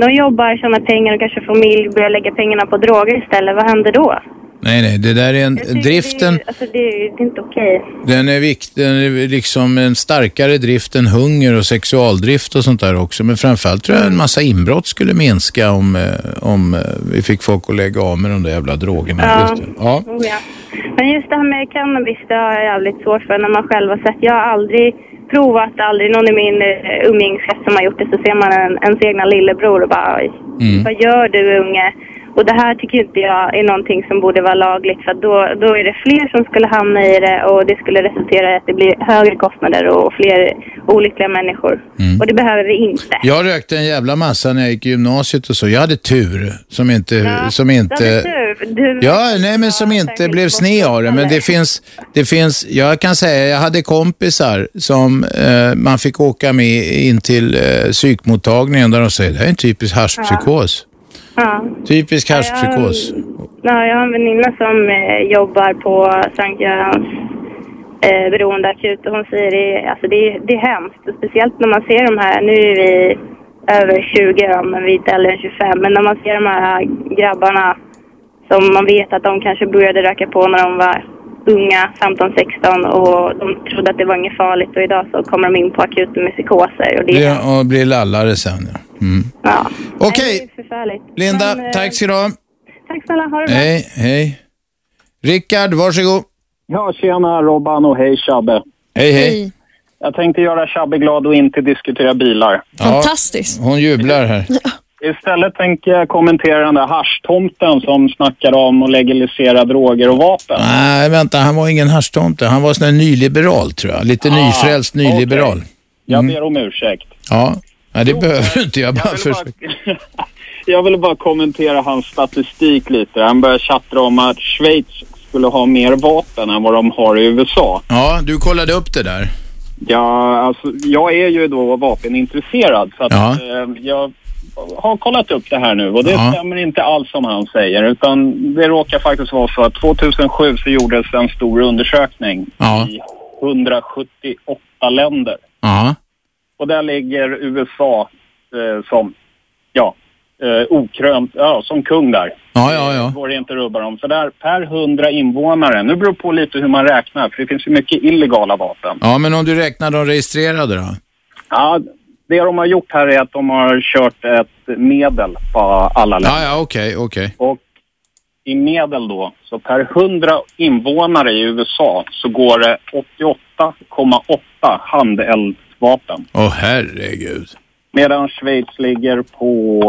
De jobbar, tjänar pengar och kanske familj, börjar lägga pengarna på droger istället. Vad händer då? Nej, nej, det där är en... Driften, Alltså, det, är- det är inte okej. den är, vikt, den är liksom en starkare drift än hunger och sexualdrift och sånt där också. Men framförallt tror jag en massa inbrott skulle minska om, eh, om eh, vi fick folk att lägga av med de där jävla drogerna. Ja. Just det. ja. Oh, ja. Men just det här med cannabis, det har jag jävligt svårt för när man själv har sett. Jag har aldrig provat, aldrig någon i min eh, umgängeskrets som har gjort det. Så ser man en, ens egna lillebror och bara, "Oj, Mm. vad gör du unge? Och det här tycker inte jag är någonting som borde vara lagligt för att då, då är det fler som skulle hamna i det och det skulle resultera i att det blir högre kostnader och fler olyckliga människor. Mm. Och det behöver vi inte. Jag rökte en jävla massa när jag gick i gymnasiet och så. Jag hade tur som inte... som inte Du, du, Ja, nej men som inte blev sne av det. Men det finns, det finns, jag kan säga, jag hade kompisar som eh, man fick åka med in till eh, psykmottagningen där de säger det här är en typisk haschpsykos. ja. Typisk Ja, jag- haschpsykos. Ja, jag har en väninna som eh, jobbar på Sankt Görans eh, beroendeakut och hon säger det, alltså det, det är hemskt. Och Speciellt när man ser de här, nu är vi över 20 då, men vi är inte äldre än 25. Men när man ser de här grabbarna som man vet att de kanske började röka på när de var unga, 15-16 och de trodde att det var inget farligt och idag så kommer de in på akuten med psykoser. Och det, Blir- och blir lallare sen. ja. Mm. ja. Okej. Nej, det är förfärligt. Linda, Men, eh, tack ska du ha. Tack snälla, ha det bra. Hej, hej. Rickard, varsågod. Ja, tjena Robban och hej Chabbe. Hej, hej. Jag tänkte göra Chabbe glad och inte diskutera bilar. Fantastiskt. Hon jublar här. Istället tänker jag kommentera den där haschtomten som snackar om att legalisera droger och vapen. Nej, vänta, han var ingen haschtomte. Han var sån här nyliberal tror jag. Ah, Lite nyfrälst nyliberal. Jag Mm. ber om ursäkt. Ja, Nej, det behöver du inte. Jag bara försöker. <laughs> Jag ville bara kommentera hans statistik lite. Han börjar tjattra om att Schweiz skulle ha mer vapen än vad de har i USA. Ja, du kollade upp det där. Ja, alltså, jag är ju då vapenintresserad så att, Ja. eh, jag har kollat upp det här nu och det Ja. stämmer inte alls som han säger utan det råkar faktiskt vara så att 2007 så gjordes en stor undersökning Ja. i 178 länder Ja. och där ligger USA eh, som, ja, eh, okrönt, ja, som kung där. Ja, ja, Det ja. går inte att rubba dem. För där, per 100 invånare, nu beror det på lite hur man räknar, för det finns ju mycket illegala vapen. Ja, men om du räknar de registrerade då? Ja, det de har gjort här är att de har kört ett medel på alla Ja, länder. ja, okej, okej. Och i medel då, så per 100 invånare i USA så går det 88,8 handeldvapen. Åh, herregud. Medan Schweiz ligger på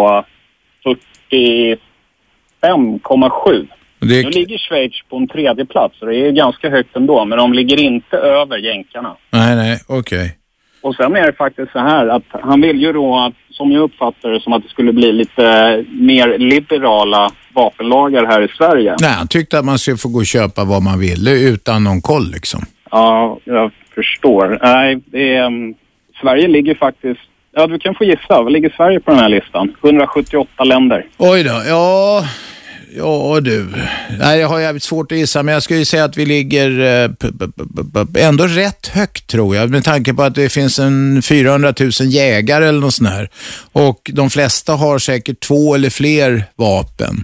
45,7. Det- Nu ligger Schweiz på en tredje plats så det är ganska högt ändå, men de ligger inte över jänkarna. Nej, nej, okej. Och sen är det faktiskt så här att han vill ju då att, som jag uppfattar det, som att det skulle bli lite mer liberala vapenlagar här i Sverige. Nej, han tyckte att man skulle få gå och köpa vad man ville utan någon koll liksom. Ja, jag förstår. Nej, det är, um, Sverige ligger faktiskt... Ja, du kan få gissa. Vad ligger Sverige på den här listan? 178 länder. Oj då, ja, ja du. Nej, jag har jävligt svårt att gissa, men jag skulle ju säga att vi ligger eh, p- p- p- p- ändå rätt högt tror jag, med tanke på att det finns en 400 000 jägare eller något sånt här. Och de flesta har säkert två eller fler vapen.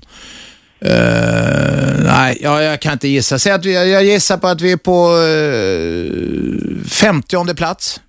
Eh, nej, ja, jag kan inte gissa. Säg att vi, jag gissar på att vi är på uh, 50 plats.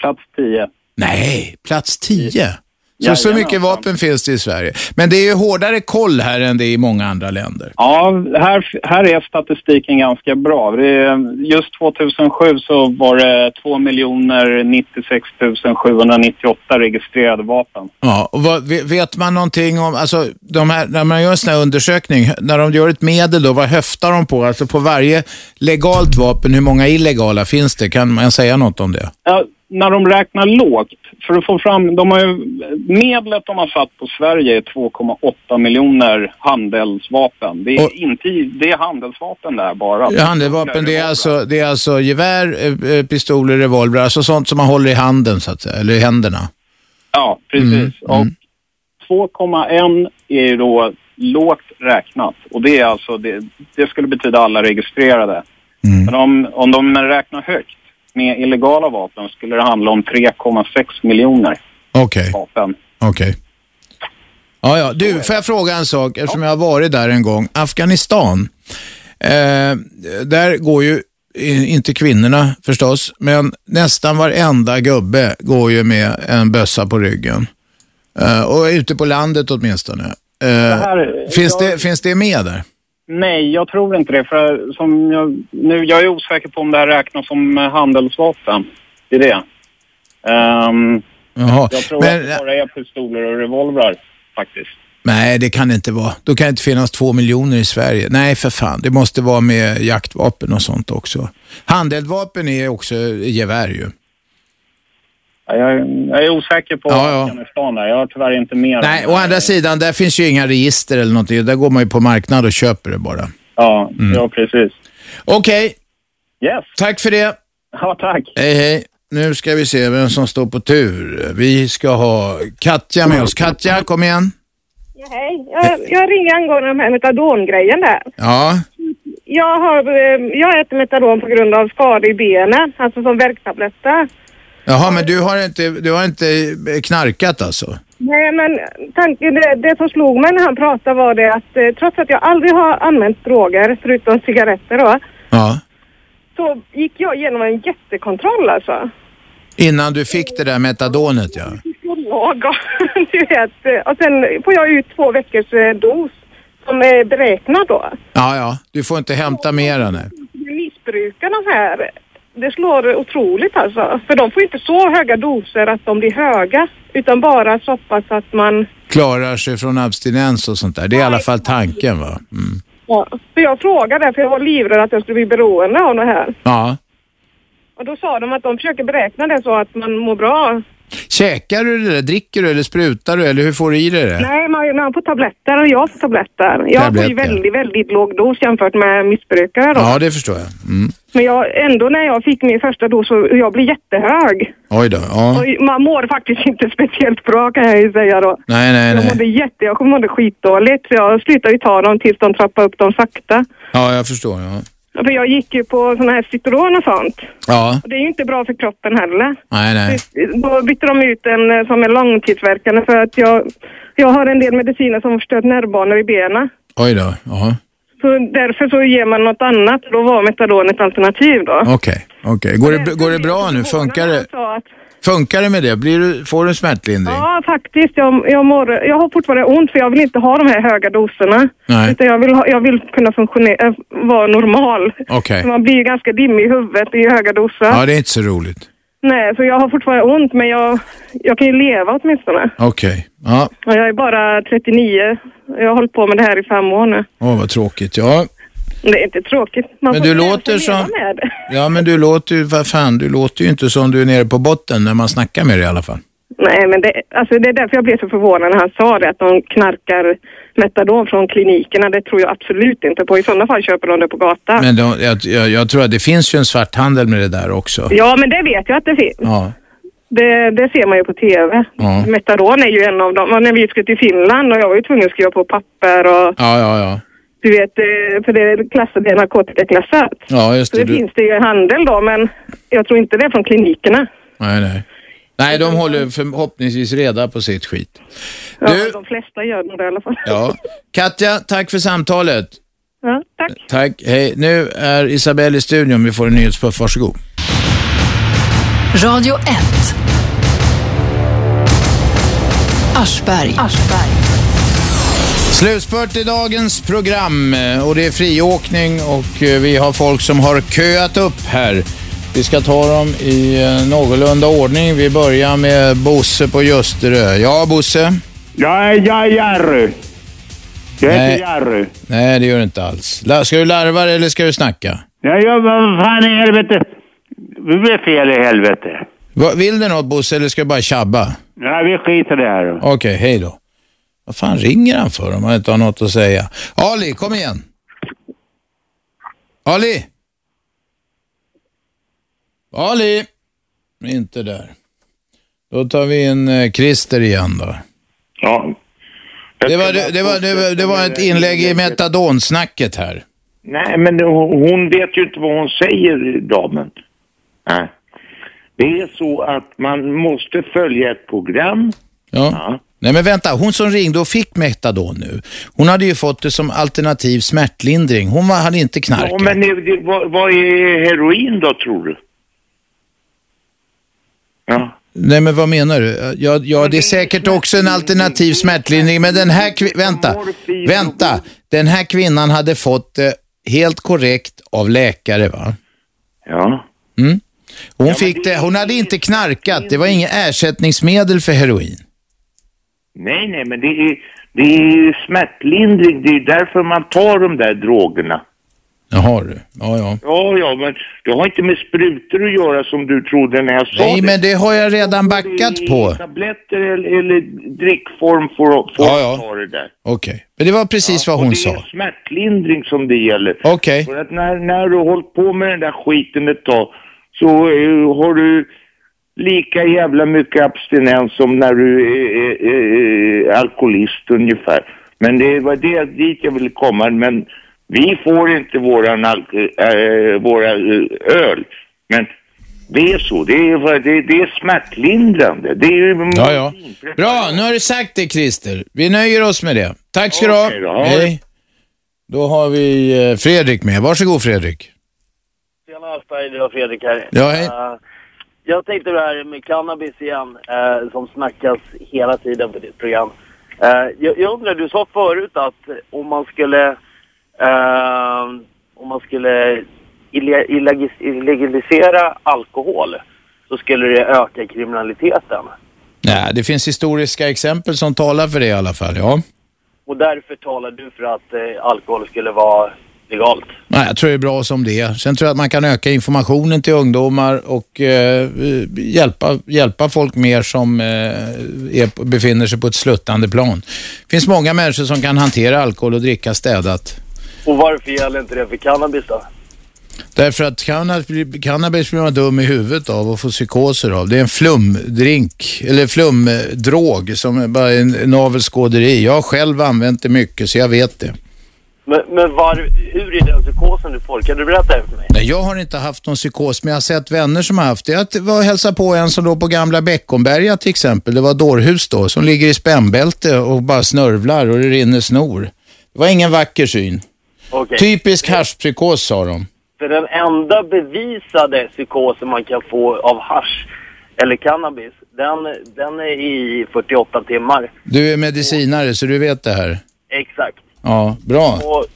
Plats 10. Nej, plats 10. Så, så Jajamensan. mycket vapen finns det i Sverige. Men det är ju hårdare koll här än det är i många andra länder. Ja, här, här är statistiken ganska bra. Det är, mm, just 2007 så var det 2 096 798 registrerade vapen. Ja, och vad, ve- vet man någonting om, alltså de här, när man gör en sån här undersökning, när de gör ett medel då, vad höftar de på? Alltså på varje legalt vapen, hur många illegala finns det? Kan man säga något om det? Ja, när de räknar lågt, för att få fram, de har ju, medlet de har satt på Sverige är 2,8 miljoner handelsvapen. Det är, inte, det är handelsvapen där bara. Handeldvapen, det är alltså, det är alltså gevär, eh, eh, pistoler, revolver, alltså sånt som man håller i handen så att säga, eller i händerna. Ja, precis. Mm, mm. 2,1 är ju då lågt räknat och det är alltså, det, det skulle betyda alla registrerade. Mm. Men om, om de räknar högt med illegala vapen skulle det handla om 3,6 miljoner Okej, vapen. okej. Ja, ja. Du, får jag fråga en sak eftersom jag har varit där en gång. Afghanistan, eh, där går ju, i- inte kvinnorna förstås, men nästan varenda gubbe går ju med en bössa på ryggen. Eh, och ute på landet åtminstone. Eh, här- finns, jag- det, finns det med där? Nej, jag tror inte det. För som jag, nu, jag är osäker på om det här räknas som eh, handelsvapen. Det är det. Ehm, Jaha. jag tror Men- att det bara är pistoler och revolvrar faktiskt. Nej, det kan det inte vara. Då kan det inte finnas två miljoner i Sverige. Nej, för fan. Det måste vara med jaktvapen och sånt också. Handeldvapen är också gevär ju. Ja, Jag, är- jag är osäker på Ja, ja. Afghanistan där. Jag har tyvärr inte mer. Nej, å andra sidan, där finns ju inga register eller någonting. Där går man ju på marknad och köper det bara. Ja, ja precis. Mm. Okej. Yes. Tack för det. Ja, tack. Hej, hej. Nu ska vi se vem som står på tur. Vi ska ha Katja med oss. Katja, kom igen. Ja, hej. Jag, jag ringer angående de här metadongrejen där. Ja, Jag, har, eh, jag äter metadon på grund av skador i benen, alltså som värktabletter. jaha, men du har inte, du har inte knarkat alltså? Nej, men tanken, det, det som slog mig när han pratade var det att eh, trots att jag aldrig har använt droger, förutom cigaretter då, Ja. så gick jag igenom en jättekontroll alltså. Innan du fick det där metadonet ja. Laga, <laughs> du vet. eh, Och sen får jag ut två veckors eh, dos som är beräknad då. Ja, ja. Du får inte hämta mera nu. Missbrukarna här, det slår otroligt alltså. För de får inte så höga doser att de blir höga, utan bara så pass att man... Klarar sig från abstinens och sånt där. Det är i alla fall tanken va? Mm. Ja. För jag frågade, för jag var livrädd att jag skulle bli beroende av det här. Ja. Och då sa de att de försöker beräkna det så att man mår bra. Käkar du det där? Dricker du eller sprutar du eller hur får du i dig det? Nej, man, man får tabletter och jag får tabletter. Jag får ju Tabletter. väldigt, väldigt låg dos jämfört med missbrukare då. Ja, det förstår jag. Mm. Men jag, ändå när jag fick min första dos så jag blev jättehög. Oj då. Ja. Och man mår faktiskt inte speciellt bra kan jag ju säga då. Nej, nej, Jag nej. mådde jätte, jag mådde skitdåligt. Så jag slutade ju ta dem tills de trappade upp dem sakta. Ja, jag förstår. Ja. För jag gick ju på såna här Citroen och sånt. ja. Och det är ju inte bra för kroppen heller. Nej, nej. Då bytte de ut en eh, som är långtidsverkande för att jag, jag har en del mediciner som har förstört nervbanor i benen. Oj då. Ja. Så därför så ger man något annat. Då var metadon ett alternativ då. Okej. okej. Går, det, går det bra nu? Funkar det, Så att, funkar det med det? Blir du, får du smärtlindring? ja, faktiskt. Jag, jag, mår, jag har fortfarande ont för jag vill inte ha de här höga doserna. Nej. Utan jag vill, ha, jag vill kunna funktionera, äh, vara normal. Okej. För Man blir ju ganska dimmig i huvudet i höga doser. Ja, det är inte så roligt. Nej, så jag har fortfarande ont men jag, jag kan ju leva åtminstone. Okej. Ja. Och jag är bara 39. Jag har hållit på med det här i fem år nu. Åh, vad tråkigt. Ja. Men Det är inte tråkigt. Man Men får du lära sig låter leva som- Med. det. ja, men du låter ju, vad fan, du låter ju inte som du är nere på botten när man snackar med dig i alla fall. Nej, men det, alltså det är därför jag blev så förvånad när han sa det, att de knarkar metadon från klinikerna. Det tror jag absolut inte på. I sådana fall köper de det på gatan. Men då, jag, jag, jag tror att det finns ju en svarthandel med det där också. Ja, men det vet jag att det finns. Ja. Det, det ser man ju på TV. Ja. Metadon är ju en av dem. Och När vi skulle till Finland och jag var ju tvungen att skriva på papper och Ja, ja, ja. du vet, eh, för det är klassat, det är narkotikaklassat. Ja, just Så det. det Du, finns det ju i handel då, men jag tror inte det är från klinikerna. nej, nej. Nej, de håller förhoppningsvis reda på sitt skit. Ja, Du- De flesta gör nog det i alla fall. Ja. Katja, tack för samtalet. Ja, tack. Tack. Hej. Nu är Isabelle i studion. Vi får en nyhetspuff. Varsågod. Radio 1. Aschberg. Slutspurt i dagens program eh, och det är friåkning och eh, vi har folk som har köat upp här. Vi ska ta dem i eh, någorlunda ordning. Vi börjar med Bosse på Ljusterö. Ja, Bosse? Ja, ja, Jerry. Jag heter Nej. Jerry. Nej, det gör du inte alls. La- Ska du larva dig eller ska du snacka? Ja, ja, vad fan i helvete. Det blev fel i helvete. Va- Vill du något Bosse eller ska du bara tjabba? Nej, vi skiter i det här. Okej, hej då. Vad fan ringer han för om han inte har något att säga? Ali, kom igen. Ali! Ali! Inte där. Då tar vi in eh, Christer igen då. Ja. Det var, det, det, var, det, var, det var ett inlägg i metadonsnacket här. Nej, men hon hon vet ju inte vad hon säger, damen. Nej. Det är så att man måste följa ett program. Ja. Nej men vänta, hon som ringde och fick metadon nu, hon hade ju fått det som alternativ smärtlindring. Hon var, hade inte knarkat. Ja, men det, det, vad, vad är heroin då, tror du? Nej men vad menar du? Ja, ja det är säkert också en alternativ smärtlindring, men den här kvinnan, vänta, vänta, den här kvinnan hade fått det helt korrekt av läkare va? Ja. Mm. Hon fick det, hon hade inte knarkat, det var inget ersättningsmedel för heroin. Nej, nej, men det är, Det är ju smärtlindring, det är ju därför man tar de där drogerna. Jaha du. Ja, ja. Ja, ja, men det har inte med sprutor att göra som du trodde när jag sa Nej, det. men det har jag redan backat på. Tabletter eller, eller drickform får, får Ja, ja. ta det där. Okej. Men det var precis vad hon sa. Smärtlindring som det gäller. Okej. För att när, när du har hållit på med den där skiten ett tag så eh, har du lika jävla mycket abstinens som när du är, är, är, är alkoholist ungefär. Men det var det, dit jag ville komma. Men vi får inte våran alk- eh, våra eh, öl. Men det är så. Det är, vad- det, det är smärtlindrande. Det är ju... Ja, ja. Bra, nu har du sagt det Christer. Vi nöjer oss med det. Tack ska du ha. Okej då, ha det. Hej. Då har vi eh, Fredrik med. Varsågod Fredrik. Tjena Aschberg, det var Fredrik här. Ja, hej. Eh, jag tänkte på det här med cannabis igen, eh, som snackas hela tiden på ditt program. Eh, jag, jag undrar, du sa förut att om man skulle, eh, om man skulle ille- illegis- illegalisera alkohol så skulle det öka kriminaliteten. Nej, det finns historiska exempel som talar för det i alla fall. Ja. Och därför talar du för att eh, alkohol skulle vara legalt. Nej, jag tror det är bra som det är. Sen tror jag att man kan öka informationen till ungdomar och eh, hjälpa, hjälpa folk mer som eh, är, befinner sig på ett sluttande plan. Det finns många människor som kan hantera alkohol och dricka städat. Och varför gäller inte det för cannabis då? Därför att cannabis, cannabis blir man dum i huvudet av och får psykoser av. Det är en flumdrink, eller flumdrog som är bara en navelskåderi. Jag har själv använt det mycket så jag vet det. Men, men var, hur är den psykosen du får? Kan du berätta det för mig? Nej, jag har inte haft någon psykos, men jag har sett vänner som har haft det. Jag var och hälsade på en som låg på gamla Beckomberga till exempel. Det var dårhus då, som ligger i spännbälte och bara snörvlar och det rinner snor. Det var ingen vacker syn. Okej. Typisk haschpsykos sa de. För den enda bevisade psykosen man kan få av hasch eller cannabis, den, den är i 48 timmar. Du är medicinare så du vet det här. Exakt. Ja, bra. Och,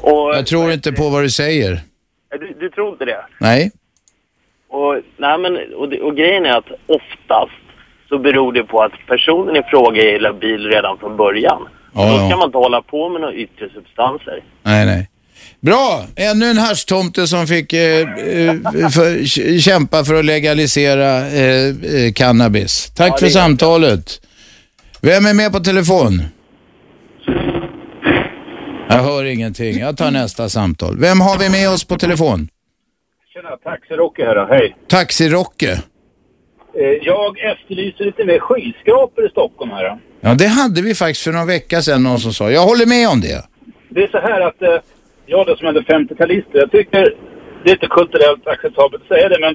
och, Jag tror inte på vad du säger. eh, du, du tror inte det? Nej. Och, nej men, och, det- och grejen är att oftast så beror det på att personen i fråga är labil redan från början. Ja, Då ja. ska man inte hålla på med några yttre substanser. Nej, nej. Bra! Ännu en haschtomte som fick eh, eh, för, k- kämpa för att legalisera eh, eh, cannabis. Tack Ja, för det är- samtalet. Vem är med på telefon? Jag hör ingenting. Jag tar nästa samtal. Vem har vi med oss på telefon? Tjena, taxirocke här då. Hej. Taxi-Rocke. Eh, Jag efterlyser lite mer skyskrapor i Stockholm här. Då. Ja, det hade vi faktiskt för någon vecka sedan någon som sa. Jag håller med om det. Det är så här att eh, jag då som ändå 50-talist, jag tycker det är inte kulturellt acceptabelt att säga det, men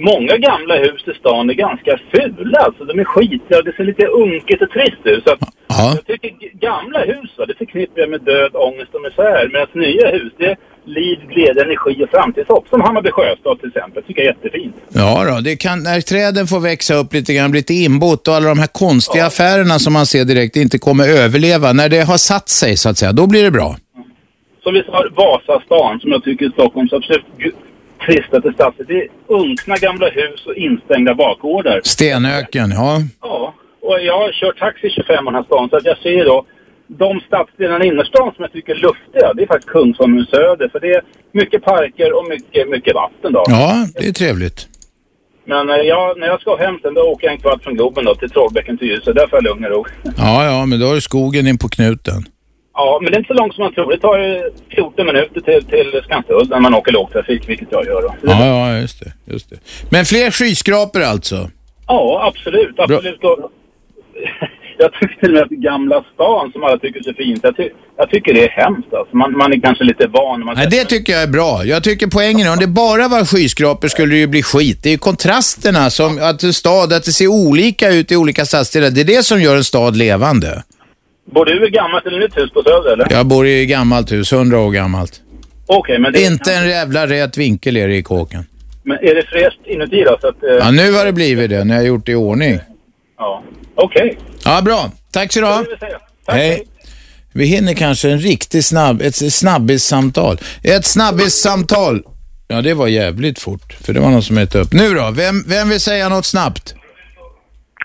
många gamla hus i stan är ganska fula. Alltså de är skitiga och det ser lite unket och trist ut. Så att Jag tycker g- gamla hus, va, det förknippar jag med död, ångest och misär. Medan nya hus, det är liv, glädje, energi och framtidshopp. Som Hammarby Sjöstad till exempel, tycker jag är jättefint. Ja då, det kan, när träden får växa upp lite grann, bli lite inbott och alla de här konstiga affärerna som man ser direkt inte kommer överleva, när det har satt sig så att säga, då blir det bra. som vi sa, Vasastan, som jag tycker är Stockholms absolut gu- tristaste stadsdel. Det är unkna gamla hus och instängda bakgårdar. Stenöken, ja. Ja, och jag har kört taxi i 25 år i den här stan, så att jag ser då de stadsdelarna i innerstan som jag tycker är luftiga, det är faktiskt Kungsholmen och Söder. För det är mycket parker och mycket, mycket vatten då. Ja, det är trevligt. Men eh, jag, när jag ska hem sen, då åker jag en kvart från Globen då till Trollbäcken till Ljuset. Där får jag lugn och ro. Ja, ja, men då har du skogen in på knuten. Ja, men det är inte så långt som man tror. Det tar ju 14 minuter till, till Skanstull när man åker lågtrafik, vilket jag gör då. Ja, ja, just det. Just det. Men fler skyskrapor alltså? Ja, absolut. absolut. Och, <laughs> jag tycker till och med att Gamla stan, som alla tycker är så fint, jag, ty- jag tycker det är hemskt. Alltså. Man, man är kanske lite van. när Man Nej, det tycker jag är bra. Jag tycker poängen är, om det bara var skyskrapor skulle det ju bli skit. Det är ju kontrasterna, som att en stad, att det ser olika ut i olika stadsdelar, det är det som gör en stad levande. Bor du i gammalt eller nytt hus på Söder, eller? Jag bor i gammalt hus, hundra år gammalt. Okej, men, det, Inte en jävla rät vinkel är det i kåken. men är det fräscht inuti då? Så att, eh, Ja, nu har det blivit det, när jag har gjort det i ordning. ja. Okej. Ja, bra. Tack så du ha. Hej. Vi hinner kanske en riktig snabb, ett snabbissamtal. Ett snabbissamtal. Ja, det var jävligt fort, för det var någon som hette upp. Nu då, vem, vem vill säga något snabbt?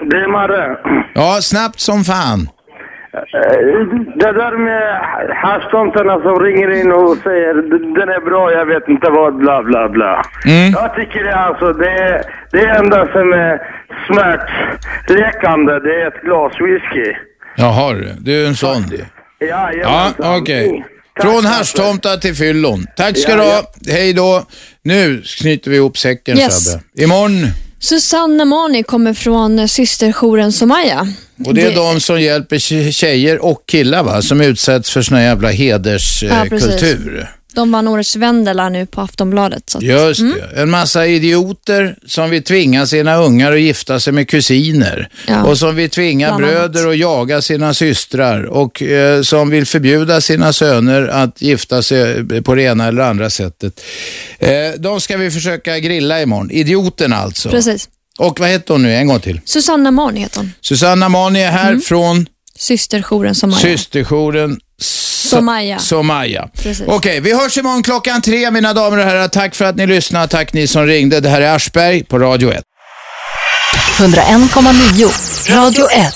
Det är Marre. Ja, snabbt som fan. Eh, Det där med haschtomtarna som ringer in och säger den är bra, jag vet inte vad, bla bla bla. Mm. Jag tycker det alltså, det, är- det enda som är smärtläkande, det är ett glas whisky. Jaha du, du är en sån du. Ja, Ja, okej. Från haschtomta till fyllon. Tack ska du ha. Hej då. Nu knyter vi ihop säcken Yes. Sebbe. Imorgon. Susanna Mani kommer från eh, systerjouren Somaya. Och det är de som hjälper tje- tjejer och killar va, som utsätts för sån här jävla eh, Ja, precis. hederskultur. De vann Årets Vendela nu på Aftonbladet. Så. att- Just det. En massa idioter som vill tvinga sina ungar att gifta sig med kusiner. Ja. Och som vill tvinga Bland annat. bröder att jaga sina systrar. Och eh, som vill förbjuda sina söner att gifta sig eh, på det ena eller andra sättet. Eh, de ska vi försöka grilla imorgon. Idioterna alltså. Precis. Och vad heter hon nu en gång till? Susanna Mani heter hon. Susanna Mani är Mm. här från Systerjouren Somaya. systerjouren Somaya. Somaya. Precis. Okej, vi hörs imorgon klockan tre mina damer och herrar. Tack för att ni lyssnade. Tack ni som ringde. Det här är Aschberg på Radio 1. 101,9. Radio 1.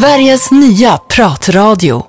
Sveriges nya pratradio.